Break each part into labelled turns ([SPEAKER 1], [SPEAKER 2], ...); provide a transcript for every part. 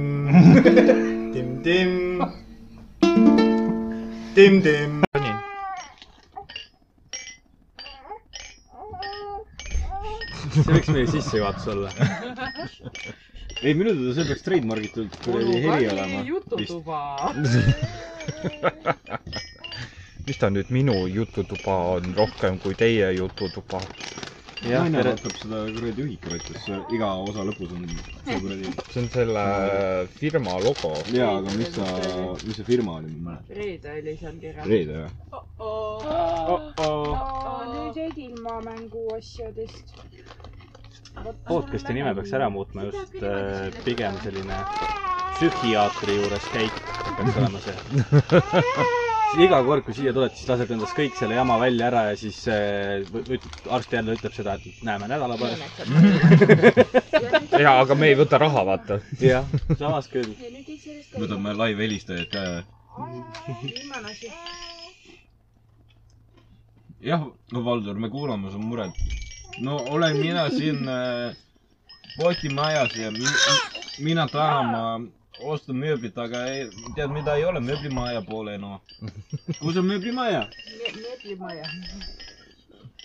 [SPEAKER 1] 딤딤 딤딤 딤딤
[SPEAKER 2] 아니 see võiks meil sisse juhatus olla .
[SPEAKER 3] ei , minu teada see peaks trademargitud kuradi heli olema .
[SPEAKER 4] jututuba .
[SPEAKER 2] mis ta nüüd , minu jututuba on rohkem kui teie jututuba .
[SPEAKER 3] jah ,
[SPEAKER 4] Naine
[SPEAKER 3] naine vaatab seda kuradi ühikavetus , iga osa lõpus on see kuradi .
[SPEAKER 2] see on selle firma logo .
[SPEAKER 3] jaa , aga mis ta , mis see firma oli , ma ei mäleta .
[SPEAKER 4] reede oli seal kirjas .
[SPEAKER 3] Reede või ?
[SPEAKER 5] nüüd jäid ilma mänguasjadest .
[SPEAKER 2] podcast'i nime peaks ära muutma just äh, pigem selline psühhiaatri juures käik peaks olema see . iga kord , kui siia tuled , siis lased endast kõik selle jama välja ära ja siis äh, võ- üt- arst jälle ütleb seda , et näeme nädala pärast .
[SPEAKER 6] jaa , aga me ei võta raha , vaata .
[SPEAKER 2] jah , samas küll .
[SPEAKER 5] ja nüüd jäid sellest ka ilma .
[SPEAKER 3] võtame live helistajat ka .
[SPEAKER 5] viimane asi .
[SPEAKER 3] jah , no Valdur , me kuulame su muret . no olen mina siin äh, potimajas ja mi, mina tahan , ma ostan mööblit , aga ei, tead , mida ei ole , mööblimaja pole , noh . kus on mööblimaja ?
[SPEAKER 4] mööblimaja .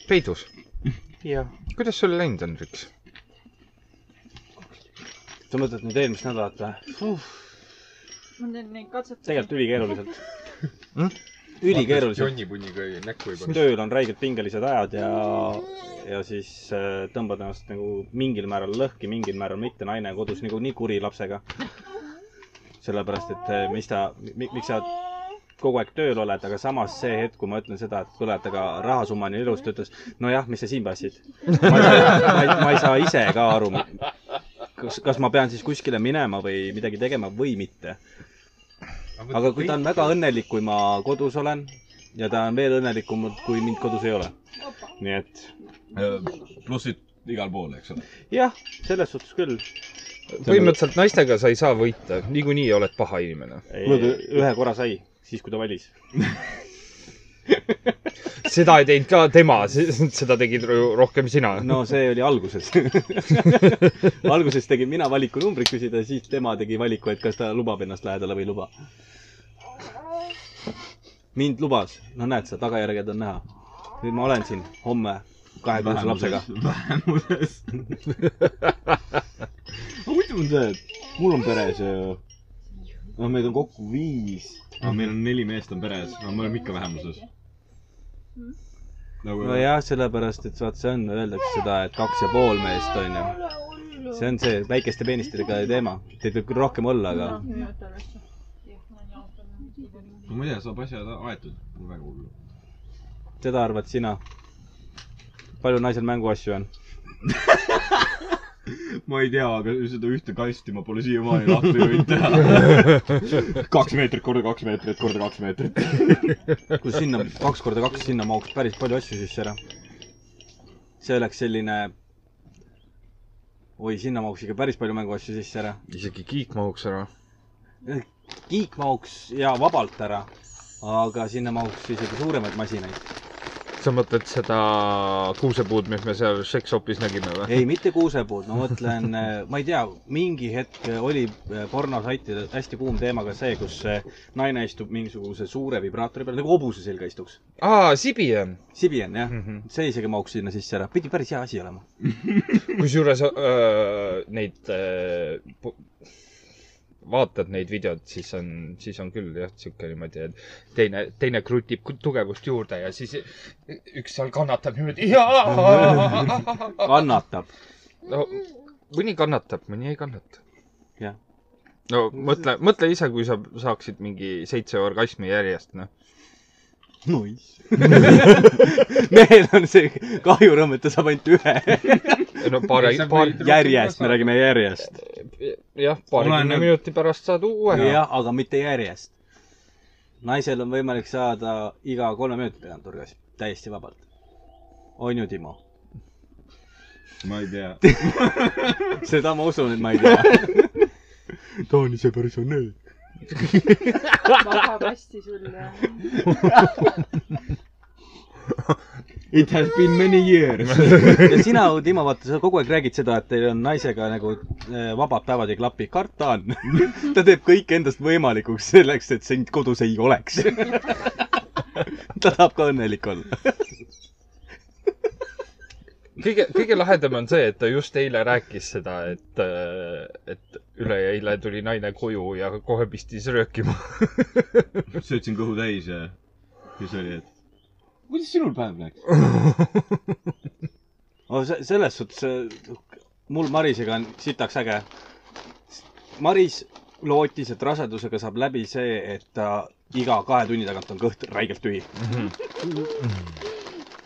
[SPEAKER 6] peidus .
[SPEAKER 2] jah .
[SPEAKER 6] kuidas sul läinud on , Riks ?
[SPEAKER 2] sa mõtled nüüd eelmist nädalat või ?
[SPEAKER 4] ma teen neid katsetusi .
[SPEAKER 2] tegelikult ülikeeruliselt
[SPEAKER 6] Mm? .
[SPEAKER 2] ülikeeruliselt .
[SPEAKER 7] jonnipunniga näkku ei pannud .
[SPEAKER 2] tööl on räigelt pingelised ajad ja , ja siis äh, tõmbad ennast nagu mingil määral lõhki , mingil määral mitte . naine on kodus niikuinii kuri lapsega . sellepärast , et äh, mis ta , miks sa kogu aeg tööl oled , aga samas see hetk , kui ma ütlen seda , et kuule , et aga rahasumma on ju ilus , ta ütles , nojah , mis sa siin passid . ma ei saa ise ka aru , kas , kas ma pean siis kuskile minema või midagi tegema või mitte . aga kui ta on väga õnnelik , kui ma kodus olen ja ta on veel õnnelikum , kui mind kodus ei ole . nii et
[SPEAKER 3] Äh, plussid igal pool , eks ole .
[SPEAKER 2] jah , selles suhtes küll .
[SPEAKER 6] põhimõtteliselt naistega sa ei saa võita , niikuinii oled paha inimene .
[SPEAKER 2] ühe korra sai , siis kui ta valis .
[SPEAKER 6] seda ei teinud ka tema , seda tegid ro- rohkem sina .
[SPEAKER 2] no see oli alguses . alguses tegin mina valiku numbrit küsida , siis tema tegi valiku , et kas ta lubab ennast lähedale või ei luba . mind lubas , no näed sa , tagajärged on näha . nüüd ma olen siin homme kahekuuse lapsega ..
[SPEAKER 3] vähemuses . muidu on see , et mul on peres ju , no meid on kokku viis . aga meil on neli meest on peres , no me oleme ikka vähemuses . nagu no,
[SPEAKER 2] nojah , sellepärast , et vaat see on , öeldakse seda , et kaks ja pool meest on ju . see on see väikeste peenistega teema . Teid võib küll rohkem olla , aga
[SPEAKER 3] no ma ei tea , saab asjad aetud , väga hullu .
[SPEAKER 2] seda arvad sina . palju naisel mänguasju on ?
[SPEAKER 3] ma ei tea , aga seda ühte kasti ma pole siiamaani lahti võinud teha . kaks meetrit korda kaks meetrit korda kaks meetrit .
[SPEAKER 2] kui sinna kaks korda kaks , sinna mahuks päris palju asju sisse ära . see oleks selline , oi , sinna mahuks ikka päris palju mänguasju sisse ära .
[SPEAKER 6] isegi kiik mahuks ära .
[SPEAKER 2] kiik mahuks ja vabalt ära , aga sinna mahuks isegi suuremaid masinaid .
[SPEAKER 6] sa mõtled seda kuusepuud , mis me seal Shakespeare'is nägime või ?
[SPEAKER 2] ei , mitte kuusepuud , ma mõtlen , ma ei tea , mingi hetk eh, oli pornosaitidel hästi kuum teema ka see , kus eh, naine istub mingisuguse suure vibraatori peal , nagu hobuse selga istuks .
[SPEAKER 6] aa , Sibien .
[SPEAKER 2] Sibian , jah ,
[SPEAKER 6] Mhm.
[SPEAKER 2] see isegi mahuks sinna sisse ära , pidi päris hea asi olema .
[SPEAKER 6] kusjuures öö, neid öö, pu- vaatad neid videod , siis on , siis on küll jah , sihuke niimoodi , et teine , teine krutib ku- tugevust juurde ja siis üks seal kannatab niimoodi .
[SPEAKER 2] kannatab .
[SPEAKER 6] no mõni kannatab , mõni ei kannata .
[SPEAKER 2] Jah. .
[SPEAKER 6] no mõtle , mõtle ise , kui sa saaksid mingi seitse orgasmi järjest , noh .
[SPEAKER 2] Nice . mehel on see kahjurõõm , et ta saab ainult ühe .
[SPEAKER 6] no paari , paari ,
[SPEAKER 2] järjest , me räägime järjest .
[SPEAKER 6] jah , paarikümne
[SPEAKER 3] Oleneb-
[SPEAKER 6] minuti pärast saad uue .
[SPEAKER 2] jah , aga mitte järjest . naisel on võimalik saada iga kolme minuti tagant orgasm , täiesti vabalt . on ju , Timo ?
[SPEAKER 3] ma ei tea .
[SPEAKER 2] seda ma usun , et ma ei tea . ta on ise päris õnnelik .
[SPEAKER 5] vabakasti sulle .
[SPEAKER 7] It has been many years .
[SPEAKER 2] ja sina , Timo , vaata , sa kogu aeg räägid seda , et teil on naisega nagu äh, vabad päevad ei klapi . karta on . ta teeb kõik endast võimalikuks selleks , et sind kodus ei oleks . ta tahab ka õnnelik olla .
[SPEAKER 6] kõige , kõige lahedam on see , et ta just eile rääkis seda , et , et üleeile tuli naine koju ja kohe pistis röökima .
[SPEAKER 7] söötsin kõhu täis ja siis oli , et kuidas sinul päev läks ?
[SPEAKER 2] Oh, selles suhtes , mul Marisega on sitaks äge . Maris lootis , et rasedusega saab läbi see , et ta iga kahe tunni tagant on kõht räigelt tühi .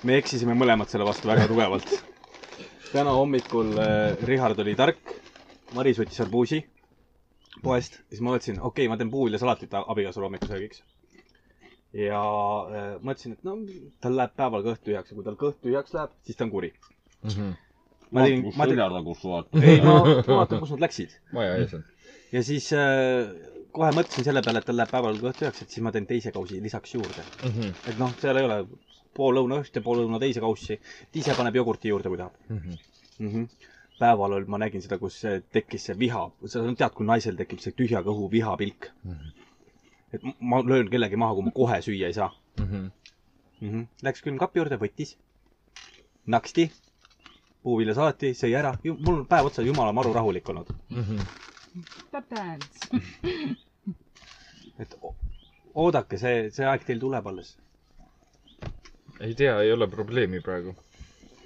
[SPEAKER 2] me eksisime mõlemad selle vastu väga tugevalt . täna hommikul äh, Richard oli tark , Maris võttis arbuusi poest , siis ma mõtlesin , okei okay, , ma teen puuviljasalatit a- abikaasale hommikusöögiks . ja äh, mõtlesin , et no tal läheb päeval kõht tühjaks ja kui tal kõht tühjaks läheb , siis ta on kuri .
[SPEAKER 6] Mhm.
[SPEAKER 2] ma tegin , ma tegin ,
[SPEAKER 7] kus
[SPEAKER 2] ei ma
[SPEAKER 7] vaatan .
[SPEAKER 2] vaatan , kus nad läksid .
[SPEAKER 6] maja ees on .
[SPEAKER 2] ja siis äh, kohe mõtlesin selle peale , et tal läheb päeval kõht tühjaks , et siis ma teen teise kausi lisaks juurde .
[SPEAKER 6] Mhm.
[SPEAKER 2] et noh , seal ei ole pool lõuna ühte , pool lõuna teise kaussi . ise paneb jogurti juurde , kui tahab mm . -hmm. päeval oli , ma nägin seda , kus see tekkis see viha , sa tead , kui naisel tekib see tühja kõhu vihapilk mm . -hmm. et m- ma löön kellegi maha , kui ma kohe süüa ei saa
[SPEAKER 6] Mhm.
[SPEAKER 2] mm . -hmm. Läks külmkapi juurde , võttis , naksti , puuviljasalati , sõi ära , mul on päev otsa jumala maru rahulik olnud .
[SPEAKER 6] Mhm.
[SPEAKER 4] ta tants .
[SPEAKER 2] et o- oodake , see , see aeg teil tuleb alles .
[SPEAKER 6] ei tea , ei ole probleemi praegu .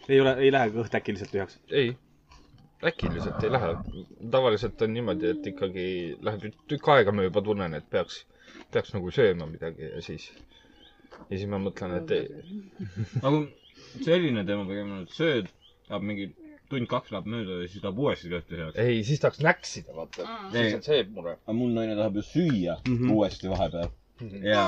[SPEAKER 2] ei ole , ei lähe kõht äkki lihtsalt tühjaks .
[SPEAKER 6] ei , äkiliselt ei lähe . tavaliselt on niimoodi , et ikkagi lähed nüüd tükk aega , ma juba tunnen , et peaks , peaks nagu sööma midagi ja siis , ja siis ma mõtlen , et ei ,
[SPEAKER 7] nagu selline teema pigem on , et sööd , läheb mingi tund-kaks läheb mööda ja siis läheb uuesti kõht tühjaks .
[SPEAKER 6] ei , siis tahaks näksida , vaata . siis on see mure .
[SPEAKER 7] aga mul naine tahab ju süüa
[SPEAKER 2] Mhm.
[SPEAKER 7] uuesti vahepeal ja ,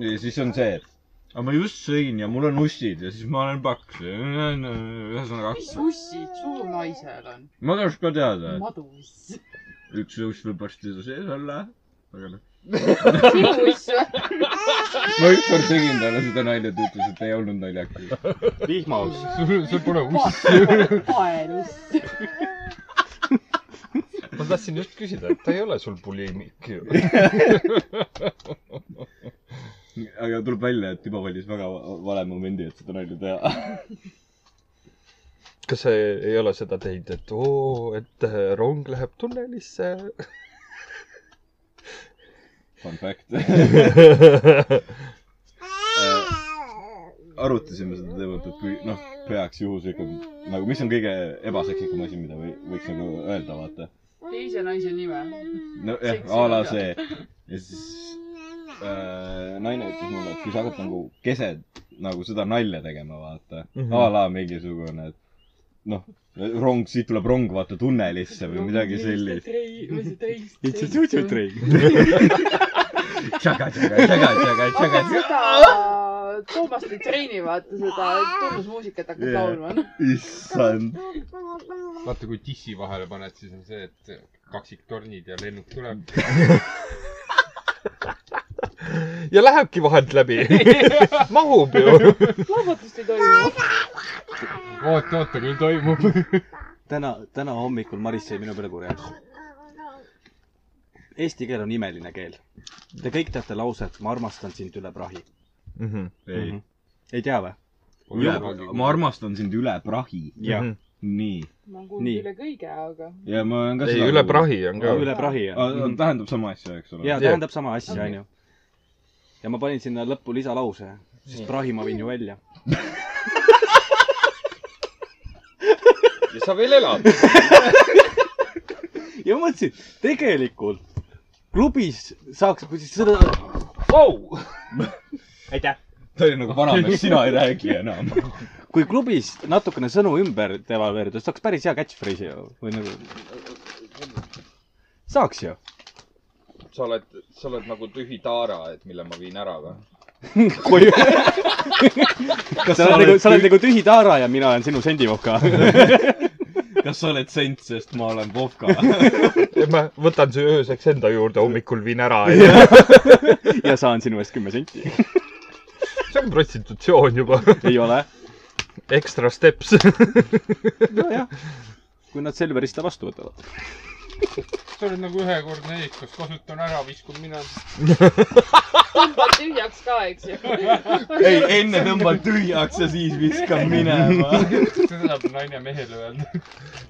[SPEAKER 7] ja siis on see , et Mhm. aga ma just sõin ja mul on ussid ja siis ma olen paks . ühesõnaga ,
[SPEAKER 4] ussid , suur naisel on .
[SPEAKER 7] ma tahaks ka
[SPEAKER 3] Äh.
[SPEAKER 7] teada ,
[SPEAKER 4] maduuss .
[SPEAKER 7] et üks uss võib varsti su sees olla . aga noh ,
[SPEAKER 4] sinuuss või ?
[SPEAKER 7] ma ükskord tegin talle seda nalja , ta ütles , et ei olnud naljakas .
[SPEAKER 2] vihmauss .
[SPEAKER 6] sul , sul pole uss .
[SPEAKER 4] paeluss .
[SPEAKER 6] ma tahtsin just küsida , et ta ei ole sul bulimik ju .
[SPEAKER 7] aga tuleb välja , et Timo valis väga va- vale momendi , et seda nalja teha .
[SPEAKER 6] kas sa ei ole seda teinud , et oo , et äh, rong läheb tunnelisse ?
[SPEAKER 7] Fun fact . arutasime seda teemat , et kui noh , peaks juhuslikult nagu , mis on kõige ebaseksikum asi , mida või, võiks nagu öelda , vaata .
[SPEAKER 4] teise naise nime .
[SPEAKER 7] nojah ,
[SPEAKER 4] Seksi
[SPEAKER 7] a la
[SPEAKER 4] nalja.
[SPEAKER 7] see . ja siis äh, naine ütles mulle , et kui sa hakkad nagu keset nagu seda nalja tegema , vaata mm .
[SPEAKER 6] Mhm.
[SPEAKER 7] -hmm. a la mingisugune , et noh , rong , siit tuleb rong , vaata , tunnelisse või midagi sellist .
[SPEAKER 4] või see treis .
[SPEAKER 2] It's a juju . train .
[SPEAKER 7] tšaga , tšaga , tšaga , tšaga , tšaga ,
[SPEAKER 4] hakkad
[SPEAKER 7] tšaga .
[SPEAKER 4] seda Toomast või Treini vaata seda tunnusmuusikat hakkad
[SPEAKER 7] Jaa.
[SPEAKER 4] laulma .
[SPEAKER 7] issand .
[SPEAKER 5] vaata , kui tissi vahele paned , siis on see , et kaksiktornid ja lennuk tuleb .
[SPEAKER 6] ja lähebki vahelt läbi . mahub ju .
[SPEAKER 4] lahvatust ei toimu .
[SPEAKER 5] oota , oota , küll toimub .
[SPEAKER 2] täna , täna hommikul Maris sai minu peale kurjaks . Eesti keel on imeline keel . Te kõik teate lauset , ma armastan sind üle prahi .
[SPEAKER 7] ei ,
[SPEAKER 2] ei tea või ?
[SPEAKER 7] üle , ma . armastan sind üle prahi .
[SPEAKER 2] jah ,
[SPEAKER 7] nii .
[SPEAKER 4] ma olen
[SPEAKER 2] Nii.
[SPEAKER 4] kuulnud üle kõige , aga .
[SPEAKER 7] ja ma olen ka
[SPEAKER 6] ei , üle . prahi on ka .
[SPEAKER 2] üle prahi ja ,
[SPEAKER 7] tähendab sama asja , eks ole
[SPEAKER 2] ja ? tähendab sama asja , onju . ja ma panin sinna lõppu lisalause , sest prahi ma viin ju välja .
[SPEAKER 6] ja sa veel elad .
[SPEAKER 2] ja ma mõtlesin , tegelikult klubis saaks , kui siis seda ,
[SPEAKER 7] ta oli nagu vanamees , sina ei räägi enam .
[SPEAKER 2] kui klubis natukene sõnu ümber devalveerida , siis saaks päris hea catchphrase'i ju , või nagu . saaks ju .
[SPEAKER 6] sa oled , sa oled nagu tühi taara , et mille ma viin ära või ?
[SPEAKER 2] koju . sa oled nagu , sa oled nagu tühi taara ja mina olen sinu sendimoka .
[SPEAKER 7] kas sa oled sent , sest ma olen Vovka ?
[SPEAKER 6] ma võtan su ööseks enda juurde , hommikul viin ära .
[SPEAKER 2] ja saan sinu eest kümme senti .
[SPEAKER 6] see on prostitutsioon juba .
[SPEAKER 2] ei ole .
[SPEAKER 6] Extra steps .
[SPEAKER 2] nojah , kui nad Selverist ta vastu võtavad .
[SPEAKER 8] sa oled nagu ühekordne eekas , kasutan ära , viskun minema .
[SPEAKER 4] tõmbad tühjaks ka , eks ju .
[SPEAKER 7] ei , enne tõmban tühjaks ja siis viskan minema .
[SPEAKER 8] seda saab naine mehele öelda .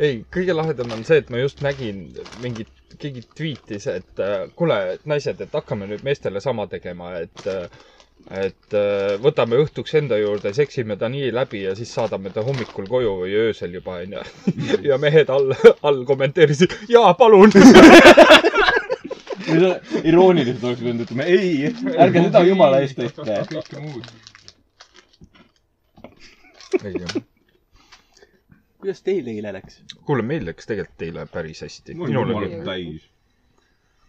[SPEAKER 6] ei , kõige lahedam on see , et ma just nägin mingit , keegi tweetis , et äh, kuule , et naised , et hakkame nüüd meestele sama tegema , et äh, et äh, võtame õhtuks enda juurde , seksime ta nii läbi ja siis saadame ta hommikul koju või öösel juba onju . ja mehed all , all kommenteerisid , jaa , palun .
[SPEAKER 7] irooniliselt oleks pidanud ütlema ei , ärge seda jumala eest tehke .
[SPEAKER 8] kõike muud .
[SPEAKER 2] kuidas teil eile läks ?
[SPEAKER 6] kuule , meil läks tegelikult eile päris hästi . minul oli ,
[SPEAKER 7] minul täis .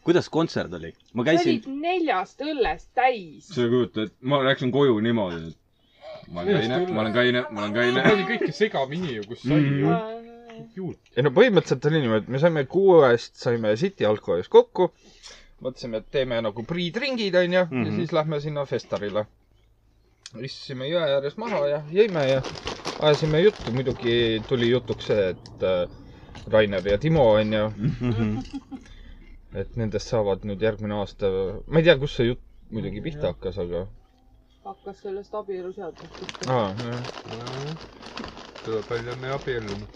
[SPEAKER 2] kuidas kontsert oli ? ma
[SPEAKER 4] sa
[SPEAKER 2] käisin ,
[SPEAKER 4] olid neljast õllest täis .
[SPEAKER 7] sa ei kujuta ette , ma läksin koju niimoodi , et ma olen kaine , ma olen kaine , ma olen
[SPEAKER 8] see
[SPEAKER 7] kaine .
[SPEAKER 8] oli kõike segamini ju , kus sai
[SPEAKER 7] Mhm.
[SPEAKER 8] ju .
[SPEAKER 6] Mm. ei no põhimõtteliselt oli niimoodi , et me saime kuuest , saime City alkoholis kokku . mõtlesime , et teeme nagu priidringid onju mm -hmm. ja
[SPEAKER 2] Mhm.
[SPEAKER 6] siis lähme sinna festarile . istusime jõe ääres maha ja jõime ja ajasime juttu , muidugi tuli jutuks see , et äh, Rainer ja Timo onju ,
[SPEAKER 2] Mhm.
[SPEAKER 6] et nendest saavad nüüd järgmine aasta , ma ei tea , kus see jutt muidugi pihta hakkas , aga
[SPEAKER 4] hakkas sellest abieluseadusest .
[SPEAKER 6] ah, . jah.
[SPEAKER 8] tuleb välja , me abiellume .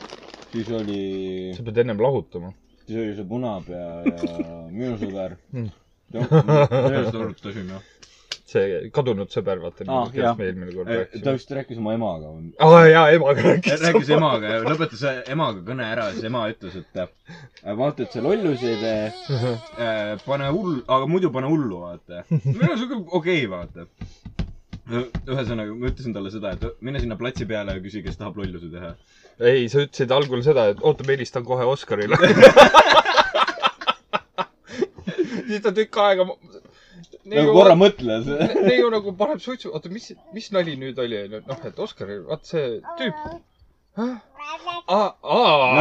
[SPEAKER 7] siis oli ,
[SPEAKER 6] sa pead ennem lahutama .
[SPEAKER 7] siis oli see punapea ja minu sõber
[SPEAKER 6] Mm. .
[SPEAKER 7] sellest arutasime .
[SPEAKER 6] see kadunud sõber , vaata
[SPEAKER 2] Ah, , jah.
[SPEAKER 6] kellest me eelmine kord
[SPEAKER 7] ta
[SPEAKER 6] rääkisime .
[SPEAKER 7] vist rääkis oma emaga või ?
[SPEAKER 6] aa jaa , emaga rääkis .
[SPEAKER 7] rääkis emaga ja lõpetas emaga kõne ära ja siis ema ütles , et äh, vaata , et sa lollusi ei tee äh, . pane hullu , aga muidu pane hullu , vaata . minu arust okei okay, , vaata . ühesõnaga , ma ütlesin talle seda , et mine sinna platsi peale ja küsi , kes tahab lollusi teha .
[SPEAKER 6] ei , sa ütlesid algul seda , et oota , ma helistan kohe Oskarile . siis ta tükk aega .
[SPEAKER 7] nagu korra mõtles .
[SPEAKER 6] neiu nagu paneb suitsu , oota , mis , mis nali nüüd oli , onju , noh , et Oskaril , vaat see tüüp . Oh,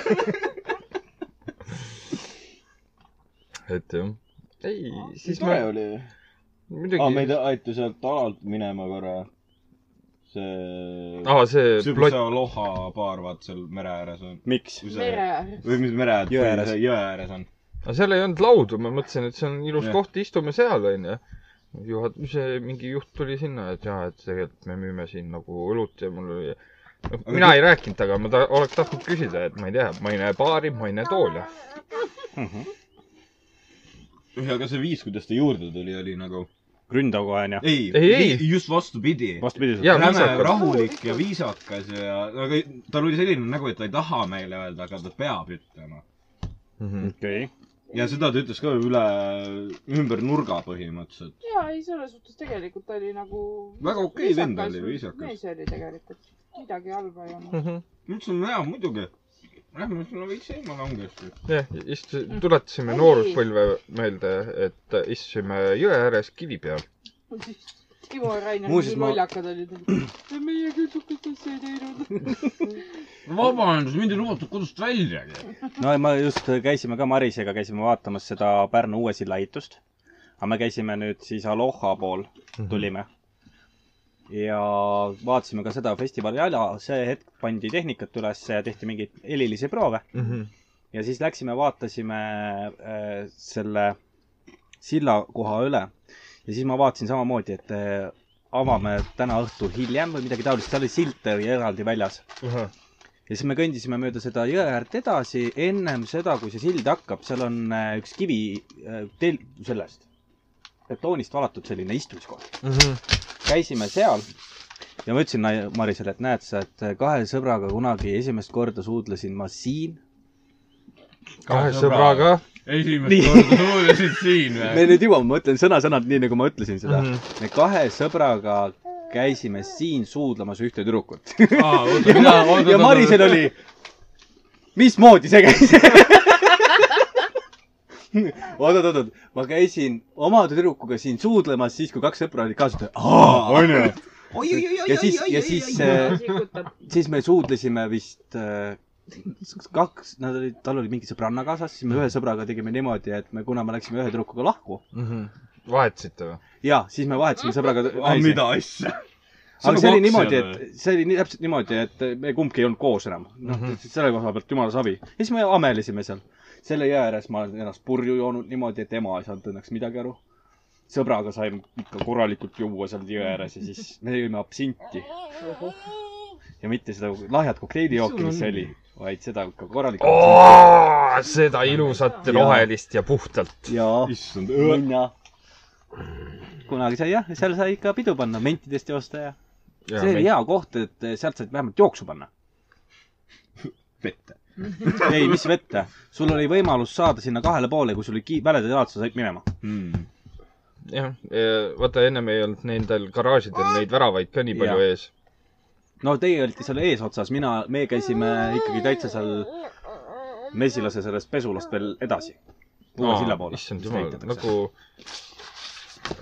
[SPEAKER 6] et jah . ei , siis ma
[SPEAKER 7] tore oli . aa ,
[SPEAKER 6] muidugi ,
[SPEAKER 7] meid aeti sealt alalt minema korra . see .
[SPEAKER 6] aa , Ah, see plott ,
[SPEAKER 7] Sübsa Loha baar , vaat seal mere ääres on .
[SPEAKER 2] miks ?
[SPEAKER 7] või see ,
[SPEAKER 4] mere ääres .
[SPEAKER 7] või mis mere ääres ,
[SPEAKER 2] Jõe ääres.
[SPEAKER 7] jõe ääres on .
[SPEAKER 6] aga seal ei olnud laudu , ma mõtlesin , et see on ilus
[SPEAKER 7] Jah.
[SPEAKER 6] koht , istume seal , onju . juhatuse mingi juht tuli sinna , et jaa , et tegelikult me müüme siin nagu õlut ja mul oli , noh , mina ei rääkinud temaga , ma ta, oleks tahtnud küsida , et ma ei tea , ma ei näe baari , ma ei näe tooli .
[SPEAKER 7] aga see viis , kuidas ta juurde tuli , oli nagu .
[SPEAKER 2] ründav kohe onju .
[SPEAKER 7] ei,
[SPEAKER 6] Ei, ei.
[SPEAKER 7] vi- just vastupidi .
[SPEAKER 2] vastupidi .
[SPEAKER 6] Jaa,
[SPEAKER 7] räme
[SPEAKER 6] viisakas. ,
[SPEAKER 7] rahulik ja viisakas ja , aga ei- tal oli selline nägu , et ta ei taha meile öelda , aga ta peab ütlema . Mhm.
[SPEAKER 2] okei .
[SPEAKER 7] ja seda ta ütles ka üle , ümber nurga põhimõtteliselt .
[SPEAKER 4] ja ei , selles suhtes tegelikult ta oli nagu .
[SPEAKER 7] Väga okei vend oli, viisakas.
[SPEAKER 4] mees oli tegelikult , midagi halba ei olnud .
[SPEAKER 6] Mhm.
[SPEAKER 7] ma ütlesin , jaa , muidugi . Lähme sinna veits eemale ongi .
[SPEAKER 6] jah , just tuletasime nooruspõlve meelde , et istusime jõe ääres kivi peal .
[SPEAKER 4] Timo ja Rainer ,
[SPEAKER 2] Muuseas,
[SPEAKER 4] nii
[SPEAKER 2] ma-
[SPEAKER 4] lollakad olid . meie küll sihukest asja ei teinud .
[SPEAKER 7] vabandust , mind ei lubatud kodust väljagi .
[SPEAKER 2] no ja ma just käisime ka Marisega , käisime vaatamas seda Pärnu uue silla ehitust . aga me käisime nüüd siis Aloha pool ,
[SPEAKER 7] Mhm.
[SPEAKER 2] tulime . ja vaatasime ka seda festivali ala , see hetk pandi tehnikat üles ja tehti mingeid helilisi proove . ja siis läksime , vaatasime äh, selle silla koha üle ja siis ma vaatasin samamoodi , et äh, avame täna õhtul hiljem või midagi taolist , seal oli silt oli eraldi väljas . ja siis me kõndisime mööda seda jõe äärt edasi , ennem seda , kui see sild hakkab , seal on äh, üks kivi äh, tel- , sellest betoonist valatud selline istumiskoht . käisime seal ja ma ütlesin nai- Marisele , et näed sa , et kahe sõbraga kunagi esimest korda suudlesin ma siin .
[SPEAKER 6] kahe sõbraga .
[SPEAKER 8] esimest korda suudesid siin
[SPEAKER 2] me
[SPEAKER 8] või ?
[SPEAKER 2] nüüd jõuame , ma ütlen sõna-sõnalt nii , nagu ma ütlesin seda mm . -hmm. me kahe sõbraga käisime siin suudlemas ühte tüdrukut . ja, ma, ja Marisel oli , mismoodi see käis ? oot , oot , oot , ma käisin oma tüdrukuga siin suudlemas siis , kui kaks sõpra olid kaasas . onju . ja siis , ja siis ,
[SPEAKER 4] sikutab .
[SPEAKER 2] siis me suudlesime vist äh, kaks , nad olid , tal oli mingi sõbranna kaasas , siis me ühe sõbraga tegime niimoodi , et me , kuna me läksime ühe tüdrukuga lahku ,
[SPEAKER 6] Mhm. vahetasite või ?
[SPEAKER 2] ja siis me vahetasime sõbraga
[SPEAKER 7] ah, . mida asja ?
[SPEAKER 2] aga see oli niimoodi , et see oli nii, täpselt niimoodi , et me kumbki ei olnud koos enam . noh
[SPEAKER 7] Mhm.
[SPEAKER 2] mm -hmm. , selle koha pealt jumala savi . ja siis me amelisime seal . selle jää ääres ma olen ennast purju joonud niimoodi , et ema ei saanud õnneks midagi aru . sõbraga saime ikka korralikult juua seal jõe ääres ja siis me jõime absinti . ja mitte seda lahjat kokteilijooki , mis see oli , vaid seda ikka korralikku absinti.
[SPEAKER 6] seda ilusat rohelist ja puhtalt .
[SPEAKER 2] ja
[SPEAKER 7] issand ,
[SPEAKER 2] minna . kunagi sai jah , seal sai ikka pidu panna , mentidest joosta ja see oli hea koht , et sealt said vähemalt jooksu panna .
[SPEAKER 7] vette .
[SPEAKER 2] ei , mis vette , sul oli võimalus saada sinna kahele poole , kui sul oli ki- , mäledad jalad , sa said minema .
[SPEAKER 7] Hmm.
[SPEAKER 6] jah , vaata ennem ei olnud nendel garaažidel neid väravaid ka nii palju
[SPEAKER 2] Jah.
[SPEAKER 6] ees .
[SPEAKER 2] no teie olite seal eesotsas , mina , me käisime ikkagi täitsa seal mesilase sellest pesulast veel edasi . Puue silla poole .
[SPEAKER 6] issand jumal , nagu ,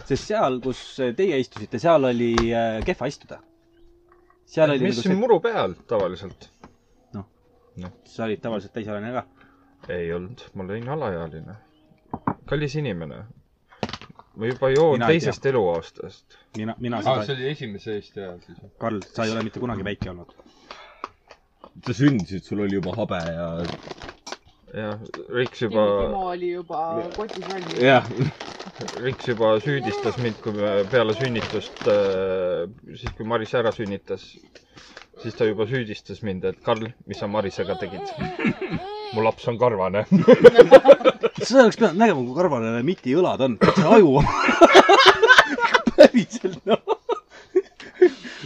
[SPEAKER 2] sest seal , kus teie istusite , seal oli äh, kehva istuda . seal oli
[SPEAKER 6] mis
[SPEAKER 2] nagu
[SPEAKER 6] siin
[SPEAKER 2] see ,
[SPEAKER 6] muru peal tavaliselt ?
[SPEAKER 2] sa olid tavaliselt täisealine ka .
[SPEAKER 6] ei olnud , ma olin alaealine . kallis inimene . ma juba joon
[SPEAKER 2] Mina ei Ah,
[SPEAKER 6] teisest eluaastast .
[SPEAKER 2] mina , mina
[SPEAKER 9] aa ,
[SPEAKER 2] seda
[SPEAKER 9] see , oli esimese Eesti ajal siis .
[SPEAKER 2] Karl , sa ei ole mitte kunagi väike olnud .
[SPEAKER 7] sa sündisid , sul oli juba habe ja .
[SPEAKER 6] jah , Riks juba ,
[SPEAKER 4] Timo oli juba kotis valmis .
[SPEAKER 7] jah ,
[SPEAKER 6] Riks juba süüdistas mind , kui me peale sünnitust , siis kui Maris ära sünnitas , siis ta juba süüdistas mind , et Karl , mis sa Marisega tegid ? mu laps on karvane .
[SPEAKER 2] sa oleks pidanud nägema , kui karvane miti õlad on , see aju on päriselt noh .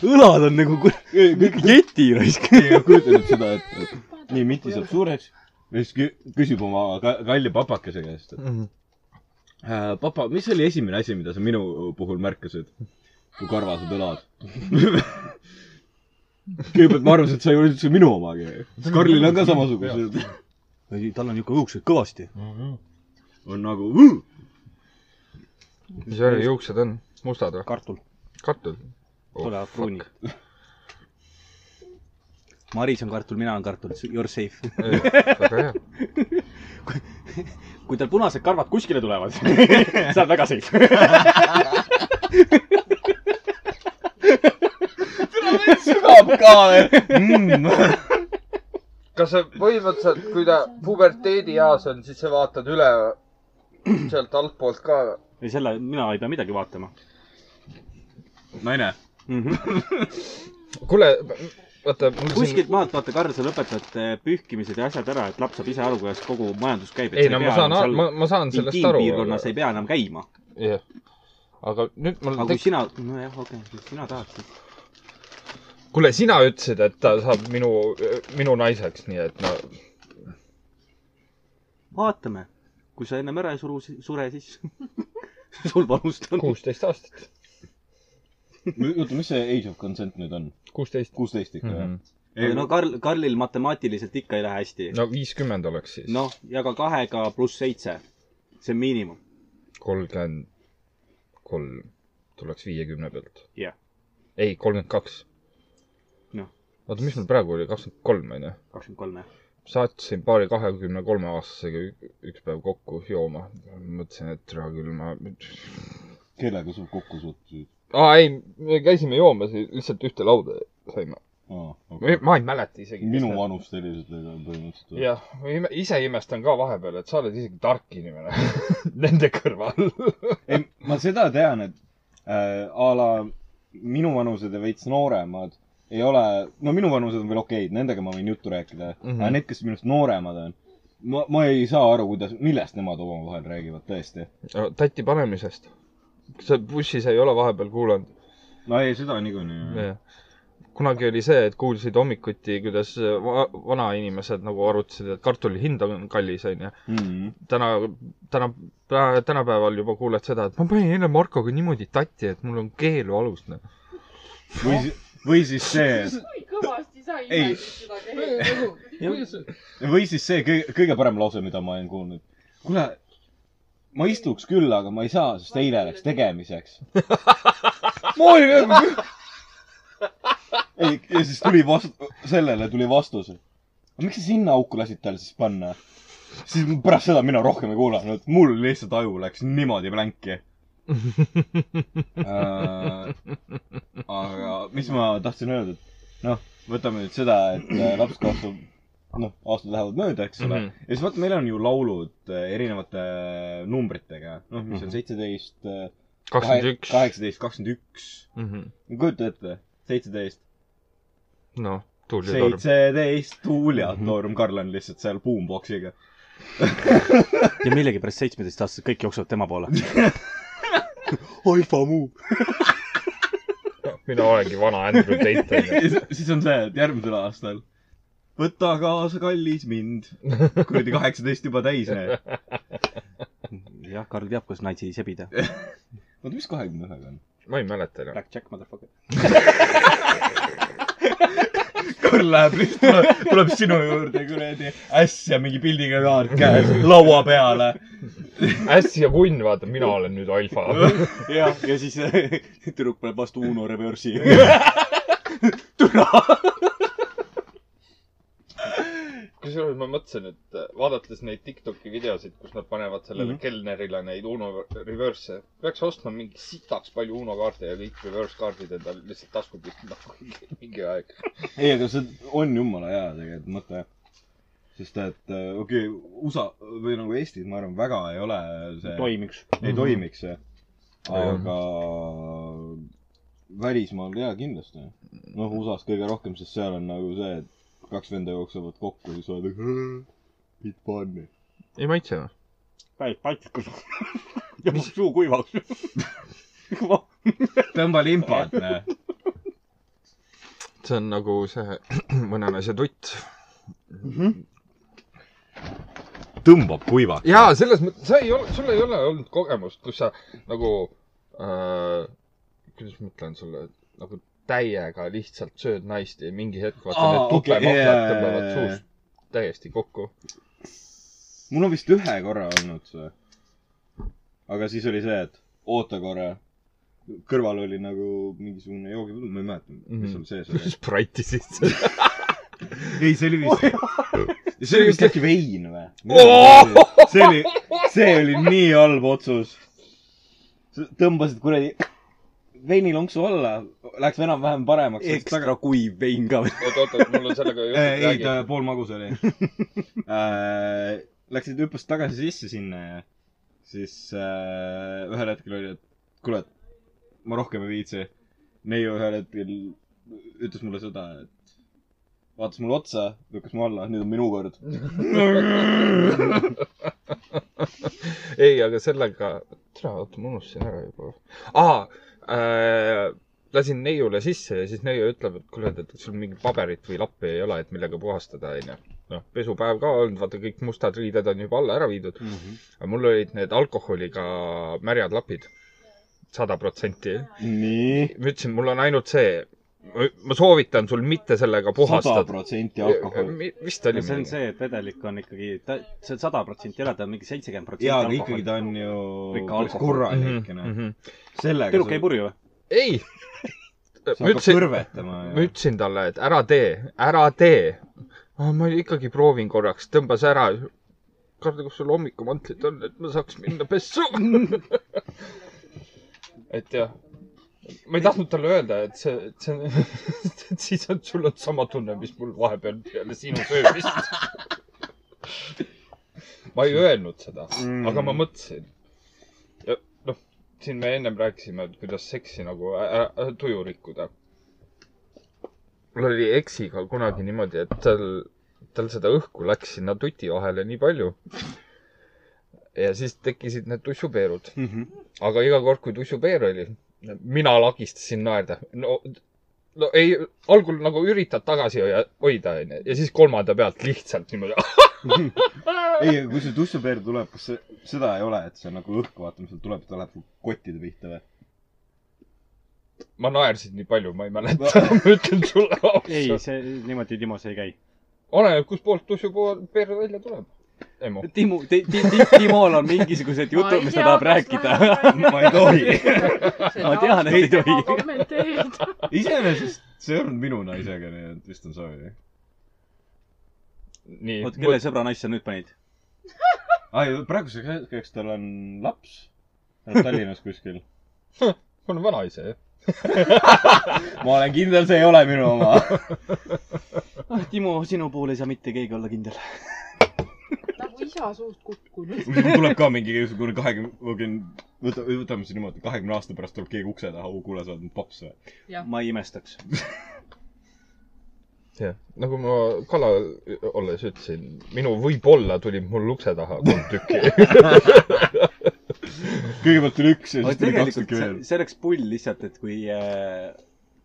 [SPEAKER 2] õlad on nagu kur- mingi jeti raisk .
[SPEAKER 7] keegi kujutab nüüd seda , et nii Miti saab suureks ja siis kü- küsib oma ka- kalli papakese käest , et äh, papa , mis oli esimene asi , mida sa minu puhul märkasid , kui karvased õlad ? kõigepealt ma arvasin , et sa ei ole üldse minu omagi . Karlil on ka samasugused .
[SPEAKER 2] tal on niisugune õuksed kõvasti .
[SPEAKER 7] on nagu ,
[SPEAKER 6] mis värvi juuksed on ? mustad või ? Oh,
[SPEAKER 2] kartul ,
[SPEAKER 6] katud ?
[SPEAKER 2] tulevad pruunid . Maris on kartul , mina olen kartul , you are safe .
[SPEAKER 6] väga hea .
[SPEAKER 2] kui tal punased karvad kuskile tulevad , sa oled väga safe .
[SPEAKER 7] sügav ka veel .
[SPEAKER 10] kas sa põhimõtteliselt , kui ta puberteedieas on , siis sa vaatad üle sealt altpoolt ka või ?
[SPEAKER 2] ei , selle , mina ei pea midagi vaatama
[SPEAKER 7] naine ,
[SPEAKER 2] mm . -hmm.
[SPEAKER 6] kuule , vaata , mul siin
[SPEAKER 2] kuskilt maalt , vaata , Karl , sa lõpetad eh, pühkimised ja asjad ära , et laps saab ise aru , kuidas kogu majandus käib .
[SPEAKER 6] ei no ma saan , ma , ma saan sellest aru .
[SPEAKER 2] intiimpiirkonnas ei pea enam käima .
[SPEAKER 6] jah , aga nüüd mul
[SPEAKER 2] aga kui
[SPEAKER 6] tekkis ,
[SPEAKER 2] sina , nojah , okei okay, , kui sina tahad , siis
[SPEAKER 6] kuule , sina ütlesid , et ta saab minu , minu naiseks , nii et no
[SPEAKER 2] vaatame . kui sa ennem ära ei suru , sure , siis sul vanust on .
[SPEAKER 6] kuusteist aastat ,
[SPEAKER 7] oota , mis see age of consent nüüd on ?
[SPEAKER 6] kuusteist .
[SPEAKER 7] kuusteist ikka jah ?
[SPEAKER 2] no Karl , Karlil matemaatiliselt ikka ei lähe hästi .
[SPEAKER 6] no viiskümmend oleks siis .
[SPEAKER 2] noh , jaga kahega pluss seitse . see on miinimum .
[SPEAKER 6] kolmkümmend kolm tuleks viiekümne pealt .
[SPEAKER 2] Jah.
[SPEAKER 6] ei , kolmkümmend kaks .
[SPEAKER 2] Noh.
[SPEAKER 6] oota , mis mul praegu oli , kakskümmend kolm onju ?
[SPEAKER 2] kakskümmend kolm , jah .
[SPEAKER 6] sattusin paari kahekümne kolme aastasega ü- üks päev kokku jooma . mõtlesin , et hea küll , ma .
[SPEAKER 7] kellega sa kokku suhtusid ?
[SPEAKER 6] aa ei , me käisime joomas , lihtsalt ühte lauda saime . ma ei mäleta isegi .
[SPEAKER 7] minu vanust helised põhimõtteliselt .
[SPEAKER 6] jah , ma ime- ise imestan ka vahepeal , et sa oled isegi tark inimene nende kõrval .
[SPEAKER 7] ei , ma seda tean , et äh, a la minuvanused ja veits nooremad ei ole , no minuvanused on veel okeid , nendega ma võin juttu rääkida mm ,
[SPEAKER 6] Mhm.
[SPEAKER 7] -hmm. aga need , kes minust nooremad on , ma , ma ei saa aru , kuidas , millest nemad omavahel räägivad tõesti .
[SPEAKER 6] tatti panemisest . sa bussis ei ole vahepeal kuulanud ?
[SPEAKER 7] no ei , seda niikuinii .
[SPEAKER 6] jah . kunagi oli see , et kuulsid hommikuti , kuidas äh, va- vanainimesed nagu arutasid , et kartuli hind on kallis , onju .
[SPEAKER 7] Mhm.
[SPEAKER 6] täna , täna , tänapäeval juba kuuled seda , et ma panin eile Markoga niimoodi tatti , et mul on noh. keelualus .
[SPEAKER 7] või si- , või siis see ,
[SPEAKER 4] kõvasti sai
[SPEAKER 7] Ei.
[SPEAKER 4] imesid seda keegi .
[SPEAKER 7] või siis see kõige , kõige parem lause , mida ma olen kuulnud . kuule , ma istuks küll , aga ma ei saa , sest eile läks tegemiseks . ma olin nagu . ei , ja siis tuli vastu , sellele tuli vastus . aga miks sa sinna auku lasid tal siis panna ? siis pärast seda mina rohkem ei kuulanud , mul lihtsalt aju läks niimoodi plänki . aga mis ma tahtsin öelda , et noh , võtame nüüd seda , et äh, laps kasvab , noh , aastad lähevad mööda , eks
[SPEAKER 6] Mhm.
[SPEAKER 7] ole . ja siis vaata , meil on ju laulud äh, erinevate numbritega , noh , mis on seitseteist ,
[SPEAKER 6] Mhm. kakskümmend üks . Mhm.
[SPEAKER 7] kaheksateist , kakskümmend üks . kujuta ette , seitseteist ,
[SPEAKER 6] noh , tuul ja torm .
[SPEAKER 7] seitseteist , tuul ja torm , Karl on lihtsalt seal boomboxiga .
[SPEAKER 2] ja millegipärast seitsmeteistaastased kõik jooksevad tema poole . Alfa muu .
[SPEAKER 6] mina olengi vana Andrew Tate onju .
[SPEAKER 7] siis on see , et järgmisel aastal võta kaasa , kallis mind . kuradi kaheksateist juba täis , eh. näed .
[SPEAKER 2] jah , Karl teab , kus natsi sebida .
[SPEAKER 7] oota , mis kahekümne ühega on ?
[SPEAKER 6] ma ei mäleta enam .
[SPEAKER 2] Black Jack , motherfucker .
[SPEAKER 7] Karl läheb lihtsalt , tuleb sinu juurde kuradi äsja mingi pildiga kaart käes laua peale .
[SPEAKER 6] äsja kunn , vaata , mina olen nüüd alfa .
[SPEAKER 2] jah , ja siis tüdruk paneb vastu Uno reverse'i . türa .
[SPEAKER 6] kusjuures ma mõtlesin , et äh, vaadates neid Tiktoki videosid , kus nad panevad sellele mm
[SPEAKER 7] Mhm.
[SPEAKER 6] -hmm. kelnerile neid Uno reverse'e , peaks ostma mingi sitaks palju Uno kaarte ja kõik reverse kaardid endale lihtsalt taskupist nagu mingi aeg .
[SPEAKER 7] ei , aga see on jumala hea tegelikult mõte . sest et äh, okei okay, , USA või nagu Eestis , ma arvan , väga ei ole see .
[SPEAKER 2] toimiks .
[SPEAKER 7] ei
[SPEAKER 6] Mhm.
[SPEAKER 7] toimiks see .
[SPEAKER 6] Jah.
[SPEAKER 7] aga välismaal jaa , kindlasti . noh , USA-s kõige rohkem , sest seal on nagu see , et kaks venda jooksevad kokku ja siis oled nagu bit fun'i .
[SPEAKER 6] ei maitse või ?
[SPEAKER 2] päris patikas . ja mul suu kuivaks .
[SPEAKER 7] tõmba limpad , näe .
[SPEAKER 6] see on nagu see mõne naise tutt .
[SPEAKER 7] tõmbab kuivaks .
[SPEAKER 6] jaa , selles mõttes , sa ei ole , sul ei ole olnud kogemust , kus sa nagu äh, , kuidas ma ütlen sulle , nagu täiega lihtsalt sööd naist ja mingi hetk vaata
[SPEAKER 7] Aa,
[SPEAKER 6] need
[SPEAKER 7] okei,
[SPEAKER 6] tupemahlad
[SPEAKER 7] jaa, jaa,
[SPEAKER 6] okay, tõmbavad
[SPEAKER 7] jaa, jaa.
[SPEAKER 6] suust täiesti kokku .
[SPEAKER 7] mul on vist ühe korra olnud see . aga siis oli see , et oota korra . kõrval oli nagu mingisugune joogipudel , ma ei mäleta , mis seal sees oli .
[SPEAKER 6] Sprite'i sisse .
[SPEAKER 7] Mhm. ei , see oli vist , see oli vist äkki vein või ?
[SPEAKER 6] Oh!
[SPEAKER 7] see oli , see oli nii halb otsus . tõmbasid kuradi veinilonksu alla , läks enam-vähem paremaks .
[SPEAKER 2] ekstra kuiv vein ka veel .
[SPEAKER 6] oot , oot , oot , mul on sellega juhtub
[SPEAKER 7] ei ,
[SPEAKER 6] räägi .
[SPEAKER 7] ta poolmagus oli äh, . Läksid , hüppasid tagasi sisse sinna ja siis äh, ühel hetkel oli , et kuule , ma rohkem ei viitsi . neiu ühel hetkel ütles mulle seda , et vaatas mulle otsa , lükkas mu alla , nüüd on minu kord .
[SPEAKER 6] ei , aga sellega , tere , oota , ma unustasin ära juba . aa äh, , lasin neiule sisse ja siis neiu ütleb , et kuule , et sul mingit paberit või lappi ei ole , et millega puhastada , onju . noh , pesupäev ka olnud , vaata kõik mustad riided on juba alla ära viidud mm .
[SPEAKER 7] Mhm.
[SPEAKER 6] -hmm. aga mul olid need alkoholiga märjad lapid , sada protsenti .
[SPEAKER 7] nii .
[SPEAKER 6] ma ütlesin , mul on ainult see , ma soovitan sul mitte sellega
[SPEAKER 7] sada
[SPEAKER 6] puhastada .
[SPEAKER 7] protsenti alkoholi .
[SPEAKER 6] vist oli
[SPEAKER 2] see on . see , et vedelik on ikkagi , ta , see on sada protsenti ära , ta on mingi seitsekümmend
[SPEAKER 7] jaa , aga
[SPEAKER 2] protsenti
[SPEAKER 7] ikkagi ta on ju
[SPEAKER 2] Ikka alkohol. Mhm,
[SPEAKER 7] korralikene . sellega
[SPEAKER 2] tüdruk ei purju või ?
[SPEAKER 6] Mhm, ei
[SPEAKER 7] sa ,
[SPEAKER 6] ma
[SPEAKER 7] hakkad
[SPEAKER 6] ütlesin ,
[SPEAKER 7] kõrvetama
[SPEAKER 6] ma
[SPEAKER 7] ja
[SPEAKER 6] ütlesin talle , et ära tee , ära tee . ma ikkagi proovin korraks , tõmbas ära . Karl , kus sul hommikumantlid on , et ma saaks minna pessu ? et jah , ma ei tahtnud talle öelda , et see , et see , et siis on , sul on sama tunne , mis mul vahepeal peale sinu söömist . ma ei öelnud seda mm. , aga ma mõtlesin . ja noh , siin me ennem rääkisime , et kuidas seksi nagu ä- ä- tuju rikkuda . mul oli eksiga kunagi niimoodi , et tal , tal seda õhku läks sinna tuti vahele nii palju . ja siis tekkisid need tussupeerud .
[SPEAKER 2] Mhm.
[SPEAKER 6] aga iga kord , kui tussupeer oli , mina lagistasin naerda . no , no ei , algul nagu üritad tagasi hoia- hoida , onju , ja siis kolmanda pealt lihtsalt niimoodi . ah,
[SPEAKER 7] ei , aga kui see tussupeer tuleb , kas see , seda ei ole , et see nagu õhk , vaata , mis sealt tuleb , ta läheb nagu kottide pihta või ?
[SPEAKER 6] ma naersin nii palju , ma ei mäleta , ma ütlen sulle
[SPEAKER 2] ei ,
[SPEAKER 6] ausalt .
[SPEAKER 2] see , niimoodi Timos ei käi .
[SPEAKER 6] oleneb , kustpoolt tussupeer välja tuleb . emu .
[SPEAKER 2] Timu , Timol on mingisugused jutud , mis ta tahab rääkida .
[SPEAKER 7] ma ei tohi .
[SPEAKER 2] ma tean , et ei tohi .
[SPEAKER 4] kommenteerida .
[SPEAKER 7] iseenesest see ei olnud minu naisega , nii et vist on sorry .
[SPEAKER 6] nii .
[SPEAKER 2] oot ,
[SPEAKER 7] Ah,
[SPEAKER 2] kelle sõbra naisse nüüd panid ?
[SPEAKER 7] aa , praeguseks hetkeks tal on laps äh,
[SPEAKER 2] Tallinnas kuskil .
[SPEAKER 6] mul on vanaisa ju .
[SPEAKER 2] ma olen kindel , see ei ole minu oma . Ah, Timo , sinu puhul ei saa mitte keegi olla kindel .
[SPEAKER 4] nagu isa suust kukkunud .
[SPEAKER 7] tuleb ka mingi igasugune kahekümne , okei , võta , võtame siis niimoodi , kahekümne aasta pärast tuleb keegi ukse taha , oo kuule , sa oled nüüd paps või ?
[SPEAKER 2] ma ei imestaks .
[SPEAKER 6] jah , nagu ma kala olles ütlesin , minu võib-olla tuli mul ukse taha kolm tükki .
[SPEAKER 7] kõigepealt tuli üks ja
[SPEAKER 2] aga
[SPEAKER 7] siis tuli kaks
[SPEAKER 2] tegelikult
[SPEAKER 7] tükki
[SPEAKER 2] see
[SPEAKER 7] veel ,.
[SPEAKER 2] see oleks pull lihtsalt , et kui äh,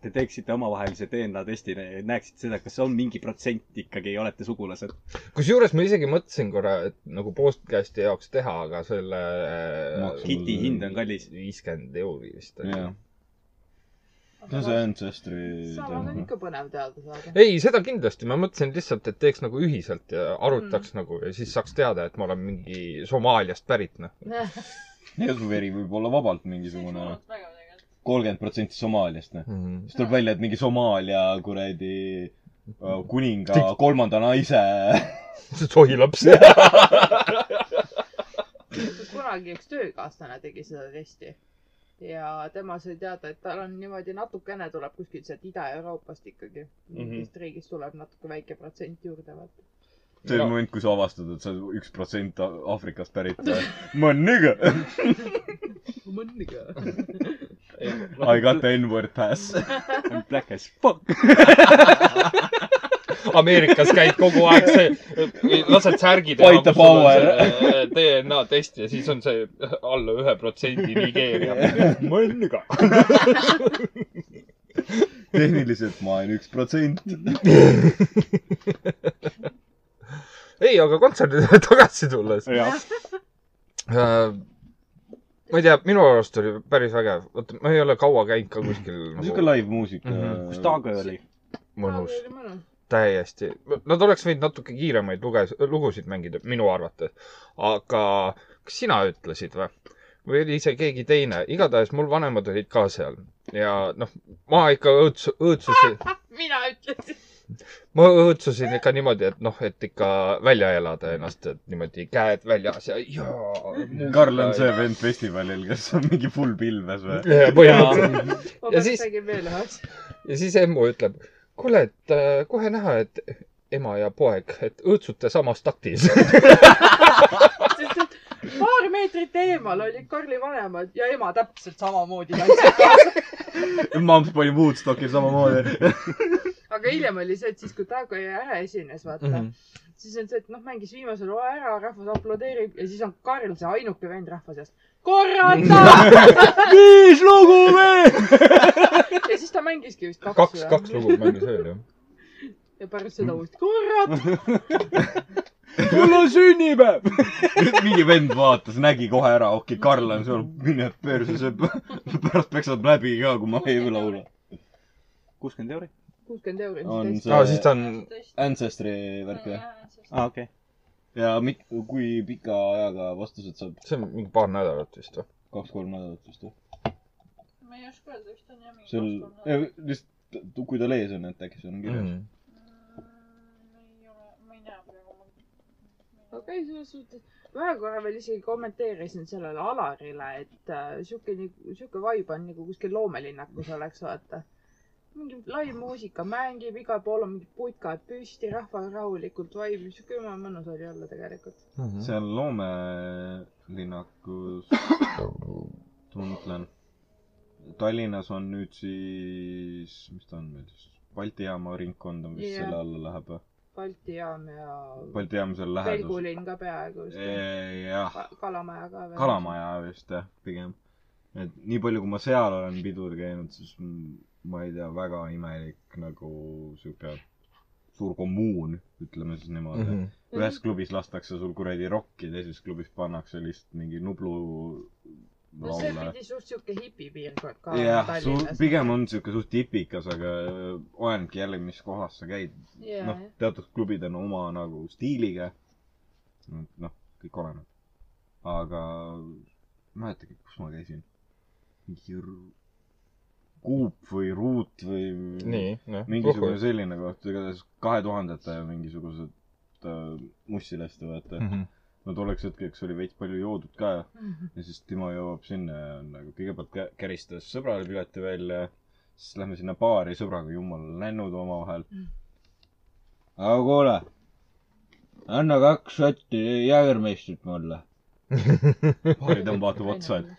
[SPEAKER 2] te teeksite omavahelise DNA testi , näeksite seda , kas on mingi protsent ikkagi olete sugulased .
[SPEAKER 6] kusjuures ma isegi mõtlesin korra , et nagu podcast'i jaoks teha , aga selle äh,
[SPEAKER 7] Maksu-
[SPEAKER 2] kiti hind on kallis .
[SPEAKER 6] viiskümmend euri vist oli
[SPEAKER 7] jah . see on see Ancestry
[SPEAKER 4] samas on
[SPEAKER 7] teema .
[SPEAKER 4] ikka põnev teada saada .
[SPEAKER 6] ei , seda kindlasti , ma mõtlesin lihtsalt , et teeks nagu ühiselt ja arutaks mm. nagu ja siis saaks teada , et ma olen mingi Somaaliast pärit , noh .
[SPEAKER 7] ja su veri võib olla vabalt mingisugune
[SPEAKER 5] väga tegelikult .
[SPEAKER 7] kolmkümmend protsenti Somaaliast , noh .
[SPEAKER 6] Mm.
[SPEAKER 7] siis tuleb välja , et mingi Somaalia kuradi äh, kuninga kolmanda naise
[SPEAKER 6] sohi laps .
[SPEAKER 4] kunagi üks töökaaslane tegi seda testi ja tema sai teada , et tal on niimoodi natukene tuleb kuskilt sealt Ida-Euroopast ikkagi
[SPEAKER 2] Mhm.
[SPEAKER 4] mingist mm -hmm. riigist tuleb natuke väike protsent juurde vaata .
[SPEAKER 7] see on moment , kui sa avastad , et sa oled üks protsent Aafrikast pärit . äh, ma olen nigga .
[SPEAKER 4] mõnniga .
[SPEAKER 7] I got the N-word pass .
[SPEAKER 2] Black as fuck .
[SPEAKER 6] Ameerikas käid kogu aeg see , lased särgi teha
[SPEAKER 7] Fight the .
[SPEAKER 6] äh, DNA test ja siis on see alla ühe protsendi Nigeeria . mõnniga .
[SPEAKER 7] tehniliselt ma olen üks protsent .
[SPEAKER 2] Nagu-
[SPEAKER 6] ei , aga kontserdile tagasi tulles .
[SPEAKER 2] jah ,
[SPEAKER 6] Äh, ma ei tea , minu arust oli päris vägev . vot ma ei ole kaua käinud ka kuskil nagu
[SPEAKER 7] sihuke live äh, muusika
[SPEAKER 6] Mhm. .
[SPEAKER 2] kus Taago oli ?
[SPEAKER 6] mõnus , täiesti . Nad oleks võinud natuke kiiremaid luges- , lugusid mängida , minu arvates . aga kas sina ütlesid või ? või oli ise keegi teine ? igatahes mul vanemad olid ka seal ja noh , ma ikka õõtsu- , õõtsusin ,
[SPEAKER 4] mina ütlesin .
[SPEAKER 6] ma õõtsusin ikka niimoodi , et noh , et ikka välja elada ennast , et niimoodi käed väljas ja jaa .
[SPEAKER 7] Karl on see vend festivalil , kes on mingi full pilves või ?
[SPEAKER 6] põhimõtteliselt .
[SPEAKER 4] ma
[SPEAKER 6] Ja
[SPEAKER 4] peaks
[SPEAKER 6] siis-
[SPEAKER 4] siis... tegema veel ühe asja .
[SPEAKER 6] ja siis emmu ütleb , kuule , et äh, kohe näha , et ema ja poeg , et õõtsute samas taktis .
[SPEAKER 4] sest et paar meetrit eemal olid Karli vanemad ja ema täpselt samamoodi läksid kaasa .
[SPEAKER 7] Mamps pani Woodstockil samamoodi .
[SPEAKER 4] aga hiljem oli see , et siis kui Taago jäi ära esines , vaata mm ,
[SPEAKER 6] Mhm.
[SPEAKER 4] -hmm. siis on see , et noh , mängis viimase loo ära , rahvas aplodeerib ja siis on Karl see ainuke vend rahva seas .
[SPEAKER 6] Mhm.
[SPEAKER 4] korrata !
[SPEAKER 2] viis lugu veel .
[SPEAKER 4] ja siis ta mängiski vist kaks .
[SPEAKER 6] kaks , kaks Mhm. lugu mängis veel jah .
[SPEAKER 4] ja pärast seda uuesti , korrata !
[SPEAKER 2] mul on sünnipäev .
[SPEAKER 7] mingi vend vaatas , nägi kohe ära , okei , Karl on seal , mine perse , see pärast peksab läbi ka , kui ma ei laula .
[SPEAKER 2] kuuskümmend euri .
[SPEAKER 4] kuuskümmend euri .
[SPEAKER 7] On see-
[SPEAKER 6] aa , siis ta on ,
[SPEAKER 7] Ancestry värk jah ?
[SPEAKER 2] aa , Ah, okei .
[SPEAKER 7] ja mit- , kui pika ajaga vastused saab ?
[SPEAKER 6] see on mingi paar nädalat vist või ?
[SPEAKER 7] kaks-kolm nädalat vist või ?
[SPEAKER 5] ma ei oska öelda , vist on jah mingi
[SPEAKER 7] seal , lihtsalt , kui tal ees on , et äkki see on
[SPEAKER 6] Mhm.
[SPEAKER 7] kirjas mm. .
[SPEAKER 5] ma ei tea praegu .
[SPEAKER 4] okei , selles suhtes , ma ühe korra veel isegi kommenteerisin sellele Alarile , et äh, sihuke nagu , sihuke vibe on nagu kuskil loomelinnakus oleks , vaata . mingi lai muusika mängib , igal pool on mingid putkad püsti , rahval rahulikult vaibib , sihuke jumala mõnus oli olla tegelikult .
[SPEAKER 7] seal loomelinnakus tuntlen . Tallinnas on nüüd siis , mis ta on meil siis ? Balti jaama ringkond on vist
[SPEAKER 4] Jah.
[SPEAKER 7] yeah. selle alla läheb või ?
[SPEAKER 4] Balti jaam ja
[SPEAKER 7] Balti jaam seal lähedus .
[SPEAKER 4] Pelgulinn ka peaaegu vist .
[SPEAKER 7] jah ,
[SPEAKER 4] Kalamaja ka veel .
[SPEAKER 7] Kalamaja vist jah , pigem . et nii palju , kui ma seal olen pidul käinud , siis m- ma ei tea , väga imelik nagu sihuke suur kommuun , ütleme siis niimoodi
[SPEAKER 6] Mhm.
[SPEAKER 7] mm . -hmm. ühes klubis lastakse sul kuradi rokki , teises klubis pannakse lihtsalt mingi Nublu
[SPEAKER 4] no see
[SPEAKER 7] laule .
[SPEAKER 4] pidi suht sihuke hipipiirkond ka
[SPEAKER 7] jah ,
[SPEAKER 4] Tallinnas .
[SPEAKER 7] pigem on sihuke suht tipikas , aga olenebki jälle , mis kohas sa käid .
[SPEAKER 4] jah
[SPEAKER 7] noh , teatud klubid on oma nagu stiiliga . noh , kõik oleneb . aga ma ei mäletagi , kus ma käisin . mingi r- Kuup või Ruut või
[SPEAKER 6] nii , jah .
[SPEAKER 7] mingisugune
[SPEAKER 6] Hmm.
[SPEAKER 7] selline koht , igatahes kahe tuhandete mingisugused äh, mussilaste , vaata . no tolleks hetkeks oli veits palju joodud ka ja siis Timo jõuab sinna ja on nagu kõigepealt kä- käristas sõbrale pileti välja siis lähme sinna baari sõbraga jumala lännud omavahel aga kuule anna kaks sotti jäägermeistrit mulle baari tõmb vaatab otsa et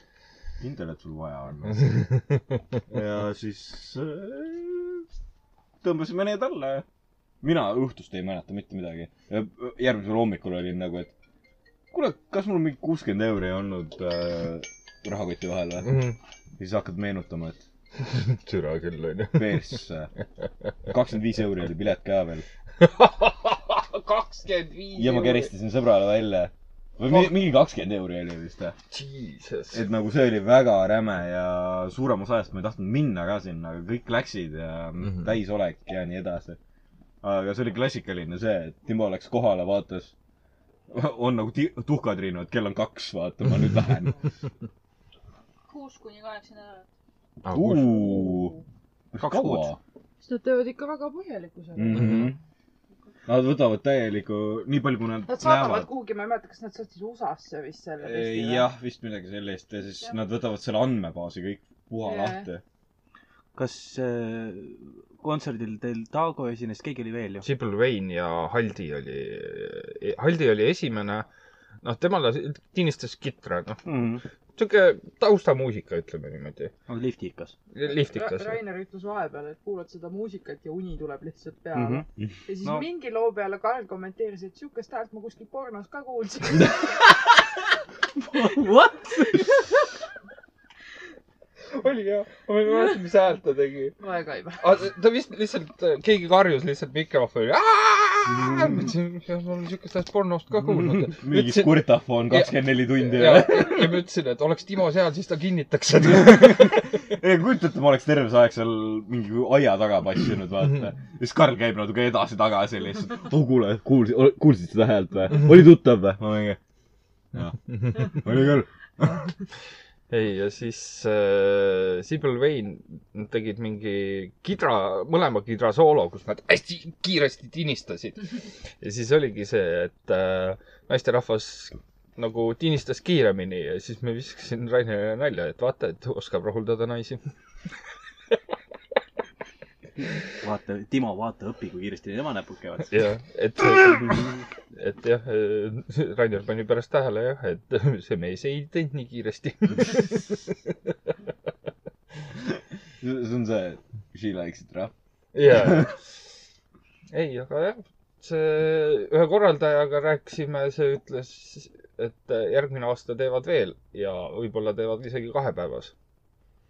[SPEAKER 7] kindel et sul vaja on
[SPEAKER 6] Mhm.
[SPEAKER 7] ja siis äh, tõmbasime need alla ja mina õhtust ei mäleta mitte midagi . järgmisel hommikul olin nagu , et kuule , kas mul mingi kuuskümmend euri ei olnud äh, rahakoti vahel või ? ja siis hakkad meenutama , et
[SPEAKER 6] Mhm. türa küll , onju .
[SPEAKER 7] persse . kakskümmend viis euri oli pilet ka veel
[SPEAKER 6] kakskümmend viis .
[SPEAKER 7] ja ma . käristasin sõbrale välja . või mi- mingi kakskümmend euri oli vist äh. või ?
[SPEAKER 6] Jesus .
[SPEAKER 7] et nagu see oli väga räme ja suurem osa ajast ma ei tahtnud minna ka sinna , aga kõik läksid ja mm
[SPEAKER 6] Mhm.
[SPEAKER 7] -hmm. täisolek ja nii edasi . aga see oli klassikaline see , et Timo läks kohale , vaatas , on nagu ti- tuhkad rinnad , kell on kaks , vaata , ma nüüd lähen .
[SPEAKER 5] kuus kuni kaheksa nädalat .
[SPEAKER 6] Ah, Kaks
[SPEAKER 7] kaua
[SPEAKER 6] kuud.
[SPEAKER 4] sest nad teevad ikka väga põhjaliku selle
[SPEAKER 7] mm . -hmm. Nad võtavad täieliku , nii palju , kui nad,
[SPEAKER 4] Nad saadavad kuhugi , ma ei mäleta , kas nad saatsid USA-sse vist selle testi või ?
[SPEAKER 7] jah , vist midagi sellist ja siis
[SPEAKER 5] Jah.
[SPEAKER 7] nad võtavad selle andmebaasi kõik puha
[SPEAKER 4] Jaa.
[SPEAKER 7] lahti .
[SPEAKER 2] kas äh, kontserdil teil Taago esines , keegi oli veel ju ?
[SPEAKER 6] Sibel Vein ja Haldi oli , Haldi oli esimene , noh , temale tinistas kitra , noh ,
[SPEAKER 2] aga
[SPEAKER 6] sihuke taustamuusika , ütleme niimoodi ,
[SPEAKER 2] lifti ikka .
[SPEAKER 6] liftikas .
[SPEAKER 4] Rainer ütles vahepeal , et kuulad seda muusikat ja uni tuleb lihtsalt peale mm .
[SPEAKER 2] Mhm.
[SPEAKER 4] -hmm. ja siis no.
[SPEAKER 2] No.
[SPEAKER 4] mingi loo peale Karl kommenteeris , et siukest häält ma kuskil pornos ka kuulsin .
[SPEAKER 2] What ?
[SPEAKER 11] oli jah , ma ei mäleta , mis häält ta tegi .
[SPEAKER 4] ma väga ei
[SPEAKER 11] ta vist lihtsalt , keegi karjus lihtsalt mikrofoni . ma ütlesin , ma olen siukest asja pornost ka
[SPEAKER 2] Mhm. Mm.
[SPEAKER 11] kuulnud .
[SPEAKER 7] mingi
[SPEAKER 11] Ütlesin-
[SPEAKER 7] skurtafon kakskümmend neli tundi
[SPEAKER 11] ja ,
[SPEAKER 7] ja
[SPEAKER 11] ja ma ütlesin , et oleks Timo seal , siis ta kinnitaks seda .
[SPEAKER 7] ei kujuta ette , ma oleks terve see aeg seal mingi aia taga passinud , vaata . ja siis Karl käib natuke edasi-tagasi lihtsalt . oo , kuule , kuulsid , kuulsid seda häält või ? oli tuttav või ? Mhm. ma mingi , jah , oli küll .
[SPEAKER 6] ei , ja siis äh, Sibel Vein nad tegid mingi kidra , mõlema kidra soolo , kus nad hästi kiiresti tinistasid . ja siis oligi see , et äh, naisterahvas nagu tinistas kiiremini ja siis ma viskasin Rainerile nalja , et vaata , et oskab rahuldada naisi .
[SPEAKER 2] vaata , Timo , vaata , õpi , kui kiiresti tema näpud käivad .
[SPEAKER 6] ja et , et jah , Rainer pani pärast tähele jah , et see mees ei teinud nii kiiresti .
[SPEAKER 7] see on see , she likes it , rah .
[SPEAKER 6] jaa . ei , aga jah , see ühe korraldajaga rääkisime , see ütles , et järgmine aasta teevad veel ja võib-olla teevad isegi kahepäevas .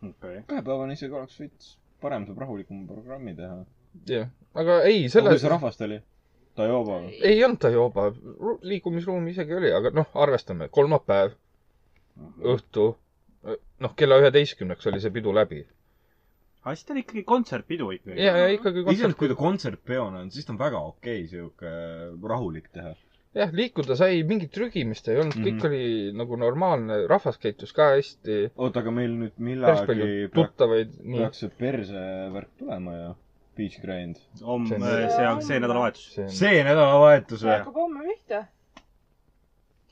[SPEAKER 2] okei .
[SPEAKER 7] kahepäevane isegi oleks veits parem , saab rahulikuma programmi teha .
[SPEAKER 6] jah , aga ei ,
[SPEAKER 7] palju
[SPEAKER 6] selles
[SPEAKER 7] see rahvast oli ? Taioba või ?
[SPEAKER 6] ei olnud ta juba , liikumisruumi isegi oli , aga noh , arvestame , kolmapäev , õhtu , noh , kella üheteistkümneks oli see pidu läbi .
[SPEAKER 2] aga siis ta oli ikkagi kontsertpidu ikkagi .
[SPEAKER 6] ja , ja ikkagi
[SPEAKER 7] isegi kui
[SPEAKER 6] kontsert ,
[SPEAKER 7] ta kontsertpeona on , siis ta on väga okei sihuke rahulik teha .
[SPEAKER 6] jah , liikuda sai , mingit trügimist ei olnud , kõik
[SPEAKER 7] Mhm.
[SPEAKER 6] oli nagu normaalne , rahvas käitus ka hästi ,
[SPEAKER 7] oota , aga meil nüüd
[SPEAKER 6] päris
[SPEAKER 7] millalgi
[SPEAKER 6] palju
[SPEAKER 7] peaks
[SPEAKER 6] tuttavaid , nii
[SPEAKER 7] peaks see persevärk tulema ju . Beach Grind .
[SPEAKER 2] homme ,
[SPEAKER 6] See-
[SPEAKER 2] see on see nädalavahetus .
[SPEAKER 6] see on
[SPEAKER 7] see nädalavahetus
[SPEAKER 4] see hakkab homme pihta .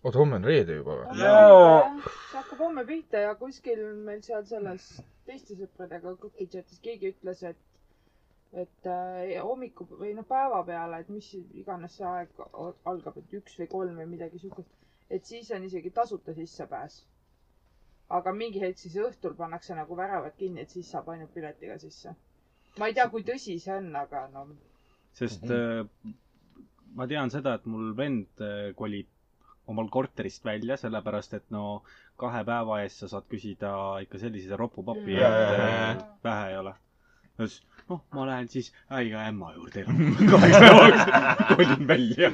[SPEAKER 6] oota , homme on reede juba või ?
[SPEAKER 7] Jaa.
[SPEAKER 4] see hakkab homme pihta ja kuskil meil seal selles teiste sõpradega cookie chat'is keegi ütles , et , et äh, hommiku või noh , päeva peale , et mis iganes see aeg o- algab , et üks või kolm või midagi siukest , et siis on isegi tasuta sissepääs . aga mingi hetk siis õhtul pannakse nagu väravad kinni , et siis saab ainult piletiga sisse . ma ei tea , kui tõsi see on , aga no
[SPEAKER 2] sest äh,
[SPEAKER 7] Mhm.
[SPEAKER 2] ma tean seda , et mul vend äh, kolib omal korterist välja , sellepärast et no kahe päeva eest sa saad küsida ikka sellise ropupapi ,
[SPEAKER 4] Jaa,
[SPEAKER 2] et
[SPEAKER 7] jaa,
[SPEAKER 2] äh,
[SPEAKER 5] jaa.
[SPEAKER 2] vähe ei ole . ta ütles , noh , ma lähen siis äiga ämma juurde elama . kaheks päevaks kolin välja .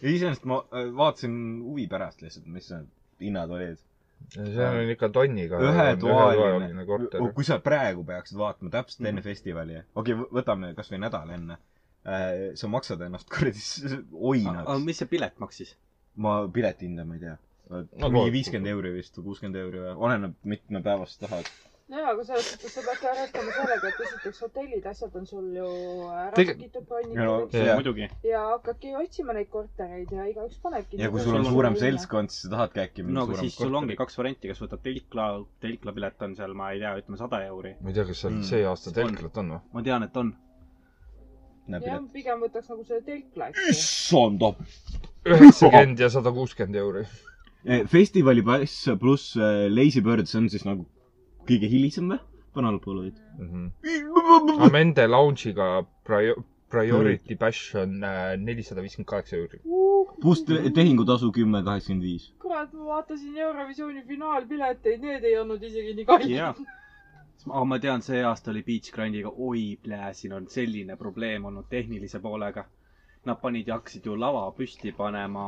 [SPEAKER 7] iseenesest ma äh, vaatasin huvi pärast lihtsalt , mis need hinnad olid .
[SPEAKER 6] seal on ikka tonniga .
[SPEAKER 7] ühetoaline
[SPEAKER 6] korter .
[SPEAKER 7] kui sa praegu peaksid vaatama täpselt
[SPEAKER 2] Mm.
[SPEAKER 7] enne festivali , okei , võtame kasvõi nädal enne . sa maksad ennast kuradi s-
[SPEAKER 2] aga
[SPEAKER 7] oinaks .
[SPEAKER 2] mis see pilet maksis ?
[SPEAKER 7] ma piletihinda ma ei tea . äh,
[SPEAKER 6] No
[SPEAKER 7] mingi
[SPEAKER 6] kohe-
[SPEAKER 7] viiskümmend euri vist või kuuskümmend euri või , oleneb mitme päevast tahad .
[SPEAKER 4] nojaa , aga selles suhtes sa peadki arvestama sellega , et esiteks hotellid , asjad on sul ju ära
[SPEAKER 6] Tege-
[SPEAKER 4] pakitud ,
[SPEAKER 7] No,
[SPEAKER 4] bronnitud
[SPEAKER 7] see- Jah.
[SPEAKER 2] muidugi .
[SPEAKER 4] ja hakkadki otsima neid kortereid ja igaüks panebki .
[SPEAKER 7] ja kui sul on suurem . seltskond , siis sa tahadki äkki
[SPEAKER 2] no
[SPEAKER 7] mingi
[SPEAKER 2] aga
[SPEAKER 7] suurem
[SPEAKER 2] siis sul ongi kaks varianti , kas võtad telkla , telklapilet on seal , ma ei tea , ütleme sada euri .
[SPEAKER 6] ma ei tea , kas seal
[SPEAKER 7] Mm.
[SPEAKER 6] Hmm. see aasta telklat on või ?
[SPEAKER 2] ma tean , et on .
[SPEAKER 4] jah
[SPEAKER 7] korter .,
[SPEAKER 4] pigem võtaks nagu selle telkla , eks ju .
[SPEAKER 7] issand ,
[SPEAKER 6] üheksakümmend ja sada kuuskümmend euri .
[SPEAKER 7] Eh, festivali pass pluss eh, Lazy Bird , see on siis nagu kõige hilisem või ? vana lõpul olid .
[SPEAKER 6] Mhm. aga nende lounge'iga prior- , priority bash on äh, nelisada viiskümmend kaheksa euri .
[SPEAKER 7] pluss te- tehingutasu kümme , kaheksakümmend viis .
[SPEAKER 4] Uh, kurat , ma vaatasin Eurovisiooni finaalpileteid , need ei olnud isegi nii kallid .
[SPEAKER 2] jah . aga ma tean , see aasta oli Beach Grandiga , oi plää , siin on selline probleem olnud tehnilise poolega . Nad panid ja hakkasid ju lava püsti panema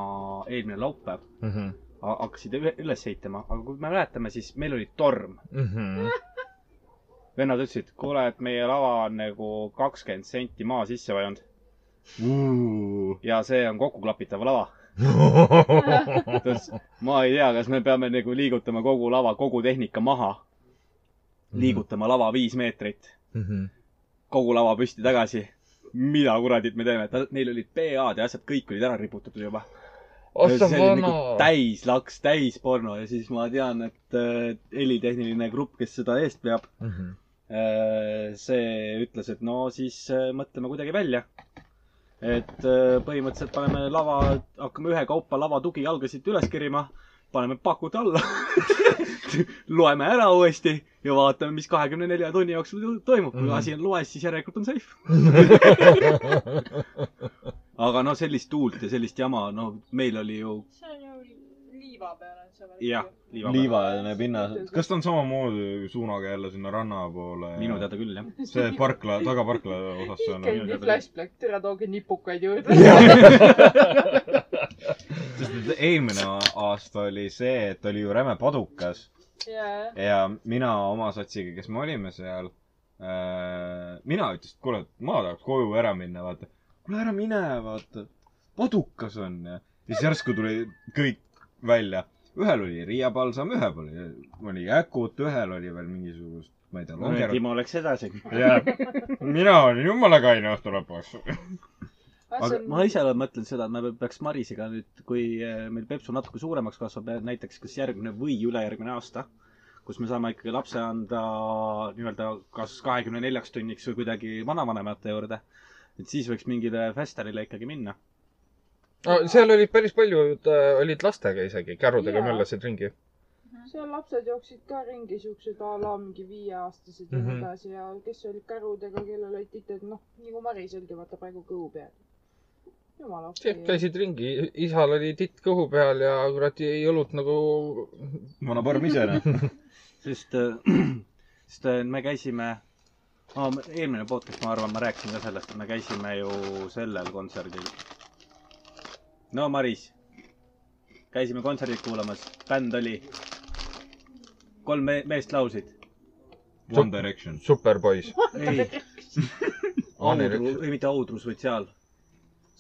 [SPEAKER 2] eelmine laupäev ,
[SPEAKER 6] Mhm.
[SPEAKER 2] hakkasid üle- üles ehitama , aga kui me mäletame , siis meil oli torm .
[SPEAKER 6] Mhm.
[SPEAKER 2] vennad ütlesid , kuule , et meie lava on nagu kakskümmend senti maa sisse vajunud ja see on kokkuklapitav lava .
[SPEAKER 6] Mhm.
[SPEAKER 2] ta ütles , ma ei tea , kas me peame nagu liigutama kogu lava , kogu tehnika maha , liigutama lava viis meetrit kogu lava püsti tagasi . mida kuradit me teeme , neil olid PA-d ja asjad kõik olid ära riputatud juba .
[SPEAKER 6] oota , vana .
[SPEAKER 2] täis laks , täis porno ja siis ma tean , et äh, helitehniline grupp , kes seda eest peab ,
[SPEAKER 6] Mhm.
[SPEAKER 2] Äh, see ütles , et no siis äh, mõtleme kuidagi välja . et äh, põhimõtteliselt paneme lava , hakkame ühekaupa lava tugijalgasid üles kerima , paneme pakud alla , loeme ära uuesti ja vaatame , mis kahekümne nelja tunni jooksul toimub . kui
[SPEAKER 6] Mhm.
[SPEAKER 2] asi on loes , siis järelikult on safe . aga no sellist tuult ja sellist jama , no meil oli ju
[SPEAKER 5] see on ju liiva peal on see .
[SPEAKER 2] jah ,. liiva .
[SPEAKER 7] liivaline pinnas . kas ta on samamoodi suunaga jälle sinna ranna poole ?
[SPEAKER 2] minu . teada küll , jah .
[SPEAKER 7] see parkla , tagaparkla osas see on . nagu
[SPEAKER 4] käib nii flashback , tere tooge nipukaid juurde .
[SPEAKER 7] sest et eelmine aasta oli see , et oli ju räme padukas
[SPEAKER 4] jaa ,
[SPEAKER 7] ja mina oma sotsiga , kes me olime seal , mina ütlesin , et kuule , et ma tahaks koju ära minna , vaata . kuule ära mine , vaata , padukas on ja ja siis järsku tuli kõik välja . ühel oli riiapalsam , ühel oli , oli äkut , ühel oli veel mingisugust , ma ei tea , longer .
[SPEAKER 2] Timo läks edasi .
[SPEAKER 7] ja mina olin jumala kaine õhtu lõpuks .
[SPEAKER 2] aga ma ise mõtlen seda , et me peaks Marisiga nüüd , kui eh, meil Pepsu natuke suuremaks kasvab , näiteks kas järgmine või ülejärgmine aasta , kus me saame ikkagi lapse anda nii-öelda kas kahekümne neljaks tunniks või kuidagi vanavanemate juurde , et siis võiks mingile festivalile ikkagi minna .
[SPEAKER 6] seal olid päris paljud , olid lastega isegi , kärudega
[SPEAKER 4] Jaa.
[SPEAKER 6] möllasid ringi .
[SPEAKER 4] seal lapsed jooksid ka ringi , siuksed a la mingi viieaastased ja nii
[SPEAKER 6] Mhm.
[SPEAKER 4] edasi ja kes olid kärudega , kellel olid tited , noh , nagu Mariselgi , vaata praegu kõhu peal . jumala okei
[SPEAKER 6] Siit . käisid ringi , isal oli titt kõhu peal ja kuradi õlut nagu
[SPEAKER 7] vana porm ise , noh .
[SPEAKER 2] sest , sest eh, me käisime no, , eelmine podcast , ma arvan , ma rääkisin ka sellest , et me käisime ju sellel kontserdil . no Maris , käisime kontserdit kuulamas , bänd oli , kolm me meest laulsid .
[SPEAKER 7] One Direction .
[SPEAKER 6] superpoiss .
[SPEAKER 2] ei , Audru , ei mitte Audrus , vaid seal ,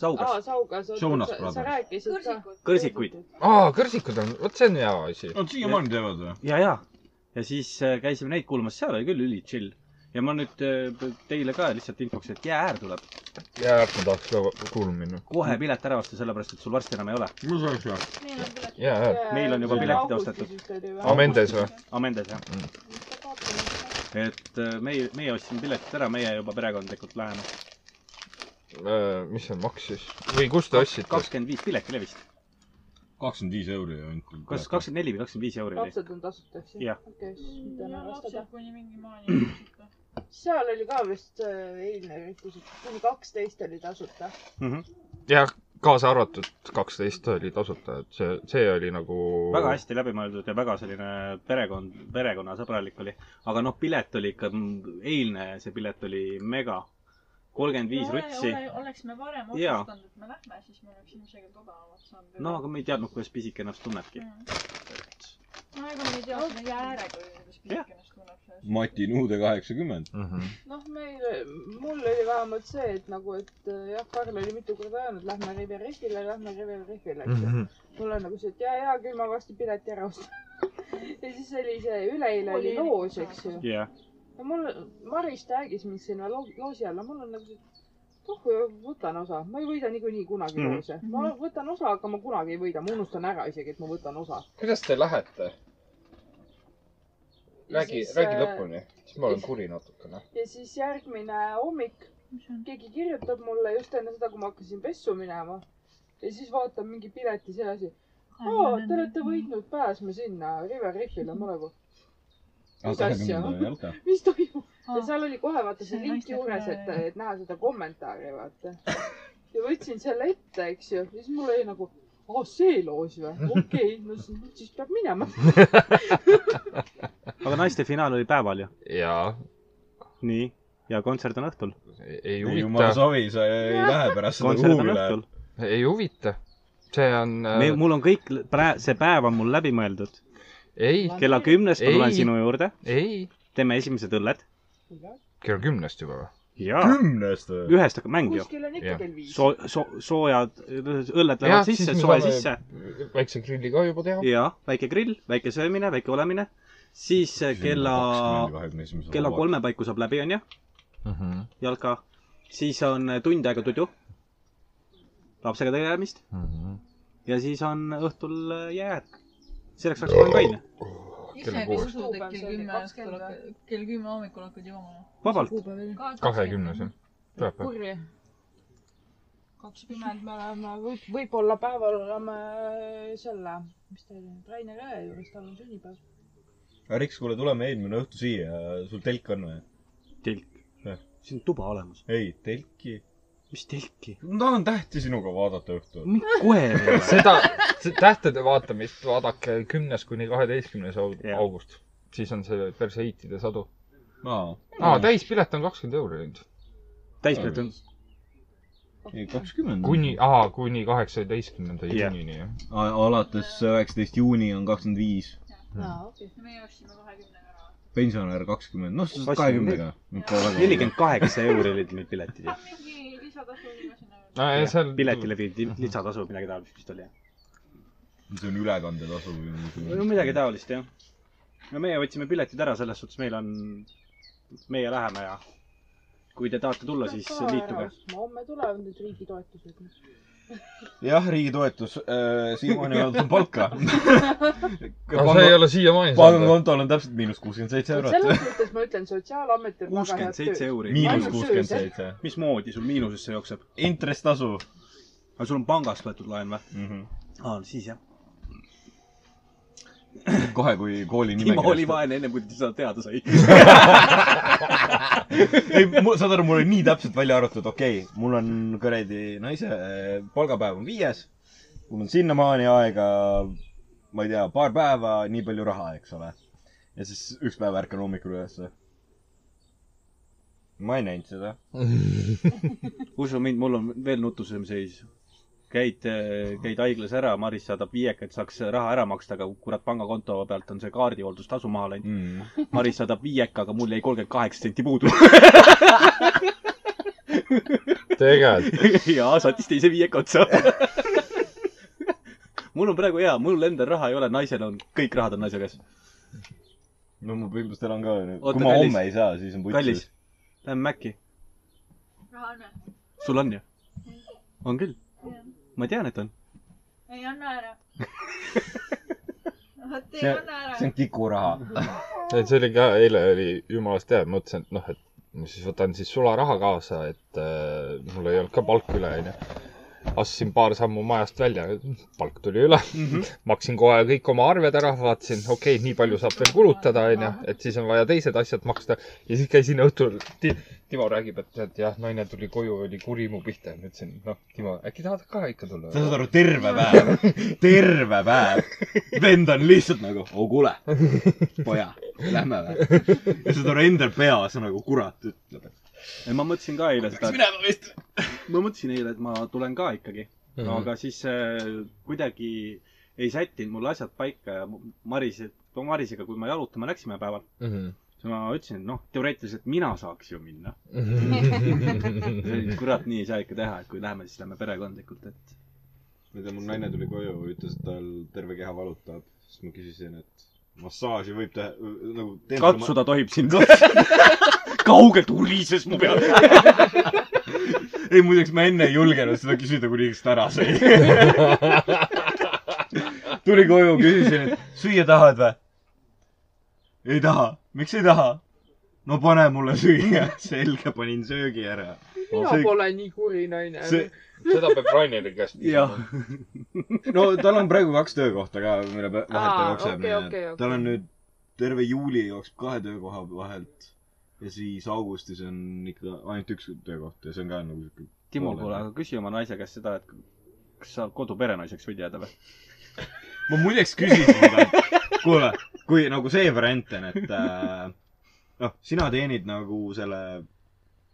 [SPEAKER 2] Saugas
[SPEAKER 4] aa , Saugas ,
[SPEAKER 7] Jonas
[SPEAKER 4] sa, sa
[SPEAKER 7] Brothers.
[SPEAKER 4] rääkisid ka .
[SPEAKER 5] kõrsikud .
[SPEAKER 2] Kõrsikuid .
[SPEAKER 6] aa , kõrsikud on , vot see on hea asi .
[SPEAKER 7] Nad siiamaani teevad või ?
[SPEAKER 2] ja , ja , ja siis äh, käisime neid kuulamas , seal oli küll üli chill ja ma nüüd äh, teile ka lihtsalt infoks , et jäääär tuleb ,
[SPEAKER 6] ja ma tahaks ka kuulma minna .
[SPEAKER 2] kohe pilet ära osta , sellepärast et sul varsti enam ei ole .
[SPEAKER 7] mis asja ?
[SPEAKER 5] meil on pilet .
[SPEAKER 6] ja , ja .
[SPEAKER 2] Meil on juba piletid ostetud. .
[SPEAKER 6] Amendes või ?
[SPEAKER 2] Amendes jah , et äh, meie , meie ostsime piletid ära , meie juba perekondlikult läheme .
[SPEAKER 6] Äh, mis see maksis või kust te ostsite ?
[SPEAKER 2] kakskümmend viis piletilevist ,
[SPEAKER 7] kakskümmend viis euri anti .
[SPEAKER 2] kas ? kakskümmend neli või kakskümmend viis euri oli ?
[SPEAKER 4] lapsed on tasuta , eks ju
[SPEAKER 2] Jah. ?
[SPEAKER 4] okei , siis me peame arvestada
[SPEAKER 5] lapsed . kuni mingi maani .
[SPEAKER 4] seal oli ka vist äh, eilne üritus , et kuni kaksteist oli tasuta .
[SPEAKER 2] Mhm.
[SPEAKER 6] jah , kaasa arvatud kaksteist oli tasuta , et see , see oli nagu
[SPEAKER 2] väga hästi läbimõeldud ja väga selline perekond , perekonnasõbralik oli . aga noh , pilet oli ikka , eilne see pilet oli mega . kolmkümmend viis rutsi .
[SPEAKER 5] oleks me varem
[SPEAKER 2] Jaa.
[SPEAKER 5] otsustanud , et me lähme , siis me oleks ilmselgelt odavamalt saanud .
[SPEAKER 2] no aga me ei teadnud , kuidas pisike ennast tunnebki .
[SPEAKER 5] no ega me ei tea , kas me jäärega või kuidas
[SPEAKER 2] Jah.
[SPEAKER 5] pisike ennast tunneb .
[SPEAKER 7] Mati Nuude kaheksakümmend .
[SPEAKER 6] mm . -hmm.
[SPEAKER 4] noh , meil , mul oli vähemalt see , et nagu , et äh, jah , Karl oli mitu korda öelnud , lähme River Riffile , lähme River Riffile , eks ju .
[SPEAKER 6] Mm
[SPEAKER 4] mul on nagu see , et jaa , jaa , küll ma varsti pileti ära ostan . ja siis oli see üleeile oli loos , eks ju .
[SPEAKER 2] jah .
[SPEAKER 4] ja mul , Maris tag'is mind sinna lo- loosi alla , mul on nagu see , et oh , võtan osa , ma ei võida niikuinii kunagi
[SPEAKER 2] Mhm.
[SPEAKER 4] mm. loose . ma võtan osa , aga ma kunagi ei võida , ma unustan ära isegi , et ma võtan osa .
[SPEAKER 11] kuidas te lähete ? räägi , räägi . lõpuni , siis ma olen
[SPEAKER 4] äh, siis-
[SPEAKER 11] kuri natukene .
[SPEAKER 4] ja siis järgmine hommik keegi kirjutab mulle just enne seda , kui ma hakkasin pessu minema ja siis vaatan mingi pileti see asi . aa , te olete võitnud pääsma sinna River Riffile , ma nagu , Mis asja?
[SPEAKER 7] asja ?
[SPEAKER 4] mis toimub ? ja
[SPEAKER 5] sa
[SPEAKER 4] seal oli kohe vaata see
[SPEAKER 5] See
[SPEAKER 4] link
[SPEAKER 5] naiste
[SPEAKER 4] juures ,
[SPEAKER 5] tule-
[SPEAKER 4] et , et näha seda kommentaari , vaata . ja võtsin selle ette , eks ju , siis mul oli nagu , aa , see loos või ? okei , no siis, siis peab minema .
[SPEAKER 2] aga naiste finaal oli päeval ju .
[SPEAKER 6] jaa ,
[SPEAKER 2] nii . ja kontsert on õhtul .
[SPEAKER 6] ei
[SPEAKER 7] ei jumal
[SPEAKER 6] huvita ,
[SPEAKER 7] savi , sa ei lähe pärast seda
[SPEAKER 2] kontsert on nagu
[SPEAKER 7] kuhugile .
[SPEAKER 2] õhtul .
[SPEAKER 6] ei huvita . see on , äh,
[SPEAKER 2] mul on kõik , see päev on mul läbi mõeldud .
[SPEAKER 6] ei ,
[SPEAKER 2] kella kümnest ma tulen
[SPEAKER 6] Ei.
[SPEAKER 2] sinu juurde ,
[SPEAKER 6] ei ,
[SPEAKER 2] teeme esimesed õlled
[SPEAKER 6] kell kümnest juba või ?
[SPEAKER 2] ja
[SPEAKER 7] kümnest või ?
[SPEAKER 2] ühest hakkab mäng ju .
[SPEAKER 4] kuskil on ikka
[SPEAKER 6] Jah.
[SPEAKER 4] kell viis .
[SPEAKER 2] soo- , soo- , soojad , õlled
[SPEAKER 6] Jah,
[SPEAKER 2] lähevad
[SPEAKER 6] siis
[SPEAKER 2] sisse ,
[SPEAKER 6] me
[SPEAKER 2] soe
[SPEAKER 6] saame-
[SPEAKER 2] sisse
[SPEAKER 6] väikse grilli ka juba teha .
[SPEAKER 2] ja väike grill , väike söömine , väike olemine . siis kella , kella . kolme paiku saab läbi , onju ,
[SPEAKER 6] Mhm.
[SPEAKER 2] jalka . siis on eh, tund aega tudu , lapsega tegelemist ja siis on õhtul jääjääk . selleks oleks kolm kaine ,
[SPEAKER 6] kell
[SPEAKER 5] ise
[SPEAKER 6] kuus.
[SPEAKER 5] vist usud , et kell kümme õhtul hakkad , kell kümme hommikul hakkad jooma .
[SPEAKER 2] vabalt .
[SPEAKER 6] kahekümnes jah ,. pühapäev .
[SPEAKER 4] kurje . kakskümmend me oleme , võib , võib-olla päeval oleme selle , mis ta oli , Rainer Jõe juures , tal on sünnipäev .
[SPEAKER 7] Riks , kuule , tuleme eelmine õhtu siia , sul telk on või ?
[SPEAKER 2] telk
[SPEAKER 7] Jah. .
[SPEAKER 2] siin on tuba olemas .
[SPEAKER 7] ei , telki .
[SPEAKER 2] mis telki ?
[SPEAKER 7] ma tahan tähti sinuga vaadata õhtul .
[SPEAKER 2] kohe ei ole .
[SPEAKER 6] seda , tähtede vaatamist vaadake kümnes kuni kaheteistkümnes aug-
[SPEAKER 2] Jah.
[SPEAKER 6] august . siis on see päris heitide sadu .
[SPEAKER 7] aa ,
[SPEAKER 6] aa , täispilet on kakskümmend euri nüüd .
[SPEAKER 2] täispilet on ,
[SPEAKER 7] ei kakskümmend .
[SPEAKER 6] kuni , aa , kuni kaheksateistkümnenda
[SPEAKER 2] Jah.
[SPEAKER 6] juunini jah .
[SPEAKER 7] alates üheksateist juuni on kakskümmend viis ,
[SPEAKER 4] aa , okei .
[SPEAKER 5] meie ostsime kahekümnega ära .
[SPEAKER 7] pensionär kakskümmend , noh ,
[SPEAKER 2] Vassi-
[SPEAKER 7] kahekümnega .
[SPEAKER 2] nelikümmend kaheksa euri olid need piletid ju .
[SPEAKER 5] mingi lisatasu inimesena .
[SPEAKER 6] nojah , seal .
[SPEAKER 2] piletile pidi lisatasu , midagi taolist vist oli .
[SPEAKER 7] see on ülekandetasu või
[SPEAKER 2] no midagi taolist jah . no meie võtsime piletid ära , selles suhtes meil on , meie läheme ja kui te tahate tulla , siis liituge ..
[SPEAKER 4] homme tulevad need riigi toetused .
[SPEAKER 7] jah , riigi toetus äh, , siiamaani ei olnud palka .
[SPEAKER 6] aga see ei ole siiamaani saanud .
[SPEAKER 7] pangakontol on täpselt miinus kuuskümmend seitse eurot .
[SPEAKER 4] selles suhtes ma ütlen , Sotsiaalamet on väga
[SPEAKER 2] kuuskümmend
[SPEAKER 4] head töö
[SPEAKER 2] seitse . euri .
[SPEAKER 7] miinus
[SPEAKER 4] Ainult
[SPEAKER 7] kuuskümmend
[SPEAKER 4] öösel.
[SPEAKER 7] seitse .
[SPEAKER 2] mismoodi sul miinusesse jookseb ?
[SPEAKER 7] intresstasu
[SPEAKER 2] aga sul on pangast võetud laen või ?
[SPEAKER 7] mm . -hmm.
[SPEAKER 2] aa , siis jah .
[SPEAKER 7] kohe , kui kooli
[SPEAKER 2] Timo oli
[SPEAKER 7] nimekirjas .
[SPEAKER 2] vaene ennem , kui ta seda teada sai .
[SPEAKER 7] ei , saad aru , mul oli nii täpselt välja arvatud , okei okay, , mul on kuradi naise äh, palgapäev on viies . mul on sinnamaani aega , ma ei tea , paar päeva , nii palju raha , eks ole . ja siis üks päev ärkan hommikul ülesse . ma ei näinud seda .
[SPEAKER 2] usu mind , mul on veel nutusem seis . käid , käid haiglas ära , Maris saadab viieka , et saaks raha ära maksta , aga kurat , pangakonto pealt on see kaardihooldustasu maha läinud .
[SPEAKER 7] Mm.
[SPEAKER 2] Maris saadab viieka , aga mul jäi kolmkümmend kaheksa senti puudu .
[SPEAKER 6] tegelikult .
[SPEAKER 2] jaa , saatis teise viieka otsa . mul on praegu hea , mul endal raha ei ole , naisel on , kõik rahad on naise käes .
[SPEAKER 7] no ma põhimõtteliselt elan ka .
[SPEAKER 2] Oota,
[SPEAKER 7] kui ma
[SPEAKER 2] kallis.
[SPEAKER 7] homme ei saa , siis on
[SPEAKER 2] kallis
[SPEAKER 7] putsis .,
[SPEAKER 2] lähme Maci .
[SPEAKER 5] raha anna .
[SPEAKER 2] sul on ju ? on küll . ma tean , et on .
[SPEAKER 5] ei anna ära . vot ei
[SPEAKER 7] See-
[SPEAKER 5] anna ära .
[SPEAKER 7] see on tikuraha .
[SPEAKER 6] et see oli ka , eile oli jumalast hea , mõtlesin , et noh , et ma siis võtan siis sularaha kaasa , et äh, mul ei olnud ka palk üle , onju . astusin paar sammu majast välja , palk tuli üle mm .
[SPEAKER 7] Mhm.
[SPEAKER 6] -hmm. maksin kohe kõik oma arved ära , vaatasin , okei okay, , nii palju saab veel kulutada , onju , et siis on vaja teised asjad maksta . ja siis käisin õhtul Ti , Timo räägib , et , et jah , naine tuli koju , oli kuri mu pihta . ma ütlesin , noh , Timo , äkki tahad ka ikka
[SPEAKER 7] sa saad
[SPEAKER 6] tulla ?
[SPEAKER 7] aru , terve päev , terve päev . vend on lihtsalt nagu , oo kuule , poja , lähme või . ja saad aru , endal peas on nagu kurat ütleb , et
[SPEAKER 2] ma mõtlesin ka eile
[SPEAKER 7] peaks
[SPEAKER 2] seda ,
[SPEAKER 7] minema vist .
[SPEAKER 2] ma mõtlesin eile , et ma tulen ka ikkagi .
[SPEAKER 6] Mhm.
[SPEAKER 2] no aga siis äh, kuidagi ei sättinud mul asjad paika ja mu- Maris , Marisiga , kui me jalutama läksime päeval , siis ma ütlesin , et noh , teoreetiliselt mina saaks ju minna .
[SPEAKER 6] Mhm.
[SPEAKER 2] kurat , nii ei saa ikka teha , et kui lähme , siis lähme perekondlikult , et
[SPEAKER 7] ma ei tea , mul naine tuli koju , ütles , et tal terve keha valutab . siis ma küsisin , et massaaži võib teha , nagu temperama-
[SPEAKER 12] katsuda tohib sind kaugelt urises mu peal .
[SPEAKER 7] ei , muideks ma enne ei julgenud seda küsida , kui liigest ära sai . tuli koju , küsisin , et süüa tahad või ? ei taha . miks ei taha ? no pane mulle süüa . selge , panin söögi ära .
[SPEAKER 4] mina
[SPEAKER 7] see-
[SPEAKER 4] pole nii kuri naine .
[SPEAKER 7] see ,
[SPEAKER 6] seda peab Raineri käest
[SPEAKER 7] jah . no tal on praegu kaks töökohta ka , mille pe- vahelt ta
[SPEAKER 4] Aa,
[SPEAKER 7] jookseb
[SPEAKER 4] okei, okei, okei.
[SPEAKER 7] tal on nüüd terve juuli jookseb kahe töökoha vahelt ja siis augustis on ikka ainult üks töökoht ja see on ka nagu siuke
[SPEAKER 2] Timo , kuule , aga küsi oma naise käest seda , et kas sa kodu perenaiseks võid jääda või ?
[SPEAKER 7] ma muideks küsisin seda , et kuule , kui nagu see variant on , et äh, noh , sina teenid nagu selle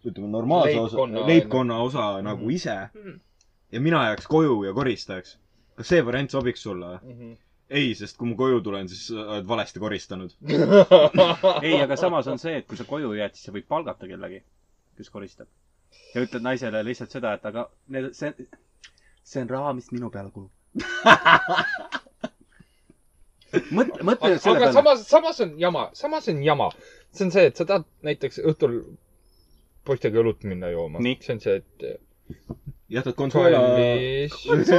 [SPEAKER 7] ütleme , normaalse
[SPEAKER 6] Leibkonna-
[SPEAKER 7] osa , leibkonna osa mm. nagu ise
[SPEAKER 4] Mhm.
[SPEAKER 7] ja mina jääks koju ja koristajaks . kas see variant sobiks sulle või ?
[SPEAKER 6] mm .
[SPEAKER 7] ei , sest kui ma koju tulen , siis sa oled valesti koristanud .
[SPEAKER 6] -hmm.
[SPEAKER 2] ei , aga samas on see , et kui sa koju jääd , siis sa võid palgata kellegi , kes koristab . ja ütled naisele lihtsalt seda , et aga need , see , see on raha , mis minu peale kulub . mõtle , mõtle nüüd selle
[SPEAKER 6] aga
[SPEAKER 2] peale .
[SPEAKER 6] samas , samas on jama , samas on jama . see on see , et sa tahad näiteks õhtul poistega õlut minna jooma .
[SPEAKER 2] Nii.
[SPEAKER 6] see on see , et
[SPEAKER 7] jätad Consuela ,
[SPEAKER 6] kallis .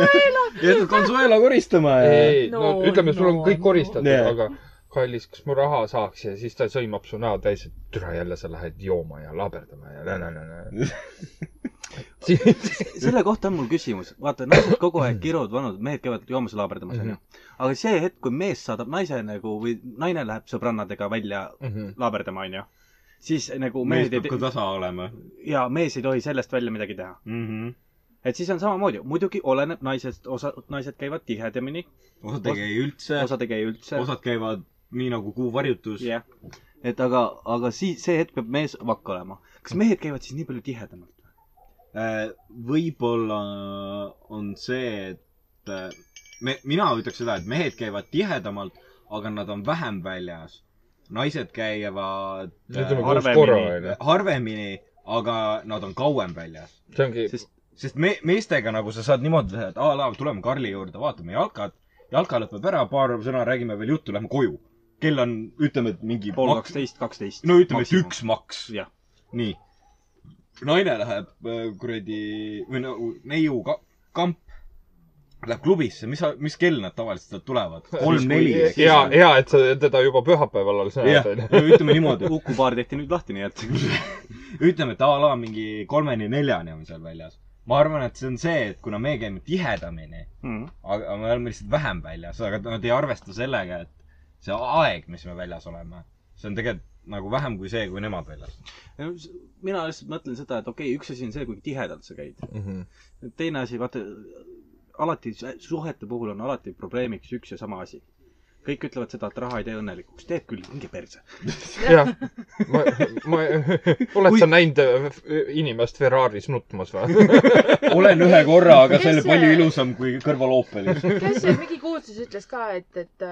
[SPEAKER 7] jätad Consuela koristama ja .
[SPEAKER 6] ei , no
[SPEAKER 4] No,
[SPEAKER 6] ütleme , sul on
[SPEAKER 4] no,
[SPEAKER 6] kõik
[SPEAKER 4] no.
[SPEAKER 6] koristatud ,
[SPEAKER 7] Nee.
[SPEAKER 6] aga kallis , kas ma raha saaks ja siis ta sõimab su näo täis , et türa jälle sa lähed jooma ja laberdama ja nä-nä-nä-nä .
[SPEAKER 2] selle kohta on mul küsimus . vaata , naised kogu
[SPEAKER 7] Mm.
[SPEAKER 2] aeg kiruvad vanad , mehed käivad joomas ja laaberdamas , onju .
[SPEAKER 7] Mm-hmm.
[SPEAKER 2] aga see hetk , kui mees saadab naise nagu või naine läheb sõbrannadega välja
[SPEAKER 6] Mhm.
[SPEAKER 2] laaberdama , onju , siis nagu
[SPEAKER 7] mees
[SPEAKER 2] mehed
[SPEAKER 7] peab ka
[SPEAKER 2] ei ,
[SPEAKER 7] tasa olema
[SPEAKER 2] jaa , mees ei tohi sellest välja midagi teha .
[SPEAKER 7] mm . -hmm.
[SPEAKER 2] et siis on samamoodi , muidugi oleneb naisest , osa , naised käivad tihedamini ,
[SPEAKER 7] osad ei käi üldse ,
[SPEAKER 2] osad ei käi üldse .
[SPEAKER 7] osad käivad nii nagu kuu varjutus .
[SPEAKER 2] jah , et aga , aga siis , see hetk peab mees vakk olema . kas mehed käivad siis nii palju tihedamalt ?
[SPEAKER 7] Äh, võib-olla on see , et äh, me , mina ütleks seda , et mehed käivad tihedamalt , aga nad on vähem väljas . naised käivad äh,
[SPEAKER 6] ütleme
[SPEAKER 7] har-
[SPEAKER 6] kuus
[SPEAKER 2] harvemini.
[SPEAKER 6] korra onju .
[SPEAKER 7] harvemini , aga nad on kauem väljas .
[SPEAKER 6] see ongi ,
[SPEAKER 2] sest
[SPEAKER 7] sest me , meestega nagu sa saad niimoodi teha , et a la tuleme Karli juurde , vaatame jalkat , jalka lõpeb ära , paar sõna räägime veel juttu , lähme koju . kell on , ütleme , et mingi
[SPEAKER 2] pool
[SPEAKER 7] maks-
[SPEAKER 2] kaksteist , kaksteist .
[SPEAKER 7] no ütleme , et üks maks .
[SPEAKER 2] Jah.
[SPEAKER 7] nii . naine läheb äh, kuradi või nagu neiu ka, kamp , läheb klubisse , mis , mis kell nad tavaliselt sealt tulevad ? kolm-neli , eks
[SPEAKER 6] hea , hea , et sa teda juba pühapäeval alles
[SPEAKER 7] jah
[SPEAKER 6] näed ,onju .,
[SPEAKER 7] ütleme niimoodi ,
[SPEAKER 2] Uku baar tehti nüüd lahti , nii et
[SPEAKER 7] ütleme , et a la mingi kolmeni-neljani on seal väljas . ma arvan , et see on see , et kuna me käime tihedamini ,
[SPEAKER 2] mm. .
[SPEAKER 7] aga me oleme lihtsalt vähem väljas , aga nad ei arvesta sellega , et see aeg , mis me väljas oleme , see on tegelikult nagu vähem kui see , kui nemad väljas .
[SPEAKER 2] mina lihtsalt mõtlen seda , et okei okay, , üks asi on see , kui tihedalt sa käid .
[SPEAKER 6] Mhm.
[SPEAKER 2] teine asi , vaata , alati su- suhete puhul on alati probleemiks üks ja sama asi . kõik ütlevad seda , et raha ei tee õnnelikuks . teeb küll , minge perse .
[SPEAKER 6] jah , ma , ma , oled sa näinud äh, inimest Ferraris nutmas või ?
[SPEAKER 7] olen ühe korra , aga see oli
[SPEAKER 4] Kes see-
[SPEAKER 7] palju ilusam kui kõrval ooperis .
[SPEAKER 4] kes see mingi kuulsus ütles ka , et , et ,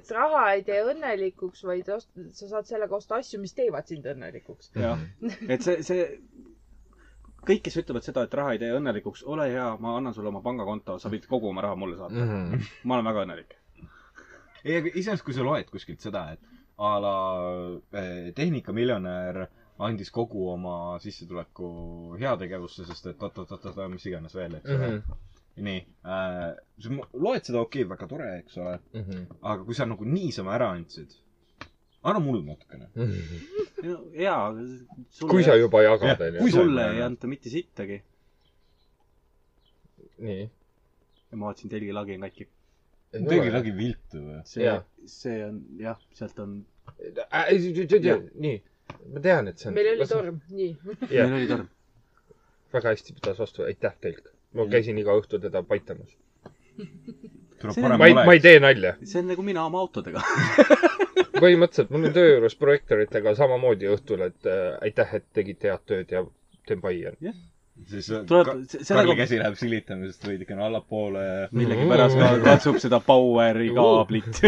[SPEAKER 4] et raha ei tee õnnelikuks , vaid ost, sa saad sellega osta asju , mis teevad sind õnnelikuks .
[SPEAKER 2] jah , et see , see , kõik , kes ütlevad seda , et raha ei tee õnnelikuks , ole hea , ma annan sulle oma pangakonto , sa võid kogu oma raha mulle saata .
[SPEAKER 6] Mhm.
[SPEAKER 2] ma olen väga õnnelik .
[SPEAKER 7] ei , aga iseenesest , kui sa loed kuskilt seda , et a la eh, tehnikamiljonär andis kogu oma sissetuleku heategevusse , sest et oot-oot-oot-oot , mis iganes veel , eks
[SPEAKER 6] Mhm.
[SPEAKER 7] ole . nii äh, , sa mu- loed seda , okei okay, , väga tore , eks ole ,
[SPEAKER 6] Mhm.
[SPEAKER 7] aga kui sa nagu niisama ära andsid , anna mulle natukene .
[SPEAKER 2] jaa .
[SPEAKER 6] Mhm. kui sa juba jagad ,
[SPEAKER 7] Jah,
[SPEAKER 6] onju
[SPEAKER 7] kui . sa
[SPEAKER 2] sulle
[SPEAKER 7] juba-
[SPEAKER 2] ei anta mitte sittagi .
[SPEAKER 6] nii .
[SPEAKER 2] ma vaatasin , telgilagi on katki .
[SPEAKER 7] tegi lagi viltu või ?
[SPEAKER 2] see
[SPEAKER 6] Jaa. ,
[SPEAKER 2] see on jah , sealt on .
[SPEAKER 6] Äh, nii , ma tean , et see on .
[SPEAKER 4] meil oli . torm , nii .
[SPEAKER 6] Jah.
[SPEAKER 2] meil oli torm .
[SPEAKER 6] väga hästi pidas vastu , aitäh teilt . ma käisin iga õhtu teda paitamas .
[SPEAKER 7] tuleb
[SPEAKER 2] See-
[SPEAKER 7] parem
[SPEAKER 6] ma ei , ma ei
[SPEAKER 7] oleks .
[SPEAKER 6] tee nalja .
[SPEAKER 2] see on nagu mina oma autodega .
[SPEAKER 6] põhimõtteliselt mul on töö juures projektoritega samamoodi õhtul , et äh, aitäh , et tegite head tööd ja teen pai ja .
[SPEAKER 7] siis
[SPEAKER 2] tuleb
[SPEAKER 7] Ka- ,
[SPEAKER 2] selle
[SPEAKER 7] Karli
[SPEAKER 6] nagu-
[SPEAKER 2] kohta
[SPEAKER 7] käsi läheb silitamisest veidikene allapoole .
[SPEAKER 2] millegipärast ka katsub seda Poweri kaablit .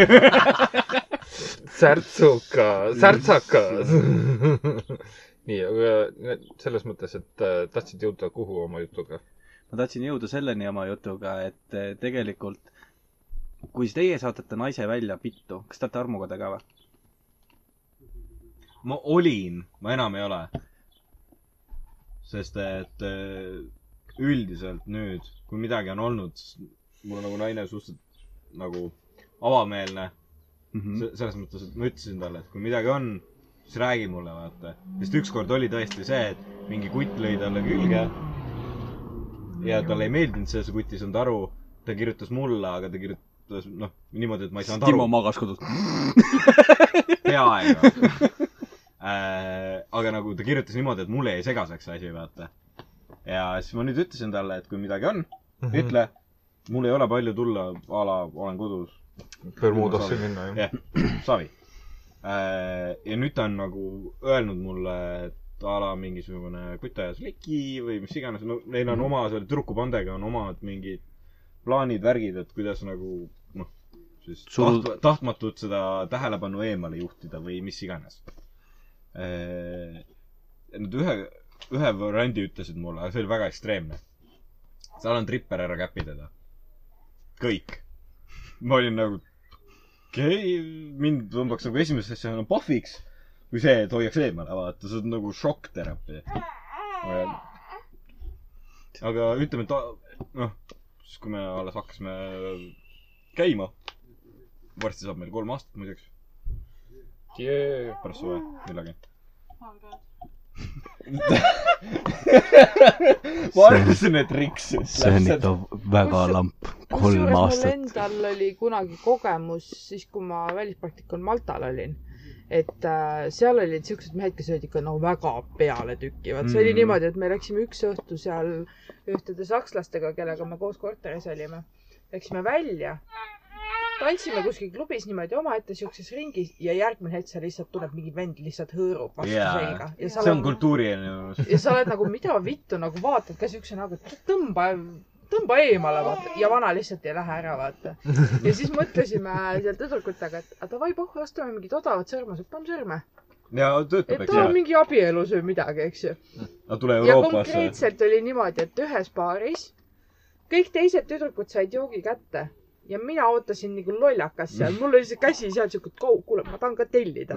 [SPEAKER 6] särtsuka , särtsakas . nii , aga selles mõttes , et äh, tahtsid jõuda kuhu oma jutuga ?
[SPEAKER 2] ma tahtsin jõuda selleni oma jutuga , et eh, tegelikult kui teie saatate naise välja pittu , kas te olete armukoda ka või ?
[SPEAKER 7] ma olin , ma enam ei ole . sest et äh, üldiselt nüüd , kui midagi on olnud , siis mul on nagu naine suhteliselt nagu avameelne
[SPEAKER 2] Mm
[SPEAKER 7] Se- selles mõttes , et ma ütlesin talle , et kui midagi on , siis räägi mulle , vaata . sest ükskord oli tõesti see , et mingi kutt lõi talle külge . ja talle ei meeldinud see , see kutt ei saanud aru . ta kirjutas mulle , aga ta kirjutas , noh , niimoodi , et ma
[SPEAKER 2] -hmm.
[SPEAKER 7] ei saanud
[SPEAKER 2] Timo
[SPEAKER 7] aru .
[SPEAKER 2] magas kodus .
[SPEAKER 7] peaaegu äh, . aga nagu ta kirjutas niimoodi , et mulle jäi segaseks see asi , vaata . ja siis ma nüüd ütlesin talle , et kui midagi on , ütle . mul ei ole palju tulla , a la olen kodus ,
[SPEAKER 11] Bermudasse minna , jah .
[SPEAKER 7] savi . ja nüüd ta on nagu öelnud mulle , et a la mingisugune kutt ajas leki või mis iganes , no neil on oma selle tüdrukupandega on omad mingid plaanid , värgid , et kuidas nagu noh , siis
[SPEAKER 2] Sul-
[SPEAKER 7] taht- , tahtmatult seda tähelepanu eemale juhtida või mis iganes . Nad ühe , ühe variandi ütlesid mulle , aga see oli väga ekstreemne . seal on tripper ära käpi teda . kõik . ma olin nagu okei okay, , mind tõmbaks nagu esimese asjana pahviks , kui see , et hoiaks eemale , vaata , see on nagu šokkteraapia . aga ütleme , et a- noh , siis kui me alles hakkasime käima , varsti saab meil kolm aastat muideks , pärast suve millalgi . ma arvasin , et riksus .
[SPEAKER 2] see on ikka väga
[SPEAKER 4] Kusju-
[SPEAKER 2] lamp , kolm
[SPEAKER 4] kusjuures mul
[SPEAKER 2] aastat .
[SPEAKER 4] endal oli kunagi kogemus siis , kui ma välispraktikal Maltal olin , et äh, seal olid siuksed mehed , kes olid ikka no väga peale tükivad , see oli
[SPEAKER 7] Mm.
[SPEAKER 4] niimoodi , et me läksime üks õhtu seal ühtede sakslastega , kellega me koos korteris olime , läksime välja , tantsime kuskil klubis niimoodi omaette siukses ringis ja järgmine hetk seal lihtsalt tuleb mingi vend lihtsalt hõõrub vastu
[SPEAKER 7] Jaa.
[SPEAKER 4] yeah. selga ja sa
[SPEAKER 7] see on
[SPEAKER 4] oled ,
[SPEAKER 7] kultuuriline .
[SPEAKER 4] ja sa oled nagu mida vittu nagu vaatad ka siukse nagu tõmba , tõmba eemale vaata ja vana lihtsalt ei lähe ära vaata . ja siis mõtlesime seal tüdrukutega , et aga davai pohhu , ostame mingid odavad sõrmused , paneme sõrme .
[SPEAKER 7] ja töötab ,
[SPEAKER 4] et
[SPEAKER 7] eks
[SPEAKER 4] ta on
[SPEAKER 7] ole .
[SPEAKER 4] mingi abielus või midagi , eks ju .
[SPEAKER 7] aga tule
[SPEAKER 4] ja
[SPEAKER 7] Euroopasse .
[SPEAKER 4] konkreetselt oli niimoodi , et ühes baaris kõik teised tüdrukud said joogi kätte ja mina ootasin nagu lollakas seal , mul oli see käsi seal siuke , et kau- kuule , ma tahan ka tellida .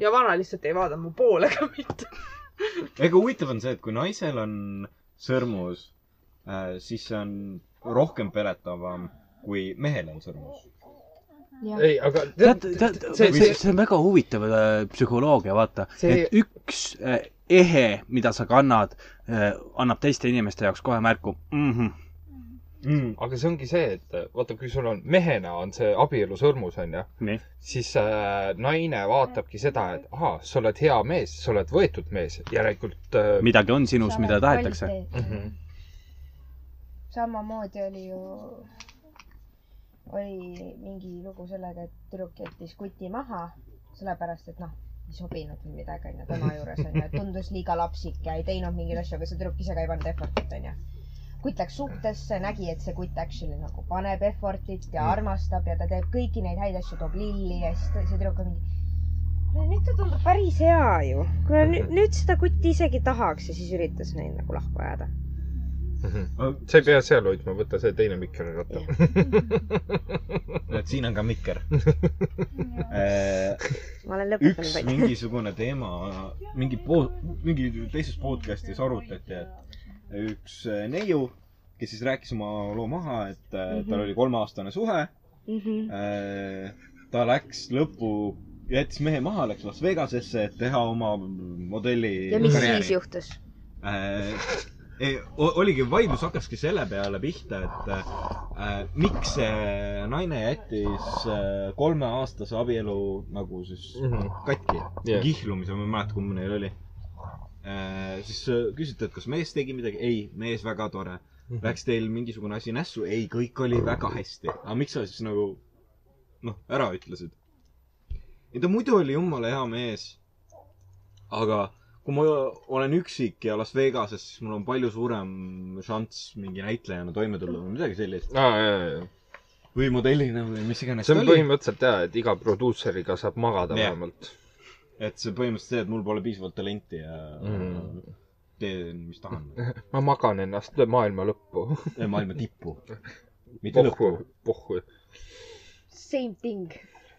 [SPEAKER 4] ja vana lihtsalt ei vaadanud mu poole ka mitte .
[SPEAKER 7] ega huvitav on see , et kui naisel on sõrmus , siis see on rohkem peletavam , kui mehel on sõrmus .
[SPEAKER 6] ei , aga
[SPEAKER 2] tead , tead , see , see , see on väga huvitav äh, psühholoogia , vaata
[SPEAKER 6] See-
[SPEAKER 2] et üks äh, ehe , mida sa kannad , annab teiste inimeste jaoks kohe märku mm . -hmm.
[SPEAKER 7] Mm.
[SPEAKER 6] aga see ongi see , et äh, vaata , kui sul on mehena on see abielu sõrmus , onju
[SPEAKER 2] Nii. ,
[SPEAKER 6] siis äh, naine vaatabki seda , et ahah , sa oled hea mees , sa oled võetud mees , järelikult äh,
[SPEAKER 2] midagi on sinus , mida tahetakse ..
[SPEAKER 6] Mhm.
[SPEAKER 5] samamoodi oli ju , oli mingi lugu sellega , et tüdruk jättis kuti maha , sellepärast et noh , ei sobinud või midagi onju tema juures onju , tundus liiga lapsik ja ei teinud mingeid asju , aga see tüdruk ise ka ei pannud effort'it onju . kutt läks suhtesse , nägi , et see kutt actually nagu paneb effort'it ja armastab ja ta teeb kõiki neid häid asju , toob lilli ja siis ta- see tüdruk on mingi . no nüüd ta tundub päris hea ju , kuule nüüd, nüüd seda kutti isegi tahaks ja siis üritas neid nagu lahku ajada .
[SPEAKER 6] mhm. sa ei pea seal hoidma , võta see teine mikker ja ratta .
[SPEAKER 7] et siin on ka mikker .
[SPEAKER 5] ma olen
[SPEAKER 7] üks
[SPEAKER 5] lõpetanud .
[SPEAKER 7] mingisugune teema , mingi po- , mingi teises podcastis arutati , et üks äh, neiu , kes siis rääkis oma loo maha , et äh, tal oli kolmeaastane suhe
[SPEAKER 5] Mhm.
[SPEAKER 7] Äh, ta läks lõppu , jättis mehe maha , läks Las Vegasesse , et teha oma modelli .
[SPEAKER 5] ja mis siis ? juhtus ?
[SPEAKER 7] äh, ei, o- oligi , vaidlus hakkaski selle peale pihta , et äh, miks see naine jättis äh, kolmeaastase abielu nagu siis katki
[SPEAKER 6] Jah.
[SPEAKER 7] yeah. , kihlumise , ma ei mäleta , kumb neil oli äh, . siis äh, küsiti , et kas mees tegi midagi , ei , mees väga tore .
[SPEAKER 6] Mhm.
[SPEAKER 7] Läks teil mingisugune asi nässu , ei , kõik oli väga hästi . aga miks sa siis nagu noh , ära ütlesid ? ei , ta muidu oli jumala hea mees . aga kui ma olen üksik ja Las Vegases , siis mul on palju suurem šanss mingi näitlejana toime tulla või midagi sellist .
[SPEAKER 6] aa , jaa , jaa .
[SPEAKER 7] või modellina või mis iganes
[SPEAKER 6] see
[SPEAKER 7] ta
[SPEAKER 6] on
[SPEAKER 7] oli .
[SPEAKER 6] põhimõtteliselt jaa , et iga produusseriga saab magada
[SPEAKER 7] Jah.
[SPEAKER 6] vähemalt .
[SPEAKER 7] et see põhimõtteliselt see , et mul pole piisavalt talenti ja mm.
[SPEAKER 6] Mm.
[SPEAKER 7] teen , mis tahan .
[SPEAKER 6] ma magan ennast maailma lõppu .
[SPEAKER 7] maailma tippu . mitte lõppu .
[SPEAKER 6] pohhu , pohhu .
[SPEAKER 5] Same thing .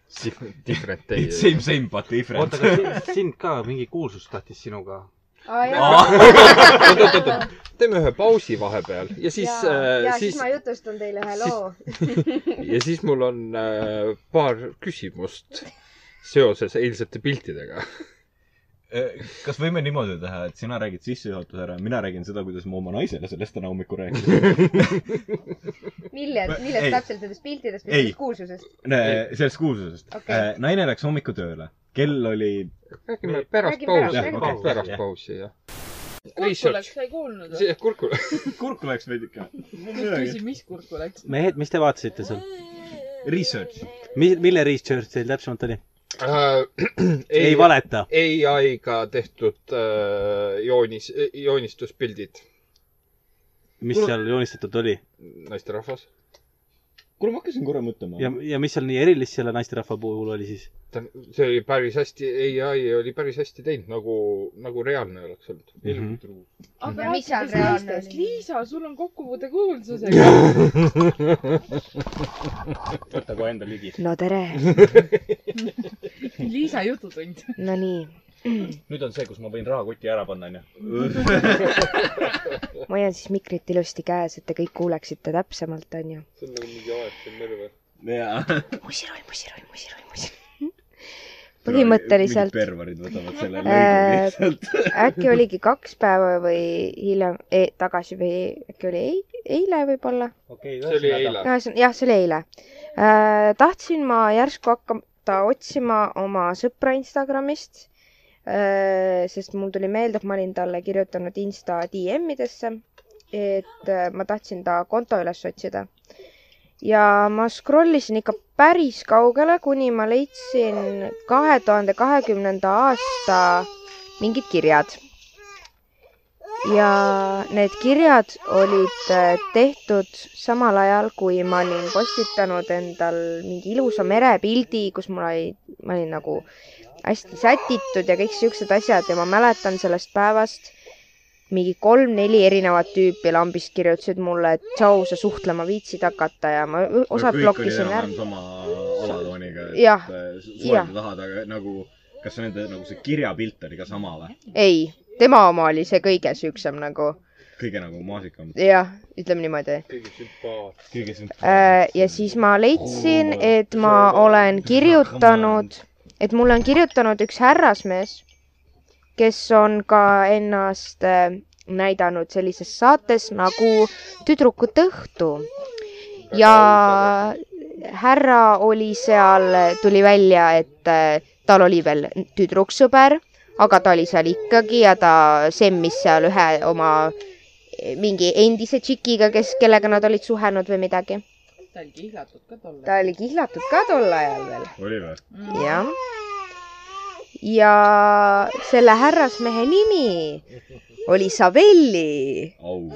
[SPEAKER 6] Different day .
[SPEAKER 7] Same , same but different .
[SPEAKER 2] oota , kas sind ka mingi kuulsus tahtis sinuga ? Ah,
[SPEAKER 6] oot-oot-oot , teeme ühe pausi vahepeal ja siis ,
[SPEAKER 5] ja siis
[SPEAKER 6] siis
[SPEAKER 5] ma jutustan teile ühe
[SPEAKER 6] siis-
[SPEAKER 5] loo .
[SPEAKER 6] ja siis mul on äh, paar küsimust seoses eilsete piltidega .
[SPEAKER 7] kas võime niimoodi teha , et sina räägid sissejuhatuse ära ja mina räägin seda , kuidas ma oma naisele sellest täna hommikul rääkisin ?
[SPEAKER 5] millest ,
[SPEAKER 7] Ei.
[SPEAKER 5] millest täpselt , nendest piltidest või
[SPEAKER 7] Ei.
[SPEAKER 5] sellest kuulsusest ?
[SPEAKER 7] sellest kuulsusest Äh,
[SPEAKER 5] Okei. .
[SPEAKER 7] naine läks hommikul tööle , kell oli ,
[SPEAKER 6] räägime pärast
[SPEAKER 5] Räägime
[SPEAKER 6] pausi ,
[SPEAKER 5] pärast,
[SPEAKER 6] pärast,
[SPEAKER 5] räägime
[SPEAKER 6] pärast,
[SPEAKER 2] pärast.
[SPEAKER 6] pärast pausi , jah .
[SPEAKER 4] kurku läks , sa ei kuulnud või ?
[SPEAKER 6] kurku
[SPEAKER 7] kurku läks veidike .
[SPEAKER 4] küsin , mis kurku läks ?
[SPEAKER 2] mehed , mis te vaatasite seal ?
[SPEAKER 7] Research .
[SPEAKER 2] mi- , mille research teil täpsemalt oli ?
[SPEAKER 6] äh, .
[SPEAKER 2] ei valeta .
[SPEAKER 6] ai-ga tehtud äh, joonis , joonistuspildid
[SPEAKER 2] mis seal joonistatud oli
[SPEAKER 6] naisterahvas .
[SPEAKER 7] kuule , ma hakkasin korra mõtlema .
[SPEAKER 2] ja , ja mis seal nii erilist selle naisterahva puhul oli siis ?
[SPEAKER 6] ta , see oli päris hästi , ai oli päris hästi teinud , nagu , nagu reaalne oleks olnud mm .
[SPEAKER 2] Mhm.
[SPEAKER 6] -hmm.
[SPEAKER 5] Ja
[SPEAKER 4] aga
[SPEAKER 5] mis seal
[SPEAKER 4] rääkides
[SPEAKER 5] reaalne
[SPEAKER 4] naistest ,
[SPEAKER 5] oli?
[SPEAKER 4] Liisa , sul on kokkupuude kuulsusega .
[SPEAKER 2] võta kohe enda ligi .
[SPEAKER 13] no tere ,
[SPEAKER 4] Liisa jututund .
[SPEAKER 13] no nii ,
[SPEAKER 2] nüüd on see , kus ma võin rahakoti ära panna , onju .
[SPEAKER 13] ma hoian siis mikrit ilusti käes , et te kõik kuuleksite täpsemalt , onju .
[SPEAKER 6] see on nagu mingi aeg siin Merve .
[SPEAKER 7] jaa .
[SPEAKER 13] musiroll , musiroll , musiroll , musiroll . põhimõtteliselt
[SPEAKER 7] perverid võtavad selle
[SPEAKER 13] Äh,
[SPEAKER 7] lõigu lihtsalt .
[SPEAKER 13] äkki oligi kaks päeva või hiljem e, , tagasi või äkki oli ei, eile võib-olla .
[SPEAKER 2] okei ,
[SPEAKER 6] see oli eile .
[SPEAKER 13] ühesõnaga , jah , see oli eile äh, . tahtsin ma järsku hakata otsima oma sõpra Instagramist äh, , sest mul tuli meelde , et ma olin talle kirjutanud Insta DM-idesse , et äh, ma tahtsin ta konto üles otsida . ja ma scroll isin ikka päris kaugele , kuni ma leidsin kahe tuhande kahekümnenda aasta mingid kirjad . ja need kirjad olid äh, tehtud samal ajal , kui ma olin postitanud endal mingi ilusa merepildi , kus mul oli , ma olin nagu hästi sätitud ja kõik siuksed asjad ja ma mäletan sellest päevast mingi kolm-neli erinevat tüüpi lambist kirjutasid mulle , et tšau , sa suhtlema viitsid hakata ja ma ü- osad blokkisin ära .
[SPEAKER 7] sama alatooniga ,
[SPEAKER 13] Jah.
[SPEAKER 7] et äh, suhelda tahad , aga nagu , kas nende nagu see kirjapilt oli ka sama või ?
[SPEAKER 13] ei , tema oma oli see kõige siuksem nagu ,
[SPEAKER 7] kõige nagu maasikam .
[SPEAKER 13] jah , ütleme niimoodi .
[SPEAKER 6] kõige sümpaatne .
[SPEAKER 7] kõige siin .
[SPEAKER 13] ja siis ma leidsin , et ma olen kirjutanud , et mulle on kirjutanud üks härrasmees , kes on ka ennast äh, näidanud sellises saates nagu Tüdrukute õhtu . ja härra oli seal , tuli välja , et äh, tal oli veel tüdruksõber , aga ta oli seal ikkagi ja ta semmis seal ühe oma mingi endise tšikiga , kes , kellega nad olid suhelnud või midagi .
[SPEAKER 4] ta oli kihlatud ka Mhm. tolle .
[SPEAKER 13] ta oli kihlatud ka tol ajal veel .
[SPEAKER 7] oli või ?
[SPEAKER 13] jah . ja selle härrasmehe nimi oli Savelli .
[SPEAKER 7] au .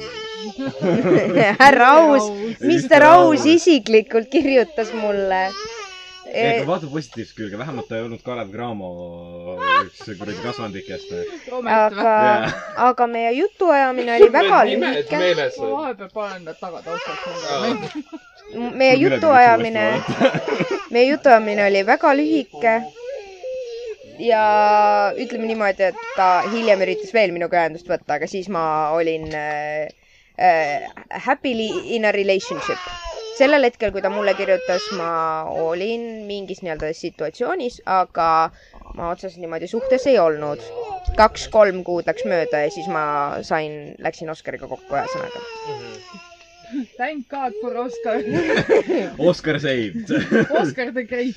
[SPEAKER 13] härra Aus , Mister Aus isiklikult kirjutas mulle .
[SPEAKER 7] ei ,
[SPEAKER 13] eh.
[SPEAKER 7] aga vaata positiivset külge , vähemalt ta ei olnud Kalev Cramo äh, üks kuradi kasvandikest .
[SPEAKER 13] aga , aga meie jutuajamine oli väga Mhm. lühike .
[SPEAKER 6] meeles
[SPEAKER 4] ma vahepeal panen nad tagataustaks .
[SPEAKER 6] on .
[SPEAKER 13] meie jutuajamine , meie jutuajamine oli väga lühike . ja ütleme niimoodi , et ta hiljem üritas veel minuga ühendust võtta , aga siis ma olin äh, äh, happily in a relationship . sellel hetkel , kui ta mulle kirjutas , ma olin mingis nii-öelda situatsioonis , aga ma otseselt niimoodi suhtes ei olnud . kaks-kolm kuud läks mööda ja siis ma sain , läksin Oskariga kokku , ühesõnaga .
[SPEAKER 4] Thank God for Oscar .
[SPEAKER 7] Oscar saved .
[SPEAKER 4] Oscar the Great .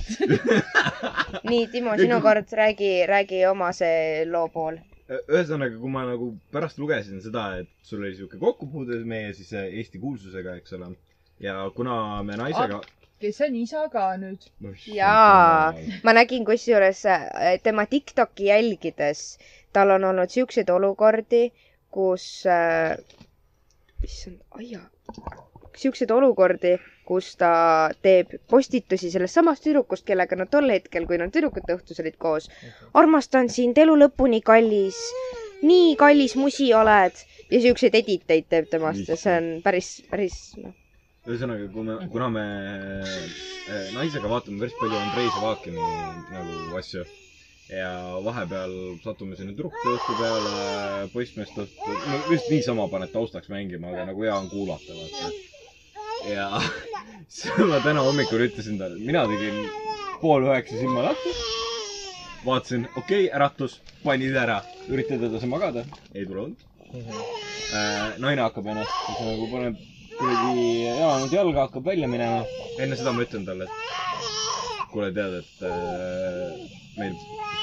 [SPEAKER 13] nii , Timo , sinu kord , räägi , räägi oma see loo pool .
[SPEAKER 7] ühesõnaga , kui ma nagu pärast lugesin seda , et sul oli sihuke kokkupuude meie siis äh, Eesti kuulsusega , eks ole . ja kuna me naisega .
[SPEAKER 4] kes on isa ka nüüd .
[SPEAKER 13] Jaa. ma nägin kusjuures äh, tema Tiktoki jälgides , tal on olnud siukseid olukordi , kus äh, , issand , aia , siukseid olukordi , kus ta teeb postitusi sellest samast tüdrukust , kellega nad tol hetkel , kui nad tüdrukute õhtus olid koos . armastan sind elu lõpuni , kallis , nii kallis musi oled ja siukseid editeid teeb temast ja see on päris , päris noh ,
[SPEAKER 7] ühesõnaga , kui me , kuna me äh, naisega vaatame päris palju Andrei Savakini nagu asju ja vahepeal satume sinna tüdruku õhtu peale , poissmeeste õhtu , no just niisama paned taustaks mängima , aga nagu hea on kuulata , vaata . ja siis ma täna hommikul ütlesin talle , mina tegin pool üheksa silma lahti . vaatasin , okei okay, , äratus , panid ära , üritad edasi magada , ei tule und äh, . naine hakkab ennast siis nagu paneb kuradi elanud jalga , hakkab välja minema . enne seda ma ütlen talle , et kuule , tead , et äh, meil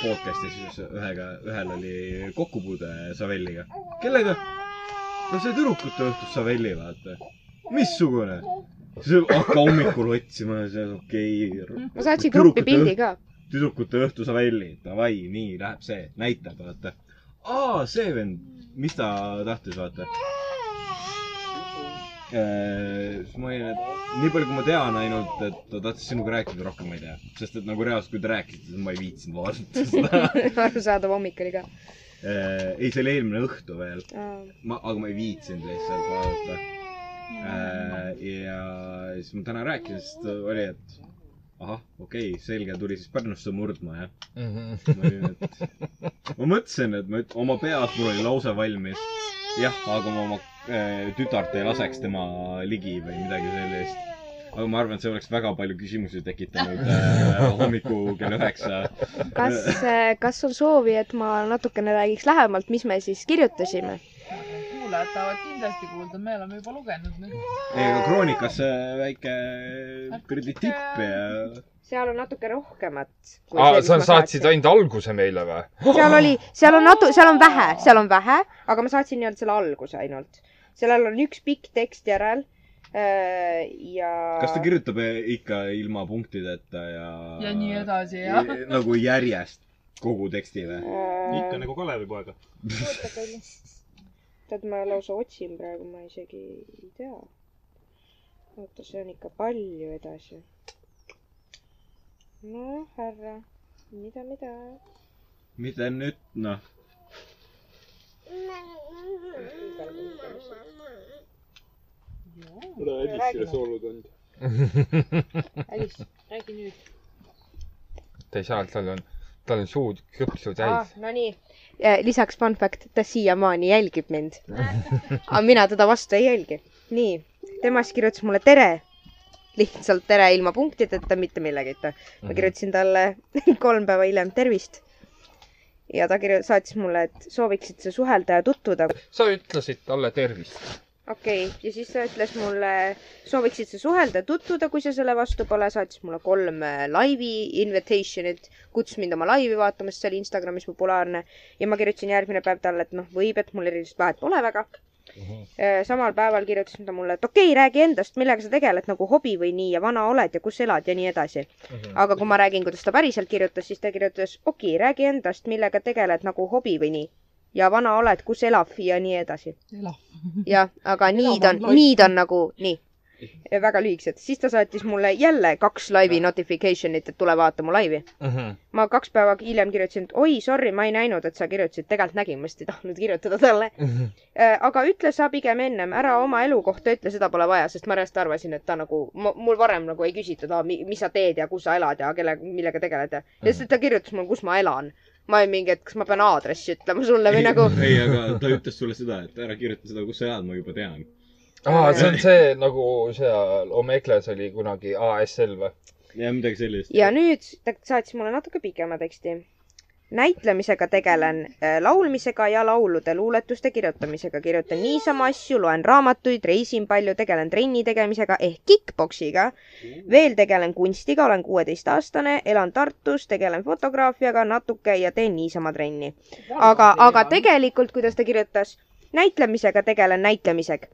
[SPEAKER 7] podcast'is üks- ühega , ühel oli kokkupuude Savelliga . kellega ? no see tüdrukute õhtus Savelli , vaata . missugune ? siis hakka hommikul otsima , siis okei okay, .
[SPEAKER 13] ma saatsin gruppi pildi ka .
[SPEAKER 7] tüdrukute õhtu sa välja , davai , nii läheb see , näitab , vaata . aa , see vend , mis ta tahtis , vaata . Äh, siis ma olin , et nii palju , kui ma tean ainult , et ta tahtis sinuga rääkida , rohkem ma ei tea . sest et nagu reaalselt , kui te rääkisite , siis ma ei viitsinud vaadata seda .
[SPEAKER 13] arusaadav hommik oli ka .
[SPEAKER 7] ei , see oli eelmine õhtu veel . ma , aga ma ei viitsinud lihtsalt vaadata . ja siis ma täna rääkisin , siis ta oli , et ahah , okei okay, , selge , tuli siis Pärnusse murdma , jah .
[SPEAKER 6] Mhm.
[SPEAKER 7] ma olin , et ma mõtlesin , et ma üt- oma peas mul oli lause valmis . jah , aga ma oma äh, tütart ei laseks tema ligi või midagi sellist . aga ma arvan , et see oleks väga palju küsimusi tekitanud äh, hommikul kell üheksa .
[SPEAKER 13] kas , kas on soovi , et ma natukene räägiks lähemalt , mis me siis kirjutasime ?
[SPEAKER 4] kuulajad tahavad kindlasti kuulda , me oleme juba lugenud nüüd .
[SPEAKER 7] ei , aga Kroonikas äh, väike äh, kuradi tipp ja
[SPEAKER 13] seal on natuke rohkemat .
[SPEAKER 11] aa , sa saatsid ainult alguse meile või ?
[SPEAKER 13] seal oli , seal on natu- , seal on vähe , seal on vähe , aga ma saatsin nii-öelda selle alguse ainult . sellel on üks pikk tekst järel äh, ja .
[SPEAKER 7] kas ta kirjutab äh, ikka ilma punktideta ja
[SPEAKER 4] ja nii edasi ja .
[SPEAKER 7] nagu järjest kogu teksti või ?
[SPEAKER 2] ikka
[SPEAKER 13] kirjutab ?
[SPEAKER 2] nagu Kalevipoega .
[SPEAKER 13] tead , ma lausa otsin praegu , ma isegi ei tea . oota , see on ikka palju edasi . no härra , mida , mida ?
[SPEAKER 7] mida nüüd , noh ,
[SPEAKER 4] kuule , Elis , kuidas sul ? Elis , räägi nüüd .
[SPEAKER 11] ta ei saa , tal on , tal on suud krõpsu täis .
[SPEAKER 5] Nonii ,
[SPEAKER 13] lisaks fun fact , ta siiamaani jälgib mind . aga mina teda vastu ei jälgi . nii , temast kirjutas mulle tere . lihtsalt tere ilma punktideta , mitte millegita .
[SPEAKER 6] Mhm.
[SPEAKER 13] ma kirjutasin talle kolm päeva hiljem tervist . ja ta kirju- , saatis mulle , et sooviksid sa suhelda ja tutvuda .
[SPEAKER 11] Mhm. sa ütlesid talle tervist .
[SPEAKER 13] okei okay. , ja siis ta ütles mulle , sooviksid sa suhelda ja tutvuda , kui sa selle vastu pole , saatis mulle kolm äh, laivi invitation'it , kutsus mind oma laivi vaatama , sest see oli Instagramis populaarne ja ma kirjutasin järgmine päev talle , et noh , võib , et mul erilist vahet pole väga mm . -hmm. samal päeval kirjutas ta mulle , et okei okay, , räägi endast , millega sa tegeled nagu hobi või nii ja vana oled ja kus elad ja nii edasi mm . -hmm. aga kui ma räägin , kuidas ta päriselt kirjutas , siis ta kirjutas , okei okay, , räägi endast , millega tegeled nagu hobi või nii ja vana oled , kus elab ja nii edasi .
[SPEAKER 4] elab .
[SPEAKER 13] jah , aga need on
[SPEAKER 4] Enam on ,
[SPEAKER 13] need on nagu nii , väga lühikesed . siis ta saatis mulle jälle kaks laivi notification'it , et tule vaata mu laivi .
[SPEAKER 6] Mhm.
[SPEAKER 13] ma kaks päeva hiljem kirjutasin , et oi , sorry , ma ei näinud , et sa kirjutasid . tegelikult nägin , ma lihtsalt ei tahtnud kirjutada talle .
[SPEAKER 11] Mhm.
[SPEAKER 13] aga ütle sa pigem ennem ära oma elukohta , ütle , seda pole vaja , sest ma järjest arvasin , et ta nagu , mul varem nagu ei küsitud , mis sa teed ja kus sa elad ja kelle , millega tegeled ja . ja siis ta kirjutas mulle , kus ma elan . ma olin mingi , et kas ma pean aadressi ütlema sulle või nagu .
[SPEAKER 7] ei , aga ta ütles sulle seda , et ära kirjuta seda , kus sa elad , ma juba tean .
[SPEAKER 11] aa , see on see nagu seal Omegles oli kunagi ASL või ?
[SPEAKER 7] ja midagi sellist .
[SPEAKER 13] ja nüüd ta saatis mulle natuke pikema teksti . näitlemisega tegelen , laulmisega ja laulude luuletuste kirjutamisega , kirjutan niisama asju , loen raamatuid , reisin palju , tegelen trenni tegemisega ehk kick-poksiga . veel tegelen kunstiga , olen kuueteistaastane , elan Tartus , tegelen fotograafiaga natuke ja teen niisama trenni . aga , aga . tegelikult , kuidas ta kirjutas , näitlemisega tegelen näitlemisega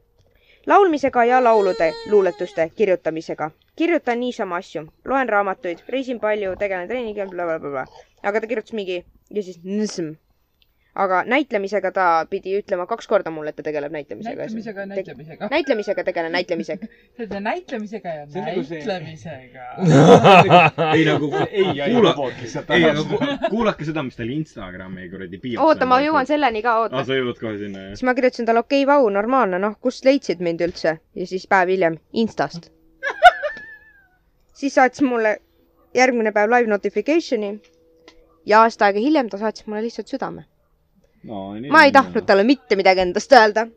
[SPEAKER 13] laulmisega ja laulude luuletuste kirjutamisega . kirjutan niisama asju , loen raamatuid , reisin palju , tegelen trenniga , blablabla . aga ta kirjutas mingi ja siis nõsm . aga näitlemisega ta pidi ütlema kaks korda mulle , et ta tegeleb näitlemisega .
[SPEAKER 4] näitlemisega , näitlemisega .
[SPEAKER 13] näitlemisega tegelen näitlemisega .
[SPEAKER 4] selle näitlemisega ja
[SPEAKER 1] See on nagu see-
[SPEAKER 4] näitlemisega .
[SPEAKER 2] ei nagu ,
[SPEAKER 1] ei
[SPEAKER 2] Kuula-
[SPEAKER 1] aita poolt lihtsalt
[SPEAKER 7] ei ,
[SPEAKER 1] ära
[SPEAKER 7] aga . ku- kuulake seda , mis tal Instagrami kuradi piirs
[SPEAKER 13] oota , ma jõuan selleni ka ,
[SPEAKER 7] aa ,
[SPEAKER 13] oota .
[SPEAKER 7] Ah, sa jõuad kohe sinna , jah ?
[SPEAKER 13] siis ma kirjutasin talle , okei okay, , vau , normaalne , noh , kust leidsid mind üldse ? ja siis päev hiljem Instast . siis saatis mulle järgmine päev live notification'i ja aasta aega hiljem ta saatis mulle lihtsalt südame .
[SPEAKER 7] no nii . noh.
[SPEAKER 13] ma ei tahtnud . talle mitte midagi endast öelda .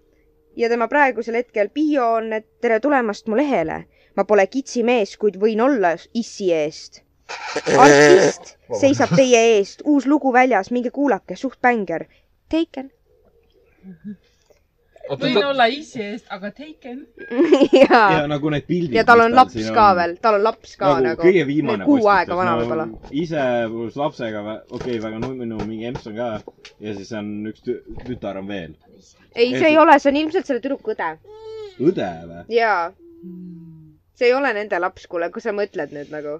[SPEAKER 13] ja tema praegusel hetkel bio on , et tere tulemast mu lehele . ma pole kitsimees , kuid võin olla issi eest . artist seisab teie eest , uus lugu väljas , minge kuulake , suht bänger . Taken .
[SPEAKER 4] võin olla ise eest , aga taken .
[SPEAKER 13] jaa
[SPEAKER 7] ja . nagu need pildid .
[SPEAKER 13] ja tal on laps ka . veel , tal on laps ka nagu .
[SPEAKER 7] kõige viimane nagu
[SPEAKER 13] kuu aega vana võib-olla. .
[SPEAKER 7] ise koos lapsega , okei , väga nunnu , mingi emps on ka ja siis on üks tü- tütar on veel .
[SPEAKER 13] ei , see ei ole , see on ilmselt selle tüdruku õde .
[SPEAKER 7] õde või ?
[SPEAKER 13] jaa . see ei ole nende laps , kuule , kui sa mõtled nüüd nagu .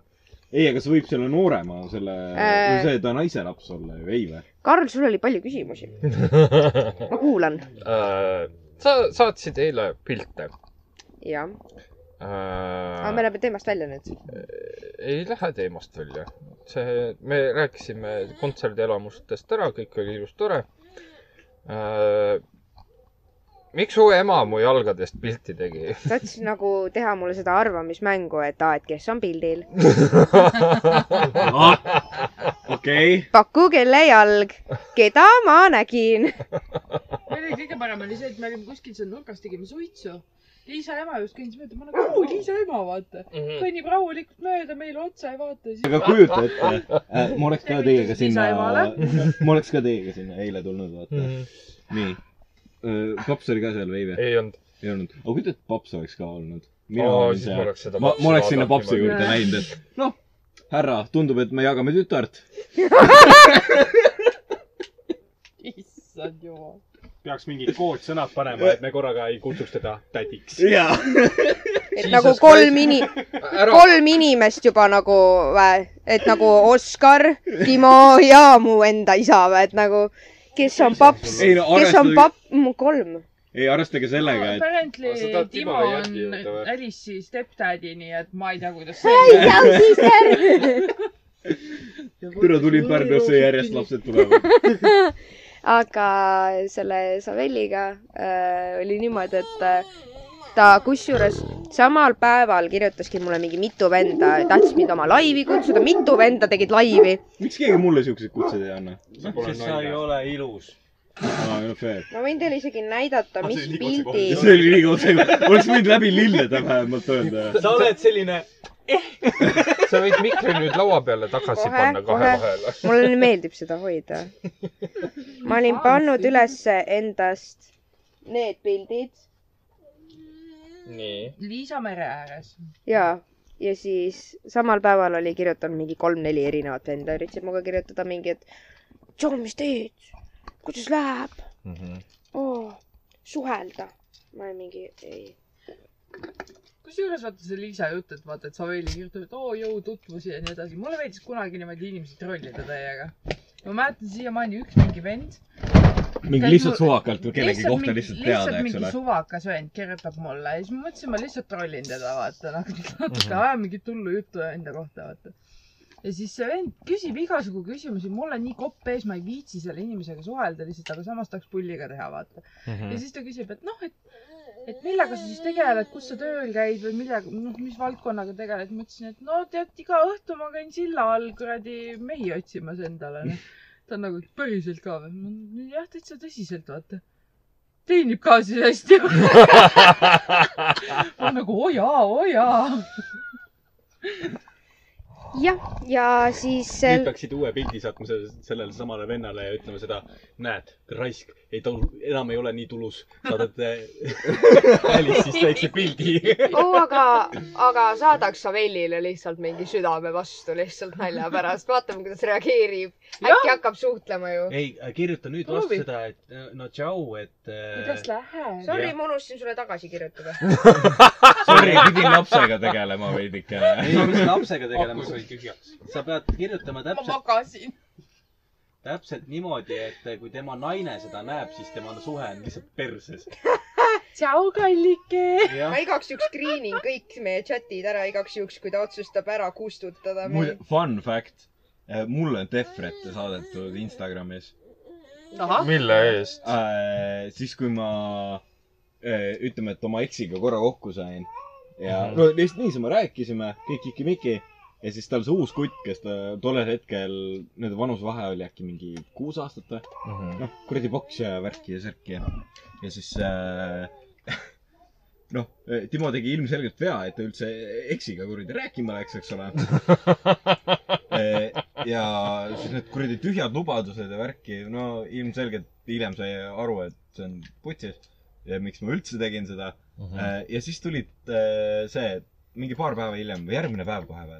[SPEAKER 7] ei , aga see võib selle noorema , selle
[SPEAKER 13] Äh. ,
[SPEAKER 7] see ta naise laps olla ju , ei või ?
[SPEAKER 13] Karl , sul oli palju küsimusi . ma kuulan .
[SPEAKER 11] Äh, sa saatsid eile pilte . Äh,
[SPEAKER 13] jah . aga me läheme teemast välja nüüd .
[SPEAKER 11] ei lähe teemast välja . see , me rääkisime kontserdielamustest ära , kõik oli ilus , tore . miks su ema mu jalgadest pilti tegi ?
[SPEAKER 13] sa tahtsid nagu teha mulle seda arvamismängu , et aa , et kes on pildil .
[SPEAKER 7] okei .
[SPEAKER 13] paku , kelle jalg , keda ma nägin .
[SPEAKER 4] meil oli kõige parem oli see , et me olime kuskil seal nurgas , tegime suitsu . Liisa ema just kõndis mööda , ma nagu , oo , Liisa ema , vaata .
[SPEAKER 11] Mm.
[SPEAKER 6] Mhm.
[SPEAKER 4] kõnnib rahulikult mööda meile otsa ja vaata siis .
[SPEAKER 7] aga kujuta ette äh, , ma oleks ka teiega sinna
[SPEAKER 4] Lisaemale. ,
[SPEAKER 7] ma oleks ka teiega sinna eile tulnud , vaata . nii . paps oli ka seal või ei või ?
[SPEAKER 11] ei olnud .
[SPEAKER 7] ei olnud . aga kujuta ette , paps oleks ka olnud . mina
[SPEAKER 11] aa ,
[SPEAKER 7] olin
[SPEAKER 11] siis ma
[SPEAKER 7] seal .
[SPEAKER 11] oleks seda .
[SPEAKER 7] ma , ma oleks sinna papsi juurde
[SPEAKER 4] niimoodi.
[SPEAKER 7] läinud , et noh , härra , tundub , et me jagame tütart .
[SPEAKER 4] issand jumal .
[SPEAKER 1] peaks mingid koodsõnad panema , et me korraga ei kutsuks teda tädiks .
[SPEAKER 7] jaa .
[SPEAKER 13] et
[SPEAKER 11] Jesus
[SPEAKER 13] nagu
[SPEAKER 11] Christ.
[SPEAKER 13] kolm ini- ,
[SPEAKER 11] ära ,
[SPEAKER 13] kolm inimest juba nagu , et nagu Oskar , Timo ja mu enda isa , et nagu , kes on paps ,
[SPEAKER 7] ei no
[SPEAKER 13] kes on
[SPEAKER 7] arvestage ,
[SPEAKER 13] paps , kolm .
[SPEAKER 7] ei arvestage sellega , et
[SPEAKER 4] Apparently
[SPEAKER 11] Aga sa tahad
[SPEAKER 4] Timo
[SPEAKER 11] Timole
[SPEAKER 4] on
[SPEAKER 11] järgi jõuda või?
[SPEAKER 4] Alice'i stepdad'i , nii et ma ei tea , kuidas see .
[SPEAKER 7] türa tulin Pärnusse ja järjest . lapsed tulevad .
[SPEAKER 13] aga selle Savelliga äh, oli niimoodi , et äh, ta kusjuures samal päeval kirjutaski mulle mingi mitu venda , tahtis mind oma laivi kutsuda , mitu venda tegid laivi .
[SPEAKER 7] miks keegi mulle siukseid kutseid ei anna ?
[SPEAKER 1] sest sa ei ole ilus .
[SPEAKER 7] aa , no fair .
[SPEAKER 13] ma võin teile isegi näidata , mis pildi
[SPEAKER 7] see oli liiga otse , oleks võinud läbi lillede vähemalt öelda .
[SPEAKER 1] sa oled selline ,
[SPEAKER 11] sa võid mikri nüüd laua peale tagasi
[SPEAKER 13] Kohe,
[SPEAKER 11] kohe, panna kahe
[SPEAKER 13] kohe.
[SPEAKER 11] vahele .
[SPEAKER 13] mulle meeldib seda hoida . ma olin pannud ülesse endast need pildid
[SPEAKER 11] nii .
[SPEAKER 4] Liisa mere ääres .
[SPEAKER 13] ja , ja siis samal päeval oli kirjutanud mingi kolm-neli erinevat venda , üritasid minuga kirjutada mingi , et John , mis teed , kuidas läheb oh, , suhelda . ma olin mingi , ei ,
[SPEAKER 4] kusjuures vaata see Liisa jutt , et vaata , et Saveli kirjutab , et oo jõu tutvusi ja nii edasi . mulle meeldis kunagi niimoodi inimesi trollida täiega . ma mäletan siiamaani üks mingi vend .
[SPEAKER 7] mingi lihtsalt suvakalt või kellegi kohta lihtsalt teada , eks ole
[SPEAKER 4] mingi . suvakas vend kirjutab mulle ja siis ma mõtlesin , ma lihtsalt trollin teda , vaata nagu natuke ajan mingit hullu juttu enda kohta , vaata . ja siis see vend küsib igasugu küsimusi , mul on nii kopp ees , ma ei viitsi selle inimesega suhelda lihtsalt , aga samas tahaks pulliga teha , vaata .
[SPEAKER 6] Mhm.
[SPEAKER 4] ja siis ta küsib , et noh , et , et millega sa siis tegeled , kus sa tööl käid või millega , noh , mis valdkonnaga tegeled . ma ütlesin , et no tead , iga õhtu ma käin silla all kuradi mehi otsimas endale . ta on nagu , et päriselt ka või ? jah , täitsa tõsiselt , vaata . teenib ka siis hästi . ma olen nagu oo jaa , oo jaa .
[SPEAKER 13] jah , ja siis
[SPEAKER 1] nüüd
[SPEAKER 13] sel...
[SPEAKER 1] peaksid uue pildi saatma sellele , sellele samale vennale ja ütlema seda , näed , raisk , ei ta enam ei ole nii tulus , saadad Alice'ist väikse pildi .
[SPEAKER 13] oh, , aga , aga saadaks Savelile lihtsalt mingi südame vastu lihtsalt nalja pärast , vaatame , kuidas reageerib . äkki hakkab suhtlema ju .
[SPEAKER 1] ei , kirjuta nüüd
[SPEAKER 4] vastu Proovi.
[SPEAKER 1] seda , et äh, no tšau , et
[SPEAKER 4] kuidas läheb ?
[SPEAKER 13] Sorry , ma unustasin sulle tagasi kirjutada .
[SPEAKER 7] Sorry , pidin lapsega tegelema veidikene .
[SPEAKER 1] ei , mis lapsega tegelema sa ei tühjaks . sa pead kirjutama
[SPEAKER 4] ma magasin .
[SPEAKER 1] täpselt niimoodi , et eh, kui tema naine seda näeb , siis tema suhe on lihtsalt perses .
[SPEAKER 4] tšau , kallike .
[SPEAKER 1] jah
[SPEAKER 13] ma , igaks juhuks screen in kõik meie chatid ära igaks juhuks , kui ta otsustab ära kustutada
[SPEAKER 7] muide
[SPEAKER 13] meid .,
[SPEAKER 7] fun fact . mulle on Defrete saadetud Instagramis .
[SPEAKER 6] mille eest ?
[SPEAKER 7] siis , kui ma äh, ütleme , et oma eksiga korra kokku sain ja
[SPEAKER 6] Mhm.
[SPEAKER 7] no lihtsalt niisama rääkisime , kõik kikimiki ja siis tal see uus kutt , kes ta tollel hetkel , nende vanusevahe oli äkki mingi kuus aastat või ?
[SPEAKER 6] Mm. Mhm.
[SPEAKER 7] noh , kuradi poks ja värki ja särki ja , ja siis äh, noh , Timo tegi ilmselgelt vea , et ta üldse eksiga kuradi rääkima läks , eks ole Eh, ja siis need kuradi tühjad lubadused ja värki , no ilmselgelt hiljem sai aru , et see on putsis ja miks ma üldse tegin seda . ja siis tuli eh, see , et mingi paar päeva hiljem või järgmine päev kohe või ,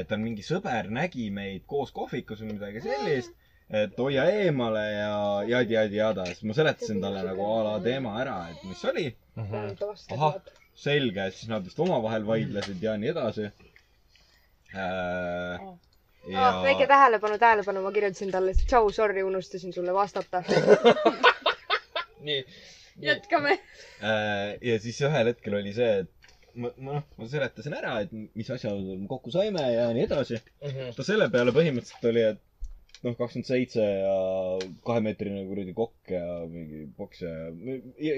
[SPEAKER 7] et tal mingi sõber nägi meid koos kohvikus või midagi sellist , et hoia eemale ja jadi , jadi , jada . siis ma seletasin talle nagu a la teema ära , et mis oli , ahah. selge , siis nad vist omavahel vaidlesid ja nii edasi . ja
[SPEAKER 13] Oh, väike tähelepanu , tähelepanu , ma kirjutasin talle , tšau , sorry , unustasin sulle vastata .
[SPEAKER 6] nii ,
[SPEAKER 13] jätkame .
[SPEAKER 7] Äh, ja siis ühel hetkel oli see , et ma , ma noh , ma seletasin ära , et mis asjaoludel me kokku saime ja nii edasi . ta selle peale põhimõtteliselt oli , et noh , kakskümmend seitse ja kahemeetrine kuradi kokk ja mingi poks ja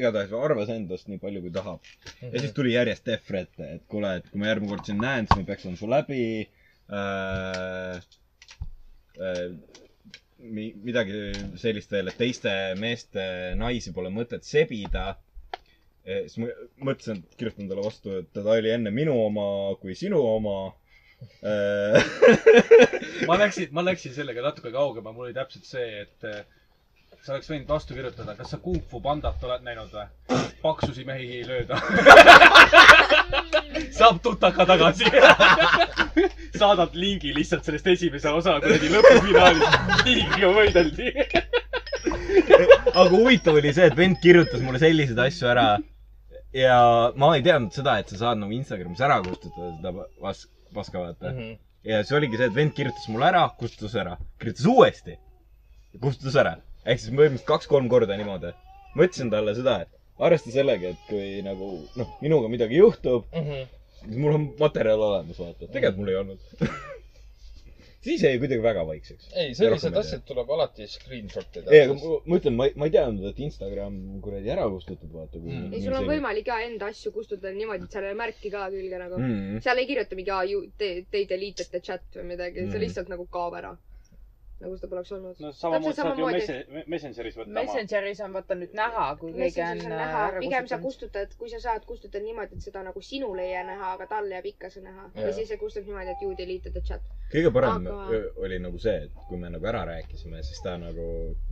[SPEAKER 7] igatahes arvas endast nii palju , kui tahab . ja siis tuli järjest Defre ette , et kuule , et kui ma järgmine kord sind näen , siis ma peksan su läbi äh, . Äh, mi- midagi sellist veel , et teiste meeste naisi pole mõtet sebida . siis ma mõtlesin , et kirjutan talle vastu , et ta oli enne minu oma kui sinu oma . Äh,
[SPEAKER 1] ma läksin , ma läksin sellega natuke kaugema , mul oli täpselt see , et eh, sa oleks võinud vastu kirjutada , kas sa Kung Fu Pandat oled näinud või ? paksusi mehi ei lööda . saab tutaka tagasi . saadad lingi lihtsalt sellest esimese osa kuradi lõpufinaalist . tiigriga võideldi .
[SPEAKER 7] aga huvitav oli see , et vend kirjutas mulle selliseid asju ära . ja ma ei teadnud seda , et sa saad nagu Instagramis ära kustutada seda vas- , paska vaata . ja see oligi see , et vend kirjutas mulle ära , kustutas ära , kirjutas uuesti , kustutas ära . ehk siis põhimõtteliselt kaks-kolm korda niimoodi . ma ütlesin talle seda , et arvesta sellega , et kui nagu noh , minuga midagi juhtub ,
[SPEAKER 6] Mhm.
[SPEAKER 7] siis mul on materjal olemas , vaata . tegelikult mul ei olnud . siis jäi kuidagi väga vaikseks .
[SPEAKER 6] ei ,
[SPEAKER 7] Rohkem
[SPEAKER 6] sellised
[SPEAKER 7] ei
[SPEAKER 6] asjad tuleb alati screenshot ida .
[SPEAKER 7] ei , aga ma ma ütlen , ma ei , ma ei teadnud , et Instagram kuradi ära kustutab , vaata .
[SPEAKER 6] Mm.
[SPEAKER 13] ei , sul on võimalik ja enda asju kustutada niimoodi , et seal ei ole märki ka külge nagu mm. . seal ei kirjuta mingi aa , te , te delitate chat või midagi mm. ,
[SPEAKER 7] Mhm.
[SPEAKER 13] see lihtsalt nagu kaob ära . nagu seda poleks olnud .
[SPEAKER 1] no
[SPEAKER 13] samamoodi saad ju samamoodi.
[SPEAKER 1] Messengeris
[SPEAKER 4] Messengeris on vaata nüüd näha , kui keegi on äh,
[SPEAKER 13] Messages on näha , pigem sa
[SPEAKER 4] kustutanud .
[SPEAKER 13] kustutad , kui sa saad kustutada niimoodi , et seda nagu sinule ei jää näha , aga talle jääb ikka see näha . ja
[SPEAKER 6] Jaa.
[SPEAKER 13] siis sa kustutad niimoodi , et you deleted the chat .
[SPEAKER 7] kõige parem öö,
[SPEAKER 13] Aga-
[SPEAKER 7] oli nagu see , et kui me nagu ära rääkisime , siis ta nagu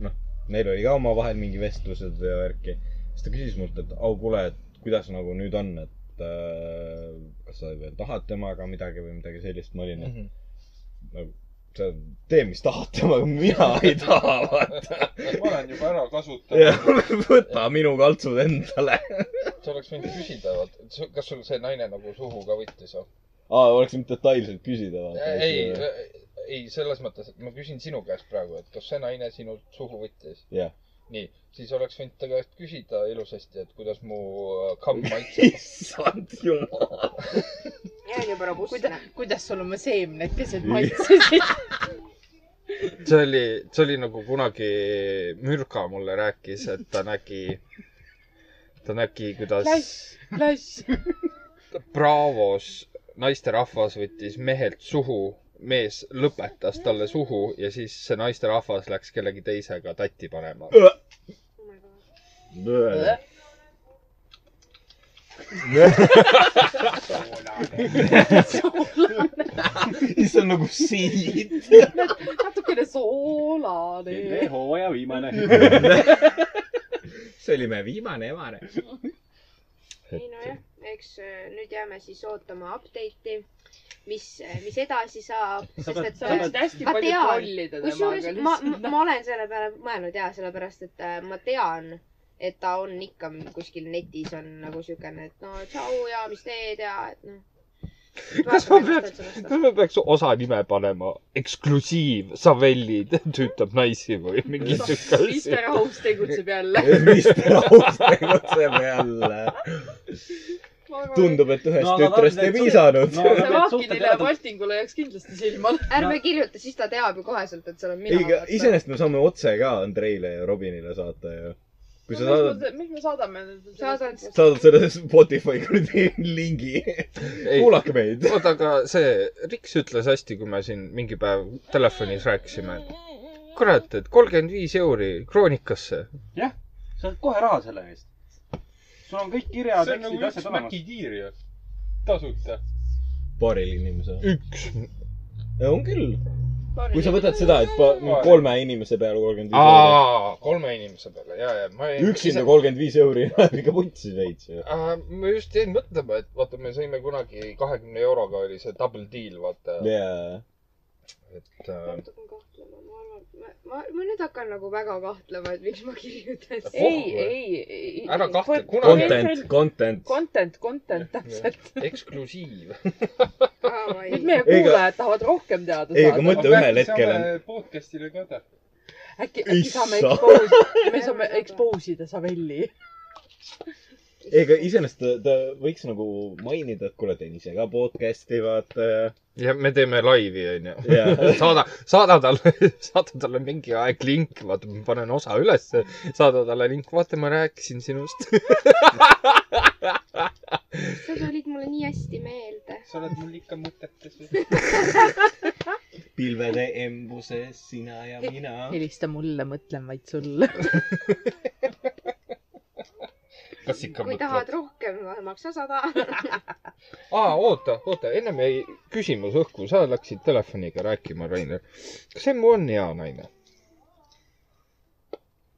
[SPEAKER 7] noh , meil oli ka omavahel mingi vestlused ja värki . siis ta küsis mult , et au kuule , et kuidas nagu nüüd on , et äh, kas sa veel tahad temaga midagi või midagi sellist . ma olin , et no sa tee , mis tahad temaga , mina ei taha , vaata .
[SPEAKER 11] ma olen juba ära kasutanud .
[SPEAKER 7] jah , võta minu kaltsud endale .
[SPEAKER 6] sa oleks võinud küsida , kas sul see naine nagu suhu ka võttis või ?
[SPEAKER 7] aa , oleks võinud detailselt küsida , vaata .
[SPEAKER 6] ei , ei selles mõttes , et ma küsin sinu käest praegu , et kas see naine sinult suhu võttis ?
[SPEAKER 7] Jah.
[SPEAKER 6] nii , siis oleks võinud ta käest küsida ilusasti , et kuidas mu äh, kamm maitseb .
[SPEAKER 7] issand jumal .
[SPEAKER 13] see on juba robustne .
[SPEAKER 4] kuidas sul oma seemnekesed maitsesid ?
[SPEAKER 6] see oli , see oli nagu kunagi Mürka mulle rääkis , et ta nägi , ta nägi , kuidas
[SPEAKER 4] Klass. klass .
[SPEAKER 6] Bravos naisterahvas võttis mehelt suhu , mees lõpetas talle suhu ja siis see naisterahvas läks kellegi teisega tatti panema .
[SPEAKER 7] see on nagu siit .
[SPEAKER 4] natukene soolane .
[SPEAKER 1] hooaja viimane .
[SPEAKER 7] see oli meie viimane emane .
[SPEAKER 13] ei nojah , eks äh, nüüd jääme siis ootama update'i , mis , mis edasi saab ,
[SPEAKER 1] Sa
[SPEAKER 13] sest
[SPEAKER 1] pead-
[SPEAKER 13] et
[SPEAKER 4] sa
[SPEAKER 1] sa pead-
[SPEAKER 4] võiksid hästi
[SPEAKER 13] Ma
[SPEAKER 4] palju
[SPEAKER 13] tean.
[SPEAKER 4] trollida
[SPEAKER 13] kusjuures
[SPEAKER 4] temaga
[SPEAKER 13] ma ,
[SPEAKER 4] lihtsalt.
[SPEAKER 13] ma olen selle peale mõelnud ja sellepärast , et äh, ma tean , et ta on ikka kuskil netis on nagu siukene , et no tšau ja mis teed ja et noh .
[SPEAKER 6] kas ma peaks ,? kas ma peaks osa nime panema eksklusiiv Savelli tüütab naisi või mingi siuke asi
[SPEAKER 4] Mister ? House tegutseb jälle .
[SPEAKER 7] Mister Aus tegutseb jälle . tundub , et ühest
[SPEAKER 2] No,
[SPEAKER 7] no,
[SPEAKER 2] aga
[SPEAKER 7] tütrest ei
[SPEAKER 2] tavaliselt-
[SPEAKER 7] piisanud
[SPEAKER 2] no.
[SPEAKER 4] see
[SPEAKER 7] no. .
[SPEAKER 2] need suhted
[SPEAKER 4] Vahkinile ja
[SPEAKER 2] teadub-
[SPEAKER 4] Paltingule jääks kindlasti silma .
[SPEAKER 2] No.
[SPEAKER 13] ärme kirjuta , siis ta teab ju koheselt , et see olen
[SPEAKER 7] ei ,
[SPEAKER 13] mina .
[SPEAKER 7] iseenesest me saame otse ka Andreile ja Robinile saata ju . kui sa saadad ,
[SPEAKER 4] mis me saadame ?
[SPEAKER 13] Saadad-
[SPEAKER 7] saadad selle Spotify kuradi lingi , kuulake meid .
[SPEAKER 6] oota , aga see Riks ütles hästi , kui me siin mingi päev telefonis rääkisime , et kurat , et kolmkümmend viis euri kroonikasse .
[SPEAKER 2] sa saad kohe raha selle eest . sul on kõik kirjad ,
[SPEAKER 1] see on
[SPEAKER 2] tekstid ,
[SPEAKER 1] nagu
[SPEAKER 2] asjad
[SPEAKER 1] üks
[SPEAKER 2] olemas .
[SPEAKER 1] Maci tiir ju . tasuta .
[SPEAKER 7] paaril inimesel .
[SPEAKER 6] üks .
[SPEAKER 7] on küll . kui sa võtad seda , et pa- kolme inimese peale kolmkümmend viis euri .
[SPEAKER 6] aa , kolme inimese peale , ja , ja ma ei .
[SPEAKER 7] üksinda kolmkümmend viis euri läheb ikka vuntsi veits ju .
[SPEAKER 6] ma Äh, just jäin mõtlema , et vaata , me sõime kunagi kahekümne euroga oli see double deal , vaata ,
[SPEAKER 7] jaa .
[SPEAKER 6] et äh,
[SPEAKER 13] natuke kahtlema , ma arvan , ma , ma , ma nüüd hakkan nagu väga kahtlema , et miks ma kirjutasin .
[SPEAKER 4] ei ,
[SPEAKER 7] eh?
[SPEAKER 4] ei , ei .
[SPEAKER 6] Ära kahtle kunagi.
[SPEAKER 7] Content ,. content .
[SPEAKER 4] Content , content , täpselt .
[SPEAKER 6] eksklusiiv .
[SPEAKER 4] nüüd meie
[SPEAKER 7] Ei, aga-
[SPEAKER 4] kuulajad tahavad rohkem teada
[SPEAKER 7] ei , aga
[SPEAKER 4] saada .
[SPEAKER 7] mõtle ühel hetkel on .
[SPEAKER 1] podcast'ile ka täpselt .
[SPEAKER 4] äkki , äkki saame
[SPEAKER 7] Issa.
[SPEAKER 4] expose , me saame expose ida Savelli .
[SPEAKER 7] ei , aga iseenesest ta, ta võiks nagu mainida , et kuule , teen ise ka podcast'i , vaata ja ,
[SPEAKER 6] ja me teeme laivi , onju .
[SPEAKER 7] ja .
[SPEAKER 6] saada , saada talle , saada talle mingi aeg link , vaata , ma panen osa ülesse , saada talle link , vaata , ma rääkisin sinust .
[SPEAKER 14] sa tulid mulle nii hästi meelde .
[SPEAKER 1] sa oled mul ikka mõtetes või ?
[SPEAKER 7] pilvede embuses sina ja mina .
[SPEAKER 4] helista mulle , mõtlen vaid sulle .
[SPEAKER 6] kas ikka
[SPEAKER 13] kui tahad ? rohkem , maksa sada .
[SPEAKER 6] aa , oota , oota , ennem jäi küsimus õhku , sa läksid telefoniga rääkima , Rainer . kas emu on hea naine ?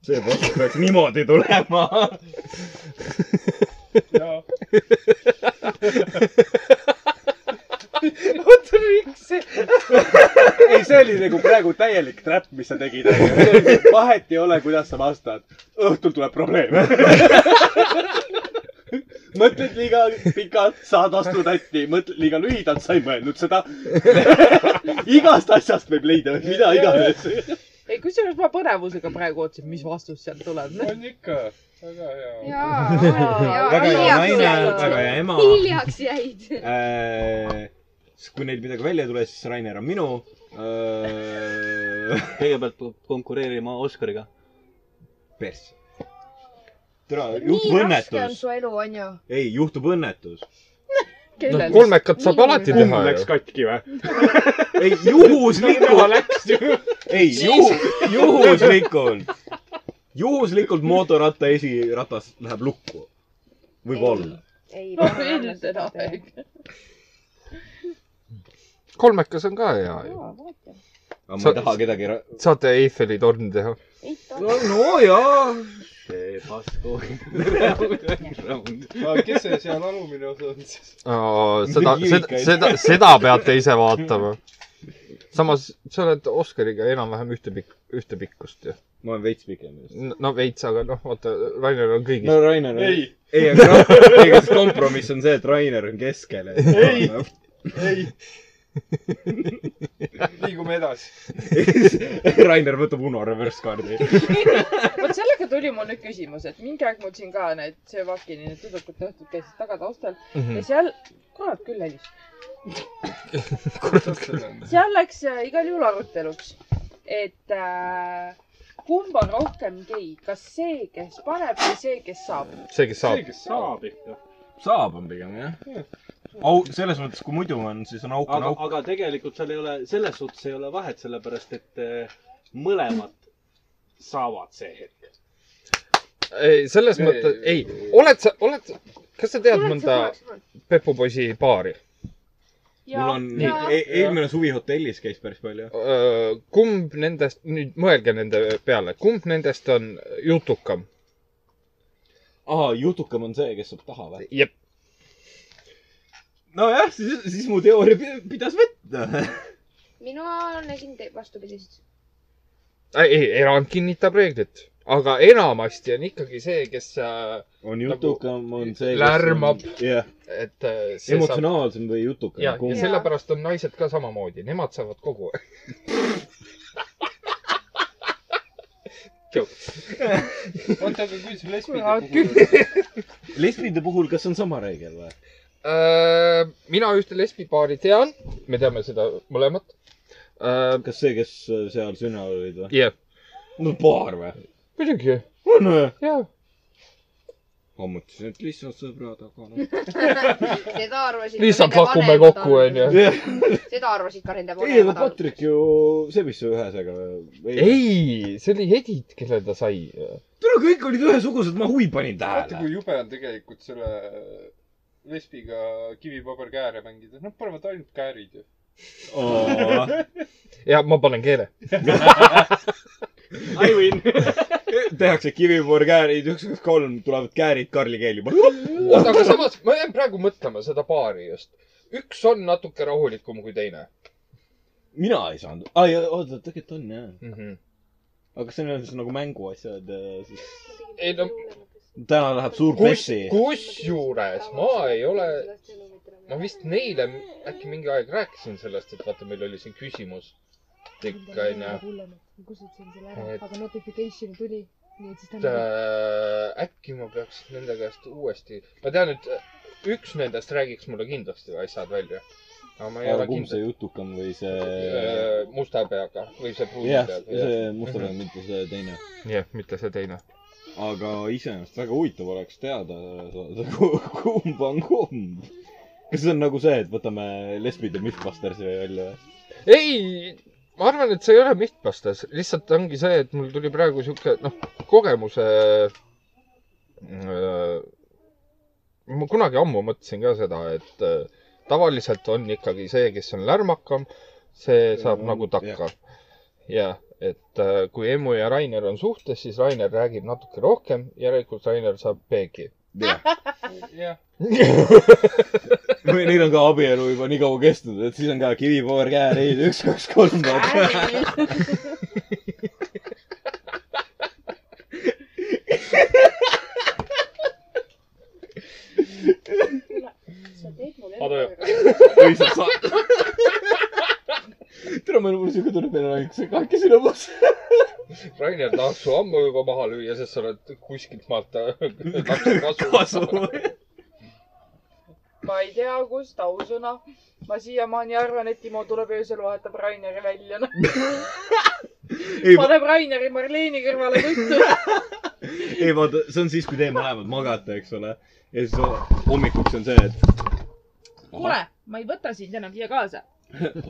[SPEAKER 7] see vastus peaks niimoodi tulema .
[SPEAKER 1] jaa .
[SPEAKER 6] oota , miks see ?
[SPEAKER 2] ei , see oli nagu praegu täielik trap , mis sa tegid . vahet ei ole , kuidas sa vastad . õhtul tuleb probleem . mõtled liiga pikalt , saad vastu tatti . mõtled liiga lühidalt , sa ei mõelnud seda . igast asjast võib leida mida iganes .
[SPEAKER 4] ei , kusjuures ma põnevusega praegu ootasin , mis vastus sealt tuleb .
[SPEAKER 1] on ikka . väga hea .
[SPEAKER 13] jaa ,
[SPEAKER 4] Jaa,
[SPEAKER 7] väga hea
[SPEAKER 4] hiljaks
[SPEAKER 7] naine ,
[SPEAKER 4] jäid.
[SPEAKER 7] väga hea ema .
[SPEAKER 13] hiljaks jäid .
[SPEAKER 7] kui neil midagi välja ei tule , siis Rainer on minu . Äh,
[SPEAKER 15] kõigepealt peab konkureerima Oscariga .
[SPEAKER 7] persse . tere ,
[SPEAKER 16] nii
[SPEAKER 7] juhtub
[SPEAKER 16] raske on
[SPEAKER 7] õnnetus .
[SPEAKER 16] su elu , onju .
[SPEAKER 7] ei , juhtub õnnetus .
[SPEAKER 6] noh , kolmekat saab alati
[SPEAKER 7] kumb
[SPEAKER 6] teha
[SPEAKER 7] läks
[SPEAKER 6] ju .
[SPEAKER 7] katki või ? ei , juhuslikult . ei , juhuslikult . juhuslikult mootorratta esiratas läheb lukku . võib-olla .
[SPEAKER 16] ei
[SPEAKER 4] no ilmselt enam .
[SPEAKER 6] kolmekas on ka hea ju .
[SPEAKER 7] aga ma
[SPEAKER 6] Sa-
[SPEAKER 7] ei taha kedagi .
[SPEAKER 6] saate Eiffeli torni teha .
[SPEAKER 7] no jaa .
[SPEAKER 15] see pasku .
[SPEAKER 1] kes see seal alumine osa on siis ?
[SPEAKER 6] seda , seda , seda , seda peate ise vaatama . samas sa oled Oscariga enam-vähem ühte pikk , ühte pikkust ju .
[SPEAKER 7] ma olen veits pikem just .
[SPEAKER 6] no veits , aga noh , vaata , Rainer on kõigis
[SPEAKER 7] no Rainer on .
[SPEAKER 1] ei ,
[SPEAKER 7] ei , aga ei, kas kompromiss on see , et Rainer on keskel ?
[SPEAKER 1] Ei. ei . liigume edasi .
[SPEAKER 7] Rainer võtab Uno reverse kaardi .
[SPEAKER 4] vot sellega tuli mul nüüd küsimus , et mingi aeg ma otsin ka need Sevakini need tüdrukute õhtud käisid tagataustal
[SPEAKER 6] mm .
[SPEAKER 4] ja
[SPEAKER 6] -hmm.
[SPEAKER 4] seal , kurat küll helis ,
[SPEAKER 6] kurat ,
[SPEAKER 4] seal läks äh, igal juhul aruteluks , et äh, kumb on rohkem gei , kas see , kes paneb või see , kes saab .
[SPEAKER 6] see , kes
[SPEAKER 1] see ,
[SPEAKER 6] saab .
[SPEAKER 1] kes saab .
[SPEAKER 15] saab on pigem jah .
[SPEAKER 7] au , selles mõttes , kui muidu on , siis on auk on
[SPEAKER 15] aga
[SPEAKER 7] auk .,
[SPEAKER 15] aga tegelikult seal ei ole , selles suhtes ei ole vahet , sellepärast et eh, mõlemad saavad see hetk .
[SPEAKER 6] ei , selles
[SPEAKER 1] Ei.
[SPEAKER 6] mõttes , ei , oled sa , oled , kas sa tead mõnda pepupoisi paari ?
[SPEAKER 7] mul on , E-, eelmine suvi hotellis käis päris palju .
[SPEAKER 6] kumb nendest , nüüd mõelge nende peale , kumb nendest on jutukam ?
[SPEAKER 7] aa , jutukam on see , kes saab taha või ?
[SPEAKER 6] jep ,
[SPEAKER 7] nojah , siis , siis mu teooria pi- pidas vett .
[SPEAKER 14] mina nägin te- vastupidist .
[SPEAKER 6] ei , erand kinnitab reeglit . aga enamasti on ikkagi see , kes , äh,
[SPEAKER 7] on jutukam , on see .
[SPEAKER 6] Lärmab.
[SPEAKER 7] jah ,
[SPEAKER 6] et äh, see saab nagu-
[SPEAKER 7] emotsionaalsem või jutukam .
[SPEAKER 6] ja , ja
[SPEAKER 7] kumb
[SPEAKER 13] selle-
[SPEAKER 6] sellepärast on naised ka samamoodi , nemad saavad kogu aeg .
[SPEAKER 17] oota , aga kuidas lesbide
[SPEAKER 4] kurat
[SPEAKER 17] puhul
[SPEAKER 4] küll .
[SPEAKER 7] lesbide puhul , kas on sama reegel või ?
[SPEAKER 6] Äh, mina ühte lesbipaari tean , me teame seda mõlemat .
[SPEAKER 7] kas see , kes äh, seal sünna olid või ?
[SPEAKER 6] jah ,
[SPEAKER 7] no paar või ?
[SPEAKER 6] muidugi ,
[SPEAKER 7] on või ?
[SPEAKER 6] jaa .
[SPEAKER 7] ma mõtlesin , et lihtsalt sõbrad , aga noh .
[SPEAKER 18] seda arvasid .
[SPEAKER 6] lihtsalt pakume kokku ,. onju .
[SPEAKER 18] seda arvasid ka nende
[SPEAKER 7] ei , aga
[SPEAKER 18] vanemad .
[SPEAKER 7] Patrik ju sebis su ühesega .
[SPEAKER 6] ei , see oli Edith , kelle ta sai .
[SPEAKER 7] tule , kõik olid ühesugused , ma huvi panin
[SPEAKER 19] vaata ,
[SPEAKER 7] tähele .
[SPEAKER 19] kui jube on tegelikult selle
[SPEAKER 6] äh,
[SPEAKER 19] lesbiga kivi-paber-kääre mängida . Nad panevad ainult käärid ju .
[SPEAKER 6] ja ma panen keele .
[SPEAKER 7] I win . tehakse kivipoorkäärid , üks , kaks , kolm , tulevad käärid Karli keeli .
[SPEAKER 6] oota , aga samas ma jään praegu mõtlema seda paari just . üks on natuke rahulikum kui teine
[SPEAKER 7] mina ei saanud . aa , oota , tegelikult on jah .
[SPEAKER 6] mm . -hmm.
[SPEAKER 7] aga kas see on siis nagu mänguasjad ja siis
[SPEAKER 6] ei no ,
[SPEAKER 7] täna läheb suur
[SPEAKER 6] kus
[SPEAKER 7] pessi ,.
[SPEAKER 6] kusjuures ma ei ole , ma vist neile äkki mingi aeg rääkisin sellest , et vaata , meil oli siin küsimus . ikka onju ,
[SPEAKER 20] kustutasin selle ära
[SPEAKER 6] Et- ,
[SPEAKER 20] aga notification tuli , nii et siis
[SPEAKER 6] et
[SPEAKER 20] täna .
[SPEAKER 6] äh, äkki ma peaks nende käest uuesti , ma tean , et äh, üks nendest räägiks mulle kindlasti asjad välja . aga ma ei
[SPEAKER 7] aga
[SPEAKER 6] ole
[SPEAKER 7] kumb
[SPEAKER 6] kindel
[SPEAKER 7] see . jutukam või see ?
[SPEAKER 6] Äh, musta peaga või see pruun
[SPEAKER 7] jah ,
[SPEAKER 6] peaga .
[SPEAKER 7] see mustapäev , mitte see teine .
[SPEAKER 6] jah , mitte see teine .
[SPEAKER 7] aga iseenesest väga huvitav oleks teada saada , kumb on kumb . kas see on nagu see , et võtame lesbid ja Mythbustersi välja või ?
[SPEAKER 6] ei , ma arvan , et see ei ole Mythbusters , lihtsalt ongi see , et mul tuli praegu sihuke noh , kogemuse äh, . ma kunagi ammu mõtlesin ka seda , et äh, tavaliselt on ikkagi see , kes on lärmakam , see saab
[SPEAKER 7] Mm,
[SPEAKER 6] mm, nagu takka
[SPEAKER 7] jah. .
[SPEAKER 6] jah , et äh, kui Emu ja Rainer on suhtes , siis Rainer räägib natuke rohkem , järelikult Rainer saab peegi .
[SPEAKER 19] jah ,
[SPEAKER 7] või neil on ka abielu juba nii kaua kestnud , et siis on ka kivipoor käereid , üks , kaks , kolm .
[SPEAKER 6] Ado
[SPEAKER 7] lihtsalt saab . tere , mul on siuke tunne , et meil on ainult see kahekesi lõbus .
[SPEAKER 6] Rainer tahaks su ammu juba maha lüüa , sest sa oled kuskilt maalt äh, kasu kasvanud .
[SPEAKER 4] ma ei tea , kust ausõna . ma siiamaani arvan , et Timo tuleb öösel , vahetab Raineri välja , noh .
[SPEAKER 7] ei ,
[SPEAKER 4] paneb Raineri Marleeni kõrvale tuttu .
[SPEAKER 7] ei vaata , see on siis , kui te mõlemad magate , eks ole . ja siis o- hommikuks on see , et ,
[SPEAKER 4] kuule , ma ei võta sind enam siia kaasa .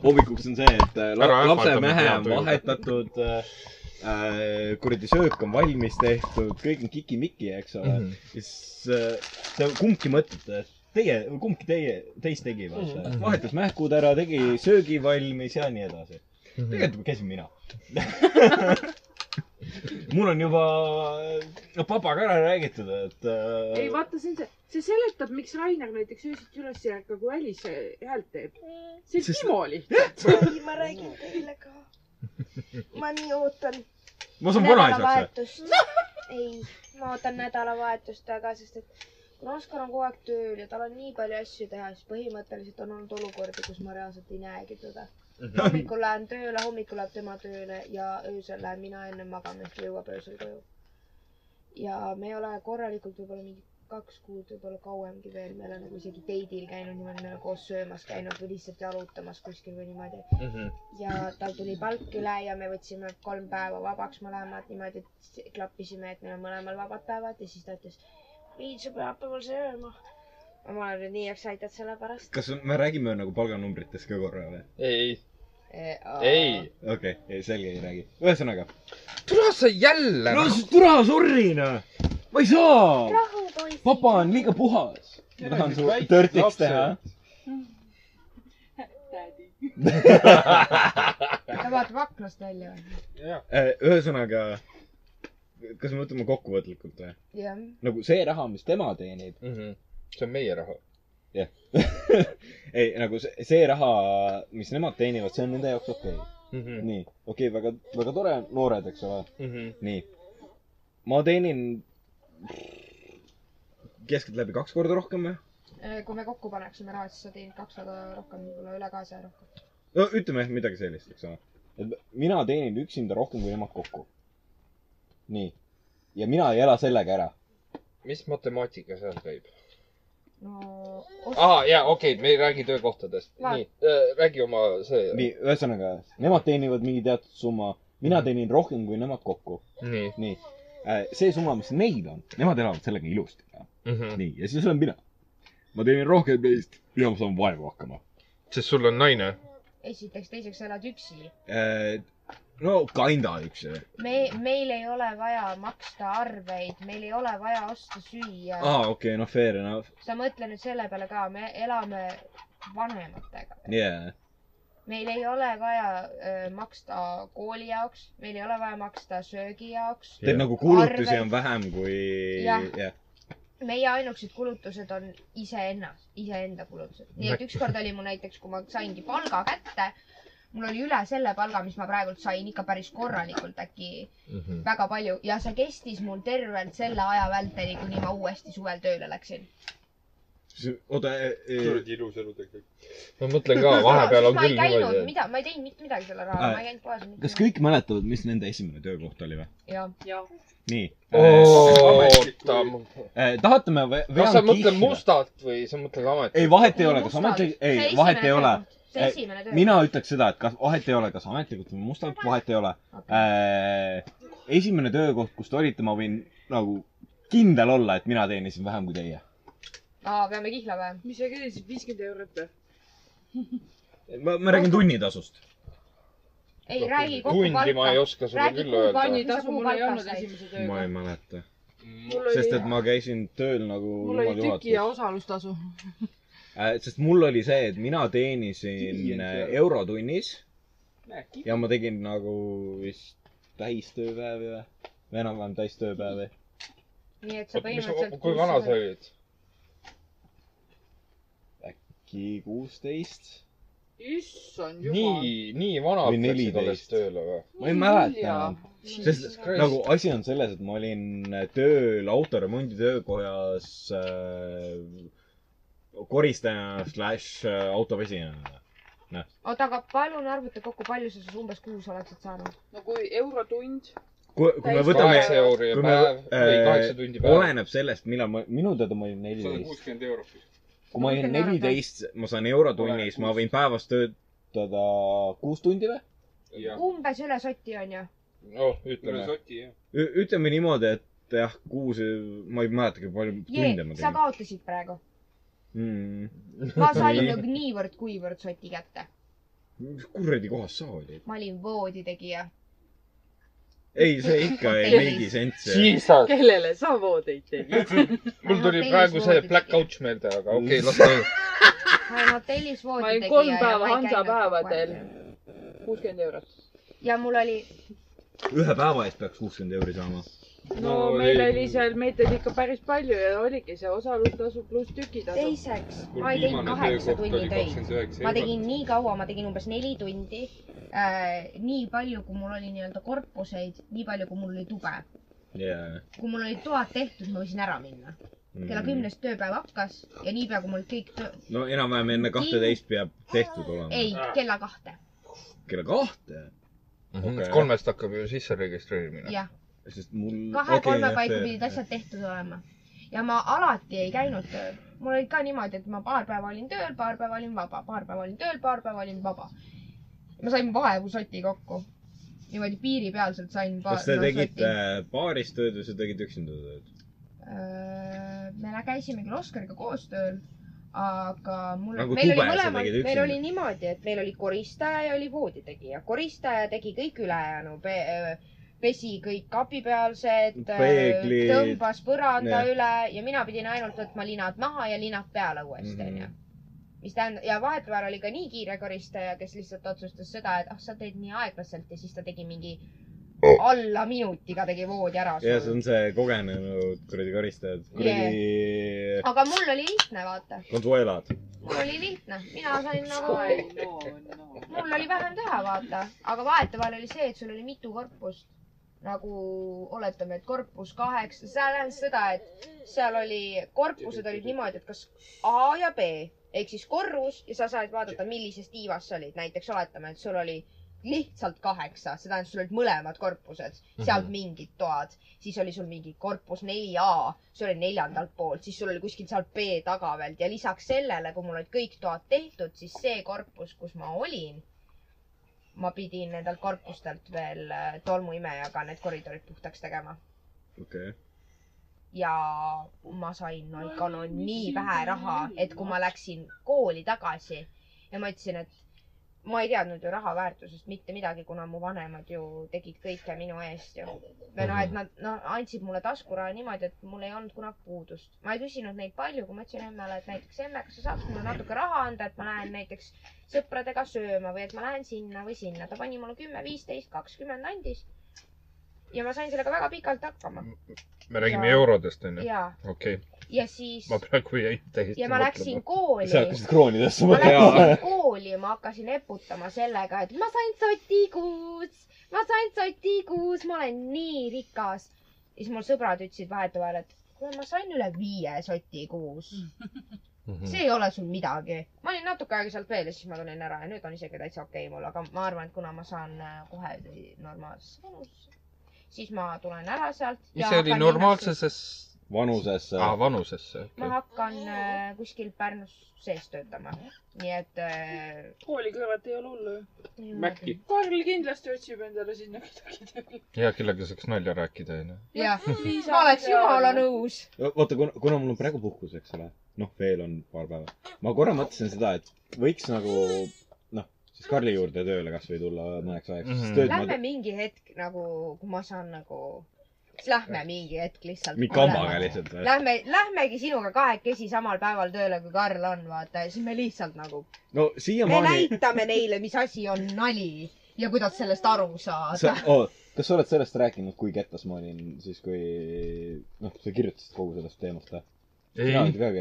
[SPEAKER 7] hommikuks on see , et äh, la,
[SPEAKER 6] Ära ähvarda
[SPEAKER 7] lapse ja
[SPEAKER 6] mind
[SPEAKER 7] mehe
[SPEAKER 6] hea
[SPEAKER 7] on
[SPEAKER 6] tujuga.
[SPEAKER 7] vahetatud äh, . Äh, kuradi söök on valmis tehtud , kõik on kikimiki , eks ole mm .
[SPEAKER 6] Mhm.
[SPEAKER 7] -hmm. siis äh, te kumbki mõtlete , et teie , kumbki teie , teist tegi vaata
[SPEAKER 6] Mhm.
[SPEAKER 7] mm . -hmm. vahetas mähkud ära , tegi söögi valmis ja nii edasi .
[SPEAKER 6] Mm-hmm.
[SPEAKER 7] tegelikult käisin mina . mul on juba no, papaga ära räägitud , et äh,
[SPEAKER 4] ei vaata , see on see , see seletab , miks Rainer näiteks öösiti üles ei ärka , kui Alice häält teeb . see on
[SPEAKER 7] Sest-
[SPEAKER 4] Timo lihtsalt .
[SPEAKER 13] ei , ma räägin teile ka . nagu, ma nii ootan
[SPEAKER 7] ma saan vanaisaks või ?
[SPEAKER 13] nädalavahetust . ei , ma ootan nädalavahetust väga , sest et kuna Oskar on kogu aeg tööl ja tal on nii palju asju teha , siis põhimõtteliselt on olnud olukordi , kus ma reaalselt ei näegi teda . hommikul lähen tööle , hommikul läheb tema tööle ja öösel lähen mina enne magama , siis ta jõuab öösel koju . ja me ei ole korralikult võib-olla mingi kaks kuud , võib-olla kauemgi veel , me ei ole nagu isegi date'il käinud niimoodi , me oleme koos söömas käinud või lihtsalt jalutamas kuskil või niimoodi . ja tal tuli palk üle ja me võtsime kolm päeva vabaks mõlemad niimoodi , et s- klappisime , et meil on mõlemal vabad päevad ja siis ta ütles , nii , sa pead hakkama sööma . ma olen nüüd nii excited selle pärast .
[SPEAKER 7] kas me räägime nagu palganumbrites ka korra või ?
[SPEAKER 6] ei , ei .
[SPEAKER 7] okei okay, , selge ei räägi . ühesõnaga .
[SPEAKER 6] tule sa jälle
[SPEAKER 2] noh.
[SPEAKER 7] no . türa , sorry noh . ma ei saa .
[SPEAKER 13] rahu , poiss .
[SPEAKER 7] papa on liiga puhas . ma tahan su törtiks teha .
[SPEAKER 18] ta vaatab aknast välja .
[SPEAKER 7] äh, ühesõnaga , kas me võtame kokkuvõtlikult või ?
[SPEAKER 18] jah .
[SPEAKER 7] nagu see raha , mis tema teenib ,
[SPEAKER 6] Mm-hmm. see on meie raha .
[SPEAKER 7] ei nagu see , see raha , mis nemad teenivad , see on
[SPEAKER 6] Mm-hmm.
[SPEAKER 7] nende jaoks okei okay. . nii , okei okay, , väga , väga tore , noored , eks ole . nii . ma teenin keskeltläbi kaks korda rohkem või ?
[SPEAKER 13] e, kui me kokku paneksime raha , siis sa teenid kakssada rohkem , võib-olla üle kahesaja rohkem .
[SPEAKER 7] no ütleme midagi sellist , eks ole . et mina teenin üksinda rohkem kui nemad kokku . nii . ja mina ei ela sellega ära .
[SPEAKER 6] mis matemaatika seal käib ?
[SPEAKER 13] no
[SPEAKER 6] aa , jaa , okei okay, , me ei räägi töökohtadest .
[SPEAKER 13] Lähe.
[SPEAKER 6] nii , räägi oma see .
[SPEAKER 7] nii , ühesõnaga , nemad teenivad mingi teatud summa , mina teenin rohkem kui nemad kokku .
[SPEAKER 6] nii .
[SPEAKER 7] nii . see summa , mis neil on , nemad elavad sellega ilusti .
[SPEAKER 6] Mm-hmm.
[SPEAKER 7] nii , ja siis olen mina . ma teenin rohkem neist , mina saan vaeva hakkama .
[SPEAKER 6] sest sul on naine .
[SPEAKER 13] esiteks , teiseks sa elad üksi .
[SPEAKER 7] Äh, no kinda üks .
[SPEAKER 13] me , meil ei ole vaja maksta arveid , meil ei ole vaja osta süüa .
[SPEAKER 7] aa , okei , noh , fair enough .
[SPEAKER 13] sa mõtle nüüd selle peale ka , me elame vanematega .
[SPEAKER 7] jaa .
[SPEAKER 13] meil ei ole vaja öö, maksta kooli jaoks , meil ei ole vaja maksta söögi jaoks .
[SPEAKER 7] Teil nagu kulutusi on . vähem kui ,
[SPEAKER 13] Jah.
[SPEAKER 7] jah .
[SPEAKER 13] meie ainukesed kulutused on iseennast , iseenda kulutused . nii et ükskord oli mul näiteks , kui ma saingi palga kätte , mul oli üle selle palga , mis ma praegult sain ikka päris korralikult äkki
[SPEAKER 6] Mm-hmm.
[SPEAKER 13] väga palju ja see kestis mul tervelt selle aja välteni , kuni ma uuesti suvel tööle läksin .
[SPEAKER 7] oota , äh,
[SPEAKER 1] kuradi ilus elu tegelikult .
[SPEAKER 6] ma mõtlen ka , vahepeal on
[SPEAKER 13] ma ei
[SPEAKER 6] küll
[SPEAKER 13] käinud
[SPEAKER 6] niimoodi .
[SPEAKER 13] mida , ma ei teinud mitte midagi selle rahaga , ma ei käinud poes .
[SPEAKER 7] kas ? kõik mäletavad , mis nende esimene töökoht oli või ?
[SPEAKER 13] jah .
[SPEAKER 7] nii . Äh,
[SPEAKER 6] oota ,
[SPEAKER 7] tahate , me ve-
[SPEAKER 6] kas sa
[SPEAKER 7] veame
[SPEAKER 6] mõtled
[SPEAKER 7] kihlida?
[SPEAKER 6] mustalt või sa mõtled ametit ?
[SPEAKER 7] ei , vahet ei ole , kas
[SPEAKER 13] Mustalt.
[SPEAKER 7] ametlik ,
[SPEAKER 13] See
[SPEAKER 7] ei ,
[SPEAKER 13] esimene
[SPEAKER 7] vahet ei ole
[SPEAKER 13] töökoht. . see esimene töö .
[SPEAKER 7] mina ütleks seda , et kas , vahet ei ole , kas ametlikult või mustalt , vahet ei ole . esimene töökoht , kus te olite , ma võin nagu kindel olla , et mina teenisin vähem kui teie .
[SPEAKER 13] aa , peame kihla või ?
[SPEAKER 4] mis sa küsisid , viiskümmend eurot või ?
[SPEAKER 7] ma , ma räägin tunnitasust .
[SPEAKER 13] ei räägi kokku
[SPEAKER 6] tundi ma ei oska sulle
[SPEAKER 13] Räägi
[SPEAKER 6] küll öelda .
[SPEAKER 13] Mis sa
[SPEAKER 4] pannitasu mul ei olnud
[SPEAKER 13] kuupalkast
[SPEAKER 4] esimese
[SPEAKER 7] ma
[SPEAKER 4] tööga
[SPEAKER 7] ei . mäleta ,
[SPEAKER 4] mul
[SPEAKER 7] sest
[SPEAKER 4] oli ,
[SPEAKER 7] et ma käisin tööl nagu
[SPEAKER 4] mul oli tüki ja . osalustasu .
[SPEAKER 7] Äh, sest mul oli see , et mina teenisin äh, eurotunnis ja ma tegin nagu vist täistööpäevi või , või enam-vähem täistööpäevi .
[SPEAKER 13] nii et sa põhimõtteliselt .
[SPEAKER 6] kui vana sa ? olid ?
[SPEAKER 7] äkki kuusteist
[SPEAKER 4] issand jumal .
[SPEAKER 6] nii , nii vana
[SPEAKER 7] Või
[SPEAKER 6] läksid alles
[SPEAKER 7] 14.
[SPEAKER 6] tööle või ?
[SPEAKER 7] ma ei mäleta enam ,
[SPEAKER 6] Jesus
[SPEAKER 7] sest
[SPEAKER 6] Christ.
[SPEAKER 7] nagu asi on selles , et ma olin tööl autoremondi töökojas äh, koristajana slaš äh, autopesinejana .
[SPEAKER 13] oota , aga palun arvuta kokku , palju sa siis umbes kuus oleksid saanud ?
[SPEAKER 4] no kui eurotund ,
[SPEAKER 7] kui , kui me
[SPEAKER 4] Täis
[SPEAKER 7] võtame
[SPEAKER 6] kaheksa , euri
[SPEAKER 7] kui me
[SPEAKER 6] päev või
[SPEAKER 7] äh,
[SPEAKER 6] kaheksa tundi päev .
[SPEAKER 7] oleneb sellest , millal ma , minu teada ma olin
[SPEAKER 1] sada
[SPEAKER 7] neliteist .
[SPEAKER 1] kuuskümmend eurot .
[SPEAKER 7] kui ma olin neliteist , ma saan eurotunnis , ma võin päevas töötada kuus tundi või ?
[SPEAKER 1] jah ,
[SPEAKER 13] umbes üle soti on ju ?
[SPEAKER 6] noh ,
[SPEAKER 1] üle
[SPEAKER 6] ütleme .
[SPEAKER 1] soti jah .
[SPEAKER 7] ütleme niimoodi , et jah , kuus , ma ei mäletagi , palju
[SPEAKER 13] Jee
[SPEAKER 7] tunde ma ,
[SPEAKER 13] sa
[SPEAKER 7] tegin .
[SPEAKER 13] kaotasid praegu .
[SPEAKER 7] Mm.
[SPEAKER 13] ma sain nagu niivõrd-kuivõrd soti kätte .
[SPEAKER 7] mis kuradi kohas sa olid ?
[SPEAKER 13] ma olin vooditegija .
[SPEAKER 7] ei , see ikka ei
[SPEAKER 13] Hotellis.
[SPEAKER 7] meigi sensi .
[SPEAKER 6] Jesus ,
[SPEAKER 4] kellele sa voodeid tegid ?
[SPEAKER 6] mul tuli
[SPEAKER 13] Hotellis
[SPEAKER 6] praegu see
[SPEAKER 13] voodis.
[SPEAKER 6] black couch meelde , aga okei , las ta olla .
[SPEAKER 13] ma olin hotellis
[SPEAKER 4] ma olin
[SPEAKER 13] vooditegija .
[SPEAKER 4] kolm päeva Hansapäevadel , kuuskümmend eurot .
[SPEAKER 13] ja mul oli ,
[SPEAKER 7] ühe päeva eest peaks kuuskümmend euri saama .
[SPEAKER 4] no meil oli seal meetreid ikka päris palju ja oligi see osalustasu pluss tükitasu .
[SPEAKER 13] teiseks ,
[SPEAKER 1] mul
[SPEAKER 13] ma ei teinud
[SPEAKER 1] viimane
[SPEAKER 13] kaheksa
[SPEAKER 1] töökoht
[SPEAKER 13] tunni
[SPEAKER 1] oli
[SPEAKER 13] töid .
[SPEAKER 1] kakskümmend üheksa
[SPEAKER 13] ma tegin
[SPEAKER 1] eurot .
[SPEAKER 13] nii kaua , ma tegin umbes neli tundi äh, . nii palju , kui mul oli nii-öelda korpuseid , nii palju , kui mul oli tube .
[SPEAKER 7] jaa .
[SPEAKER 13] kui mul olid toad tehtud , ma võisin ära minna . kella .
[SPEAKER 7] Mm.
[SPEAKER 13] kümnest tööpäev hakkas ja niipea , kui mul kõik töö ,
[SPEAKER 7] no enam-vähem enne kahteteist peab tehtud olema .
[SPEAKER 13] ei , kella kahte ,
[SPEAKER 7] kella kahte . Okei.
[SPEAKER 6] Mhm. kolmest hakkab ju sisse registreerimine .
[SPEAKER 13] jah .
[SPEAKER 7] sest mul .
[SPEAKER 13] kahe-kolme paiku pidid asjad tehtud olema . ja ma alati ei käinud tööl . mul oli ka niimoodi , et ma paar päeva olin tööl , paar päeva olin vaba , paar päeva olin tööl , paar päeva olin vaba . ma sain vaevu soti kokku . niimoodi piiripealselt sain .
[SPEAKER 7] kas te tegite paaris tööd või sa tegid üksinda tööd ?
[SPEAKER 13] Öö, Äh, me lä- käisime küll Oskariga koostööl , aga mul
[SPEAKER 7] Nagu
[SPEAKER 13] meil oli
[SPEAKER 7] tube sa
[SPEAKER 13] mõlemal
[SPEAKER 7] tegid ,
[SPEAKER 13] meil
[SPEAKER 7] üksinda.
[SPEAKER 13] oli niimoodi , et meil oli koristaja ja oli vooditegija . koristaja tegi kõik ülejäänu pe, , pesi kõik kapipealsed ,
[SPEAKER 7] Peeglid.
[SPEAKER 13] tõmbas põranda
[SPEAKER 7] Jah.
[SPEAKER 13] ja. üle ja mina pidin ainult võtma linad maha ja linad peale uuesti ,
[SPEAKER 7] Mhm.
[SPEAKER 13] onju . mis tähendab , ja vahepeal oli ka nii kiire koristaja , kes lihtsalt otsustas seda , et ah , sa teed nii aeglaselt ja siis ta tegi mingi alla minutiga tegi voodi ära
[SPEAKER 7] jah , Oh. see on see kogenenud kuradi karistajad , kuradi
[SPEAKER 13] aga mul oli lihtne , vaata .
[SPEAKER 7] konsuelad .
[SPEAKER 13] mul oli lihtne , mina sain nagu ,
[SPEAKER 4] Oh, no , no .
[SPEAKER 13] mul oli vähem teha , vaata . aga vahetevahel oli see , et sul oli mitu korpust . nagu oletame , et korpus kaheksa , see tähendab seda , et seal oli , korpused olid niimoodi , et kas A ja B ehk siis korrus ja sa said vaadata , millises tiivas sa olid . näiteks oletame , et sul oli lihtsalt kaheksa , see tähendab , sul olid mõlemad korpused , sealt
[SPEAKER 21] Mhm.
[SPEAKER 13] mingid toad , siis oli sul mingi korpus neli A , see oli neljandalt poolt , siis sul oli kuskil seal B taga veel ja lisaks sellele , kui mul olid kõik toad tehtud , siis see korpus , kus ma olin , ma pidin nendelt korpustelt veel äh, tolmuimejaga need koridorid puhtaks tegema
[SPEAKER 7] okei .
[SPEAKER 13] ja ma sain no ikka no nii vähe raha , et kui ma läksin kooli tagasi ja ma ütlesin , et ma ei teadnud ju raha väärtusest mitte midagi , kuna mu vanemad ju tegid kõike minu eest ju . või noh , et nad no, andsid mulle taskuraha niimoodi , et mul ei olnud kunagi puudust . ma ei küsinud neid palju , kui ma ütlesin emmele , et näiteks emme , kas sa saaks mulle natuke raha anda , et ma lähen näiteks sõpradega sööma või et ma lähen sinna või sinna . ta pani mulle kümme , viisteist , kakskümmend andis . ja ma sain sellega väga pikalt hakkama .
[SPEAKER 6] me räägime
[SPEAKER 13] Ja-
[SPEAKER 6] eurodest , onju ?
[SPEAKER 13] jaa.
[SPEAKER 6] okei ,
[SPEAKER 13] ja siis
[SPEAKER 6] ma praegu jäin täiesti
[SPEAKER 13] ja ma läksin kooli .
[SPEAKER 6] Sa hakkasid kroonidesse
[SPEAKER 13] ma
[SPEAKER 6] mõtlema.
[SPEAKER 13] läksin kooli ja ma hakkasin eputama sellega , et ma sain sotikuus , ma sain sotikuus , ma olen nii rikas . ja siis mul sõbrad ütlesid vahetevahel , et kuule , ma sain üle viie soti kuus .
[SPEAKER 6] Mhm.
[SPEAKER 13] see ei ole sul midagi . ma olin natuke aega sealt veel ja siis ma tulin ära ja nüüd on isegi täitsa okei mul , aga ma arvan , et kuna ma saan äh, kohe normaalses vanus , siis ma tulen ära sealt .
[SPEAKER 6] mis see oli , normaalses ? vanusesse .
[SPEAKER 7] Ah,
[SPEAKER 6] aa , vanusesse .
[SPEAKER 13] ma hakkan äh, kuskil Pärnus sees töötama , nii et äh,
[SPEAKER 4] kooli kõrvalt ei ole hullu ju .
[SPEAKER 6] Mäkki.
[SPEAKER 4] Karl kindlasti otsib endale sinna kedagi tööle .
[SPEAKER 6] hea , kellega saaks nalja rääkida , onju .
[SPEAKER 13] jah ,
[SPEAKER 4] Siis
[SPEAKER 13] ma oleks
[SPEAKER 4] on
[SPEAKER 13] jumala
[SPEAKER 4] ideaalne.
[SPEAKER 13] nõus .
[SPEAKER 7] vaata , kuna , kuna mul on praegu puhkus , eks ole , noh , veel on paar päeva . ma korra mõtlesin seda , et võiks nagu noh , siis Karli juurde tööle kasvõi tulla mõneks ajaks mm , -hmm. sest tööd
[SPEAKER 13] Lähme
[SPEAKER 7] ma
[SPEAKER 13] mingi hetk nagu , kui ma saan nagu , siis lähme mingi hetk lihtsalt .
[SPEAKER 7] Äh, mingi kambaga . lihtsalt .
[SPEAKER 13] Lähme , lähmegi sinuga kahekesi samal päeval tööle , kui Karl on , vaata , ja siis me lihtsalt nagu ,
[SPEAKER 7] no
[SPEAKER 13] me
[SPEAKER 7] siiamaani ,
[SPEAKER 13] näitame neile , mis asi on nali ja kuidas sellest aru saada
[SPEAKER 7] sa . oh, , kas sa oled sellest rääkinud , kui kettas ma olin siis , kui noh , sa kirjutasid kogu sellest teemast või ?
[SPEAKER 6] ei ,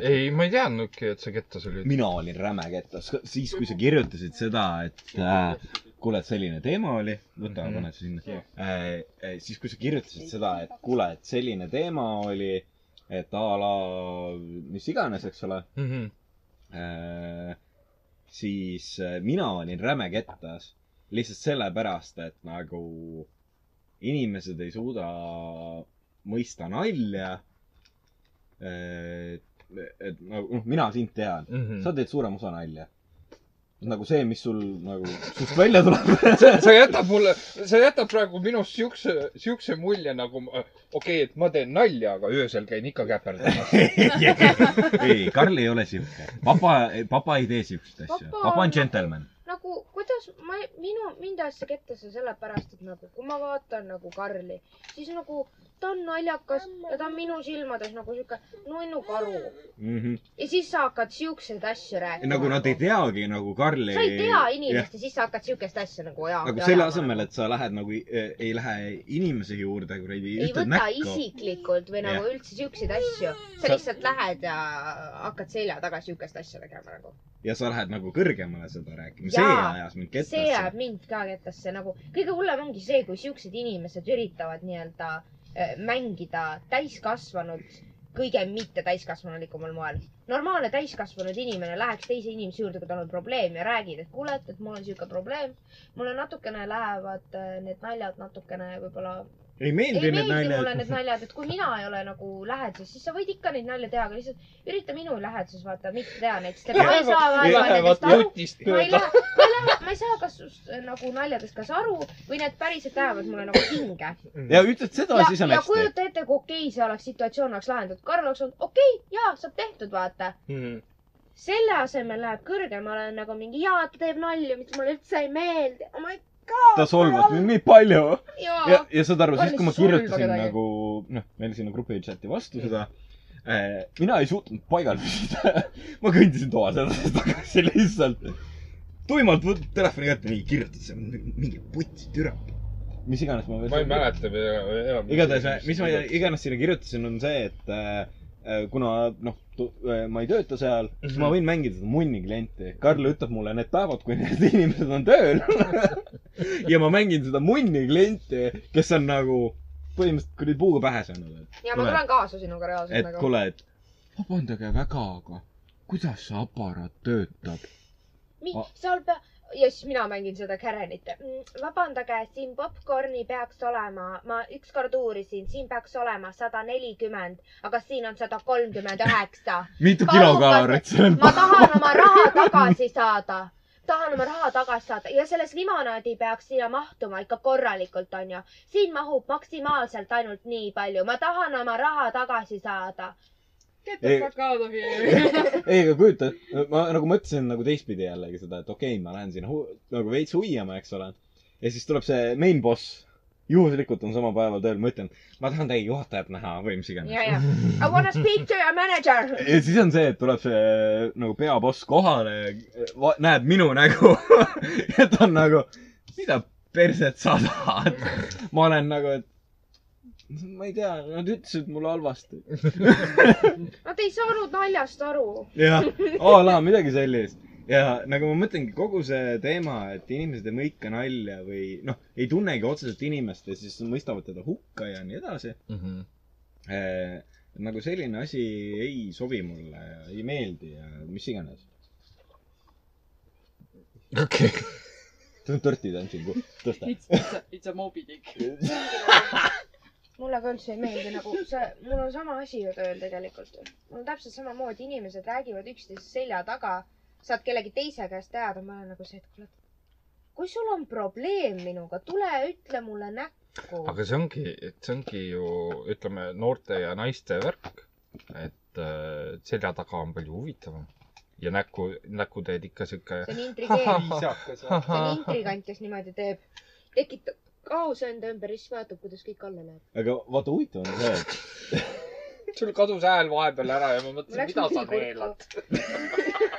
[SPEAKER 6] ei , ma ei teadnudki , et sa kettas olid .
[SPEAKER 7] mina olin räme kettas , siis kui sa kirjutasid seda , et äh, kuule , et selline teema oli , võta mm , -hmm. pane see sinna äh, . Äh, siis kui sa kirjutasid seda , et kuule , et selline teema oli , et a la mis iganes , eks ole
[SPEAKER 6] mm . -hmm.
[SPEAKER 7] Äh, siis äh, mina olin räme kettas lihtsalt sellepärast , et nagu inimesed ei suuda mõista nalja . et , et nagu noh , mina sind tean mm ,
[SPEAKER 6] Mhm.
[SPEAKER 7] -hmm. sa teed suurem osa nalja . nagu see , mis sul nagu sust välja tuleb .
[SPEAKER 6] sa , sa jätad mulle , sa jätad praegu minust siukse , siukse mulje nagu , okei okay, , et ma teen nalja , aga öösel käin ikka käperdamas .
[SPEAKER 7] ei , Karl ei ole sihuke . papa , papa ei tee siukseid asju .
[SPEAKER 13] Papa
[SPEAKER 7] papa
[SPEAKER 13] on-
[SPEAKER 7] on džentelmen .
[SPEAKER 13] nagu , kuidas ma , minu , mind ajas see kettasse sellepärast , et nagu , kui ma vaatan nagu Karli , siis nagu ta on naljakas ja ta on minu silmades nagu sihuke nunnukaru ja siis sa hakkad siukseid asju rääkima
[SPEAKER 7] Mhm. nagu nad ei teagi nagu Karli .
[SPEAKER 13] sa ei tea inimest ja siis sa hakkad siukest asja nagu ajama .
[SPEAKER 7] nagu selle asemel , et sa lähed nagu , ei lähe inimese juurde kuradi ,
[SPEAKER 13] ei
[SPEAKER 7] ütled
[SPEAKER 13] võta
[SPEAKER 7] näkku .
[SPEAKER 13] isiklikult või nagu
[SPEAKER 7] Jah.
[SPEAKER 13] üldse siukseid asju . sa
[SPEAKER 7] Sa-
[SPEAKER 13] lihtsalt lähed ja hakkad selja taga siukest asja tegema nagu .
[SPEAKER 7] ja sa lähed nagu kõrgemale seda rääkima , see
[SPEAKER 13] Jaa,
[SPEAKER 7] ajas mind
[SPEAKER 13] see jääb
[SPEAKER 7] kettasse .
[SPEAKER 13] mind ka kettasse nagu . kõige hullem ongi see , kui siuksed inimesed üritavad nii-öelda eh, mängida täiskasvanud kõige mittetäiskasvanulikumal moel . normaalne täiskasvanud inimene läheks teise inimese juurde , kui tal on probleem ja räägid , et kuule , et , et mul on siuke probleem . mulle natukene lähevad eh, need naljad natukene võib-olla
[SPEAKER 7] ei meeldi
[SPEAKER 13] ei
[SPEAKER 7] need
[SPEAKER 13] meeldi mulle
[SPEAKER 7] naljad .
[SPEAKER 13] need naljad , et kui mina ei ole nagu läheduses , siis sa võid ikka neid nalju teha , aga lihtsalt ürita minu läheduses vaata mitte teha neid , sest et ma ei saa vaeva nendest aru .
[SPEAKER 6] jutist
[SPEAKER 13] ma ei lähe , ma ei lähe , ma ei saa kas sust, äh, nagu naljadest kas aru või need päriselt lähevad mulle nagu hinge .
[SPEAKER 7] ja ütled seda , Ah, siis
[SPEAKER 13] ja ,
[SPEAKER 7] on
[SPEAKER 13] ja
[SPEAKER 7] hästi .
[SPEAKER 13] kujuta ette , kui okei see oleks , situatsioon oleks lahendatud . Karl oleks olnud okei okay, , jaa , saab tehtud , vaata .
[SPEAKER 7] Hmm.
[SPEAKER 13] selle asemel läheb kõrgemale nagu mingi jaa , ta teeb nalju , mis mulle üldse ei meeldi . oh my god .
[SPEAKER 7] ta solvas mind nii palju .
[SPEAKER 13] jaa
[SPEAKER 7] ja , ja saad aru , siis
[SPEAKER 13] Karlis
[SPEAKER 7] kui ma
[SPEAKER 13] solva
[SPEAKER 7] kirjutasin
[SPEAKER 13] kedagi.
[SPEAKER 7] nagu , noh , meil sinna grupi chati vastu seda , mina ei suutnud paigal püsida . ma kõndisin toas edasi-tagasi lihtsalt . tuimalt võtad telefoni kätte , nii , kirjutad seal mingi putsi türa . mis iganes ma veel .
[SPEAKER 6] ma ei mäleta enam .
[SPEAKER 7] eh, igatahes , mis ma . iganes sinna kirjutasin , on see , et äh, kuna noh , ma ei tööta seal , siis
[SPEAKER 13] Mhm.
[SPEAKER 7] ma võin mängida seda munni klienti . Karl ütleb mulle need päevad , kui need inimesed on tööl . ja ma mängin seda munni klienti , kes on nagu põhimõtteliselt kuradi puuga pähe saanud .
[SPEAKER 13] ja ma tulen kaasa sinuga reaalselt
[SPEAKER 7] et
[SPEAKER 13] nagu .
[SPEAKER 7] kuule , et vabandage väga , aga kuidas see aparaat töötab ?
[SPEAKER 13] mis seal pea- ja siis mina mängin seda Karenit . vabandage , siin popkorni peaks olema , ma ükskord uurisin , siin peaks olema sada nelikümmend , aga siin on sada kolmkümmend üheksa .
[SPEAKER 7] mitu kilokalorit seal on ?
[SPEAKER 13] ma tahan oma raha tagasi saada , tahan oma raha tagasi saada ja selles limonaadi peaks siia mahtuma ikka korralikult , onju . siin mahub maksimaalselt ainult nii palju , ma tahan oma raha tagasi saada .
[SPEAKER 4] Get
[SPEAKER 7] the Ei-
[SPEAKER 4] fuck out of
[SPEAKER 7] ei , aga kujuta , ma nagu mõtlesin nagu teistpidi jällegi seda , et okei okay, , ma lähen sinna hu- nagu veits huviama , eks ole . ja siis tuleb see main boss . juhuslikult on samal päeval tööl , ma ütlen , ma tahan teie juhatajat näha või mis iganes .
[SPEAKER 13] ja , ja I wanna speak to your manager .
[SPEAKER 7] ja siis on see , et tuleb see nagu peaboss kohale ja eh, va- näeb minu nägu . ja ta on nagu , mida perset sa tahad ? ma olen nagu , et ma ei tea , nad ütlesid mulle halvasti .
[SPEAKER 13] Nad ei saanud naljast aru .
[SPEAKER 7] jah , a la midagi sellist . ja nagu ma mõtlengi , kogu see teema , et inimesed ei mõika nalja või noh , ei tunnegi otseselt inimest ja siis mõistavad teda hukka ja nii edasi
[SPEAKER 6] -hmm. .
[SPEAKER 7] nagu selline asi ei sobi mulle ja ei meeldi ja mis iganes .
[SPEAKER 6] okei .
[SPEAKER 7] see on Dirty Dancing'u tõste .
[SPEAKER 22] It's , it's a , it's a Moby Dick .
[SPEAKER 13] mulle ka üldse ei meeldi nagu see , mul on sama asi ju tööl tegelikult . mul on täpselt samamoodi , inimesed räägivad üksteise selja taga , saad kellegi teise käest teada , ma olen nagu see , et kuule , kui sul on probleem minuga , tule ütle mulle näkku .
[SPEAKER 6] aga see ongi , see ongi ju , ütleme , noorte ja naiste värk . et äh, selja taga on palju huvitavam ja näkku , näkku teed ikka sihuke .
[SPEAKER 13] see on intrigeeriv .
[SPEAKER 6] Viisakas, jah.
[SPEAKER 13] see on intrigant , kes niimoodi teeb , tekitab kaose enda ümber , siis vaatab , kuidas kõik alla läheb .
[SPEAKER 7] aga vaata , huvitav on see , et
[SPEAKER 11] sul kadus hääl vahepeal ära ja ma mõtlesin , mida sa neelad .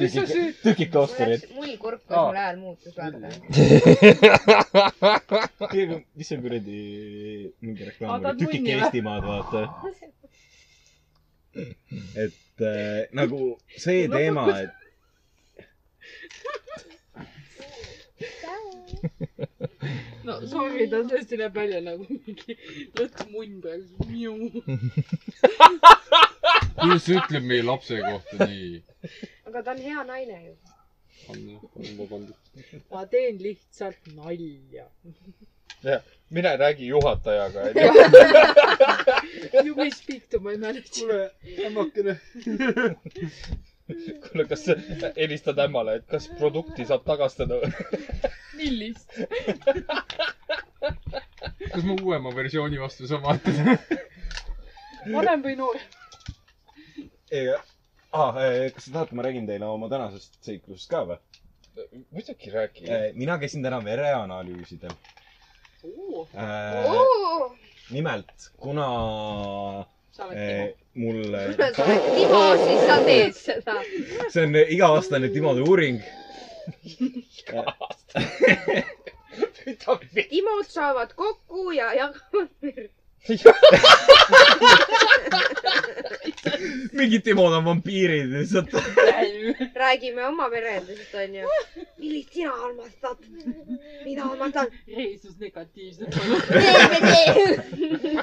[SPEAKER 11] Mis sa
[SPEAKER 7] tükike
[SPEAKER 11] süüd- ,
[SPEAKER 7] tükike Oscarit .
[SPEAKER 13] mul kurk ,
[SPEAKER 7] Aa.
[SPEAKER 13] kas mul hääl muutus vahepeal ?
[SPEAKER 7] mis see kuradi mingi reklaam
[SPEAKER 13] Vaatad
[SPEAKER 7] oli , tükike
[SPEAKER 13] munni või?
[SPEAKER 7] Eestimaad , vaata . et äh, nagu see
[SPEAKER 22] No,
[SPEAKER 7] teema ,
[SPEAKER 22] kus-
[SPEAKER 7] et
[SPEAKER 22] no sorry , ta tõesti näeb välja nagu mingi lõtk munn praegu .
[SPEAKER 23] kuidas sa ütled meie lapse kohta nii ?
[SPEAKER 13] aga ta on hea naine ju .
[SPEAKER 23] on jah , on vabandust .
[SPEAKER 22] ma teen lihtsalt nalja .
[SPEAKER 11] mine räägi juhatajaga .
[SPEAKER 22] You may speak to my manager .
[SPEAKER 23] kuule , ämmakene .
[SPEAKER 11] kuule , kas helistad ämmale , et kas produkti saab tagastada või ?
[SPEAKER 22] millist ?
[SPEAKER 23] kas ma uuema versiooni vastu saan vaadata ?
[SPEAKER 22] vanem või noor ?
[SPEAKER 7] ei , ah, eh, kas te tahate , ma räägin teile oma tänasest seiklusest ka või ?
[SPEAKER 11] muidugi räägi .
[SPEAKER 7] mina käisin täna vereanalüüsidel . Äh.
[SPEAKER 22] Oh!
[SPEAKER 7] nimelt , kuna
[SPEAKER 22] Sa oled
[SPEAKER 7] eh, mul ,
[SPEAKER 13] sa oled Timo , siis sa teed seda .
[SPEAKER 7] see on iga-aastane Timode uuring .
[SPEAKER 13] Timod saavad kokku ja jagavad .
[SPEAKER 7] mingid Timod on vampiirid lihtsalt .
[SPEAKER 13] räägime oma merendusest onju . millist sina armastad ? mina armastan .
[SPEAKER 22] reesus negatiivselt .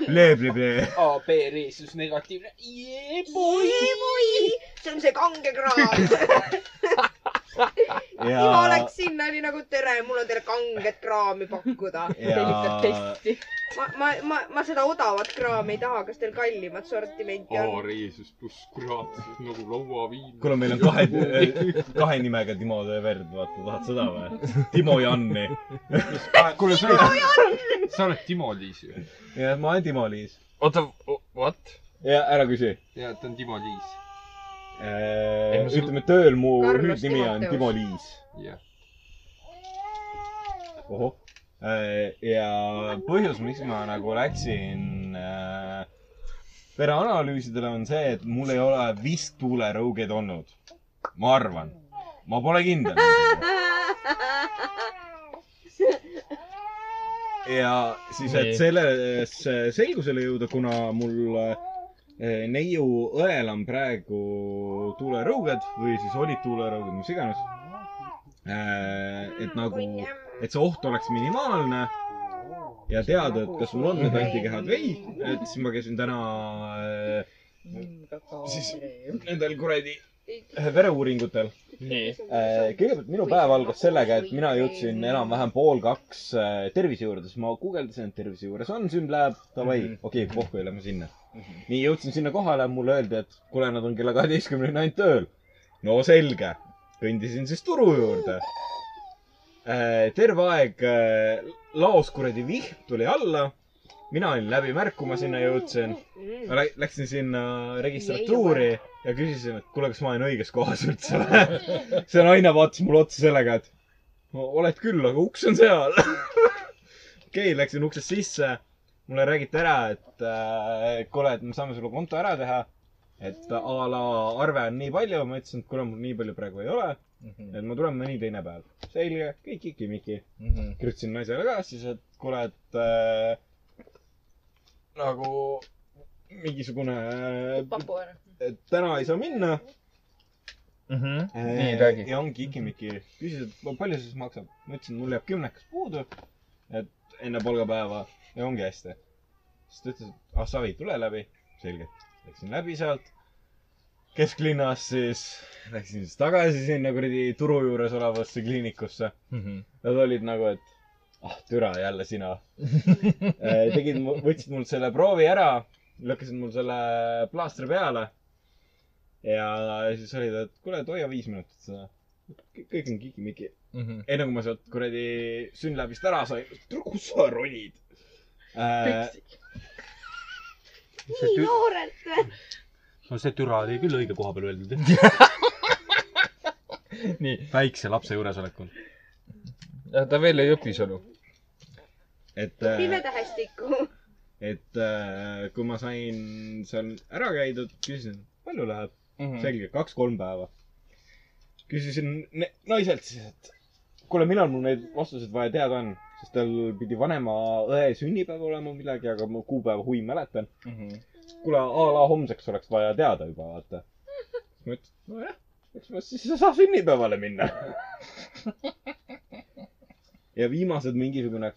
[SPEAKER 7] Leebleblee .
[SPEAKER 22] AB reesus negatiivne . jee , boi .
[SPEAKER 13] see on see kange kraam .
[SPEAKER 7] ja
[SPEAKER 13] Timo läks sinna , oli nagu tere , mul on teile kanget kraami pakkuda .
[SPEAKER 7] Jaa. Testi.
[SPEAKER 13] ma , ma , ma , ma seda odavat kraami ei taha , kas teil kallimat sortimenti
[SPEAKER 6] Oh,
[SPEAKER 23] aa ,
[SPEAKER 13] on ?
[SPEAKER 23] Jeesus , pluss kurat , nagu lauaviin .
[SPEAKER 7] kuule , meil on kahe , kahe nimega Timode verd , vaata , tahad seda või ? Timo ja Anni . Ah,
[SPEAKER 23] kuule , sa oled , sa oled Timo-Liis ju .
[SPEAKER 7] jah , ma olen Timo-Liis .
[SPEAKER 11] oota , what ?
[SPEAKER 7] ja ära küsi .
[SPEAKER 23] jaa , ta on Timo-Liis .
[SPEAKER 11] sul-
[SPEAKER 7] ütleme tööl mu
[SPEAKER 23] Carlos
[SPEAKER 7] hüüdnimi on
[SPEAKER 23] Timoteus.
[SPEAKER 7] Timo Liis .
[SPEAKER 23] jah .
[SPEAKER 7] ohoh . ja põhjus , miks ma nagu läksin äh, pereanalüüsidele on see , et mul ei ole vist tuulerõugeid olnud . ma arvan , ma pole kindel . ja siis , et
[SPEAKER 11] Nii.
[SPEAKER 7] sellesse selgusele jõuda , kuna mul äh, neiu õel on praegu tuulerõuged või siis olid tuulerõuged , mis iganes . et nagu , et see oht oleks minimaalne ja teada , et kas mul on need antikehad või ei , et siis ma käisin täna äh, siis nendel kuradi eh, vereuuringutel .
[SPEAKER 6] nii .
[SPEAKER 7] Äh, kõigepealt minu päev algas sellega , et mina jõudsin enam-vähem pool kaks äh, tervise juurde , siis ma guugeldasin , et tervise juures on sümblääb , davai , okei okay, , pohku ei lähe ma sinna . nii jõudsin sinna kohale , mulle öeldi , et kuule , nad on kella kaheteistkümneni ainult tööl . no selge , kõndisin siis turu juurde . terve aeg äh, laos kuradi vihm tuli alla . mina olin läbi märku , ma sinna jõudsin . ma lä- läksin sinna registratuuri ja küsisin , et kuule , kas ma olen õiges kohas üldse või . see naine vaatas mulle otsa sellega , et "No oled küll , aga uks on seal . okei , läksin uksest sisse mulle räägiti ära , et äh, kuule , et me saame sulle konto ära teha . et a la arve on nii palju , ma ütlesin , et kuule , mul nii palju praegu ei ole mm . -hmm. et ma tulen mõni teine päev . selge , kõik ikimiki mm . -hmm. kirjutasin naisele ka siis , et kuule , et äh, nagu mingisugune äh, ,
[SPEAKER 22] papu ära .
[SPEAKER 7] et täna ei saa minna .
[SPEAKER 6] nii , räägi .
[SPEAKER 7] ja ongi ikimiki . küsis , et "Pa- palju see siis maksab . ma ütlesin , mul jääb kümnekas puudu . et enne palgapäeva ja ongi hästi . siis ta ütles , et ah savi , tule läbi . selge . Läksin läbi sealt . kesklinnas siis , läksin siis tagasi sinna kuradi turu juures olevasse kliinikusse .
[SPEAKER 6] mhm,
[SPEAKER 7] Nad olid nagu , et ah türa , jälle sina . tegid , võtsid mult selle proovi ära , lükkasid mul selle plaastri peale . ja siis oli ta , et kuule , et hoia viis minutit seda . kõik on kikimiki .
[SPEAKER 6] mhm.
[SPEAKER 7] enne kui ma sealt kuradi sünnläbist ära sain , tule , kus sa ronid äh, ?
[SPEAKER 2] see tü- ,
[SPEAKER 24] noorelt või ?
[SPEAKER 2] no see türa oli küll õige koha peal öeldud .
[SPEAKER 6] Nii.
[SPEAKER 2] väikse lapse juuresolekul .
[SPEAKER 6] ta veel ei õpi sõnu .
[SPEAKER 7] et äh, ,
[SPEAKER 24] pimetähestikku .
[SPEAKER 7] et äh, kui ma sain seal ära käidud , küsisin , palju läheb mm
[SPEAKER 23] Mhm,
[SPEAKER 7] -hmm. . selge , kaks-kolm päeva . küsisin ne- naiselt siis , et kuule , millal mul need vastused vaja teada on , sest tal pidi vanema õe sünnipäev olema midagi , aga ma kuupäeva huvi mäletan .
[SPEAKER 23] mhm.
[SPEAKER 7] kuule , a la homseks oleks vaja teada juba , vaata . ma ütlesin , et nojah , eks ma siis ei saa sünnipäevale minna . ja viimased mingisugune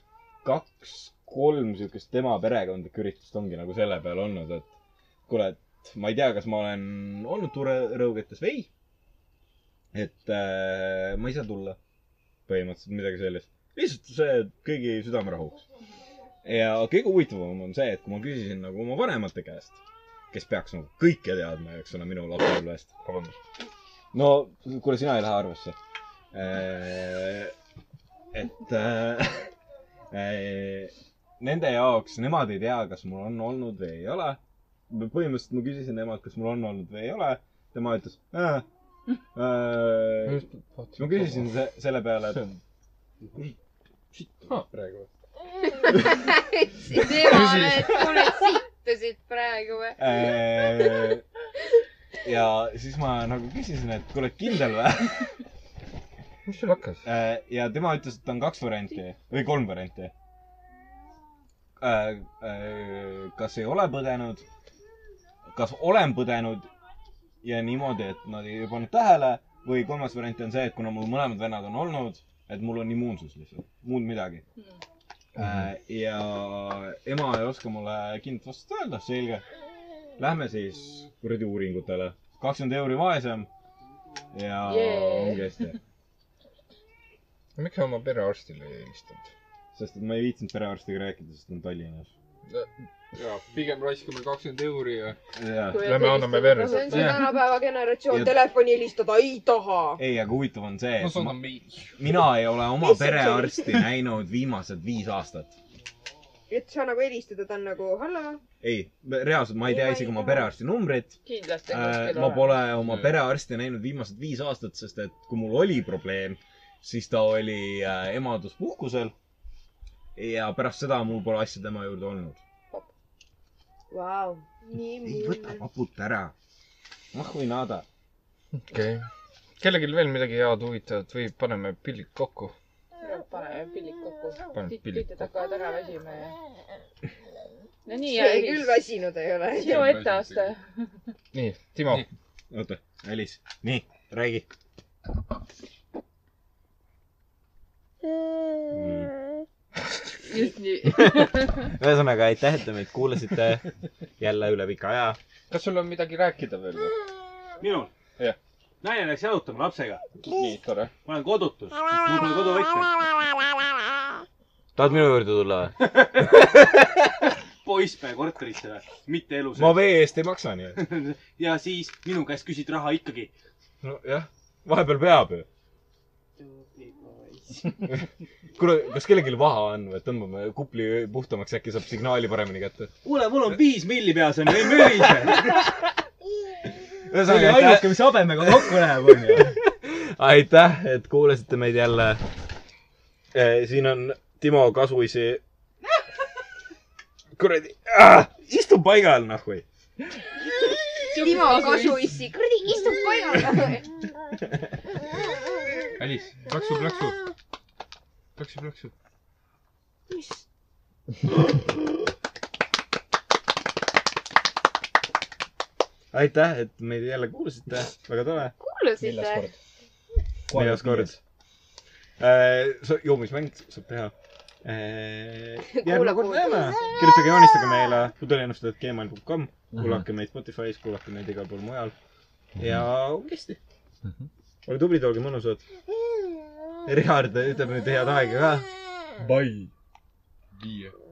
[SPEAKER 7] kaks , kolm siukest tema perekondlikku üritust ongi nagu selle peale olnud , et kuule , et ma ei tea , kas ma olen olnud turerõugetes või ei . et äh, ma ei saa tulla . põhimõtteliselt midagi sellist . lihtsalt see kõigi südame rahuks . ja kõige huvitavam on see , et kui ma küsisin nagu oma vanemate käest , kes peaks nagu kõike teadma , eks ole , minu lapsepõlvest . vabandust . no kuule , sina ei lähe arvesse . et äh, äh, nende jaoks , nemad ei tea , kas mul on olnud või ei ole . põhimõtteliselt ma küsisin emalt , kas mul on olnud või ei ole . tema ütles äh, . Äh, ma küsisin se selle peale , et
[SPEAKER 23] praegu .
[SPEAKER 24] temale , et kuule , sittusid praegu või ?
[SPEAKER 7] äh, ja siis ma nagu küsisin , et kuule , kindel või ?
[SPEAKER 6] mis sul hakkas ?
[SPEAKER 7] ja tema ütles , et on kaks varianti või kolm varianti . äh, kas ei ole põdenud , kas olen põdenud ja niimoodi , et nad ei pannud tähele või kolmas variant on see , et kuna mul mõlemad vennad on olnud , et mul on immuunsus lihtsalt , muud midagi . ja ema ei oska mulle kindlat vastust öelda , selge . Lähme siis kuradi uuringutele , kakskümmend euri vaesem ja
[SPEAKER 6] Jee.
[SPEAKER 7] ongi hästi
[SPEAKER 6] miks sa oma perearstile ei helistanud ?
[SPEAKER 7] sest et ma ei viitsinud perearstiga rääkida , sest ta on Tallinnas .
[SPEAKER 23] jaa , pigem raiskame kakskümmend euri ja .
[SPEAKER 6] Lähme anname verd .
[SPEAKER 5] see on see tänapäeva generatsioon , telefoni helistada ei taha .
[SPEAKER 7] ei , aga huvitav on see ,
[SPEAKER 23] ma
[SPEAKER 7] et ma,
[SPEAKER 23] saadan meili .
[SPEAKER 7] mina ei ole oma perearsti näinud viimased viis aastat .
[SPEAKER 13] et sa nagu helistada , ta on nagu hallo .
[SPEAKER 7] ei , reaalselt ma ei tea isegi oma perearsti numbrit .
[SPEAKER 22] kindlasti on
[SPEAKER 7] Äh,
[SPEAKER 22] kuskil
[SPEAKER 7] ma
[SPEAKER 22] olemas .
[SPEAKER 7] pole oma perearsti näinud viimased viis aastat , sest et kui mul oli probleem , siis ta oli äh, emaduspuhkusel . ja pärast seda mul pole asja tema juurde olnud .
[SPEAKER 5] Vau .
[SPEAKER 7] ei võta paputa ära . ah või nada .
[SPEAKER 6] okei okay. . kellelgi veel midagi head huvitavat või paneme pillid kokku ?
[SPEAKER 22] paneme pillid kokku
[SPEAKER 6] Paneme . pillid
[SPEAKER 22] tüütud hakkavad ära väsima ja .
[SPEAKER 24] no nii ,
[SPEAKER 13] see küll väsinud ei ole .
[SPEAKER 24] sinu etteaste .
[SPEAKER 6] nii , Timo .
[SPEAKER 2] oota , Alice , nii , räägi .
[SPEAKER 22] just nii .
[SPEAKER 2] ühesõnaga , aitäh , et te meid kuulasite jälle üle pika aja .
[SPEAKER 6] kas sul on midagi rääkida veel ?
[SPEAKER 2] minul
[SPEAKER 6] Jah. ?
[SPEAKER 2] naine läks jalutama lapsega .
[SPEAKER 6] nii , tore .
[SPEAKER 2] ma olen kodutus . mul pole koduvõtme .
[SPEAKER 7] tahad minu juurde tulla või ?
[SPEAKER 2] poissmehe korterisse või ? mitte elu
[SPEAKER 7] ma . vee eest ei maksa nii et .
[SPEAKER 2] ja siis minu käest küsid raha ikkagi .
[SPEAKER 7] nojah , vahepeal peab ju . kuule , kas kellelgi vaha on või tõmbame kupli puhtamaks , äkki saab signaali paremini kätte ?
[SPEAKER 2] kuule , mul on viis milli peas on ju , ei mörise . see oli ainuke , mis habemega kokku läheb , onju .
[SPEAKER 7] aitäh , et kuulasite meid jälle . siin on Timo Kasuisi . kuradi , istu paigal noh või .
[SPEAKER 13] Timo kasuissi , kuradi istub paigal .
[SPEAKER 3] Alice , plaksu , plaksu . plaksu , plaksu .
[SPEAKER 7] aitäh , et meid jälle kuulasite , väga tore .
[SPEAKER 24] kuulasite ?
[SPEAKER 7] neljas kord . Eh, joomismäng saab teha . järgmine kord näeme . kirjutage , joonistage meile pudeliennustajad.gmail.com , kuulake meid Spotify's , kuulake meid igal pool mujal . ja ongi hästi . olge tublid , olge mõnusad . Richard ütleb nüüd head aega ka .
[SPEAKER 6] Bye . viie .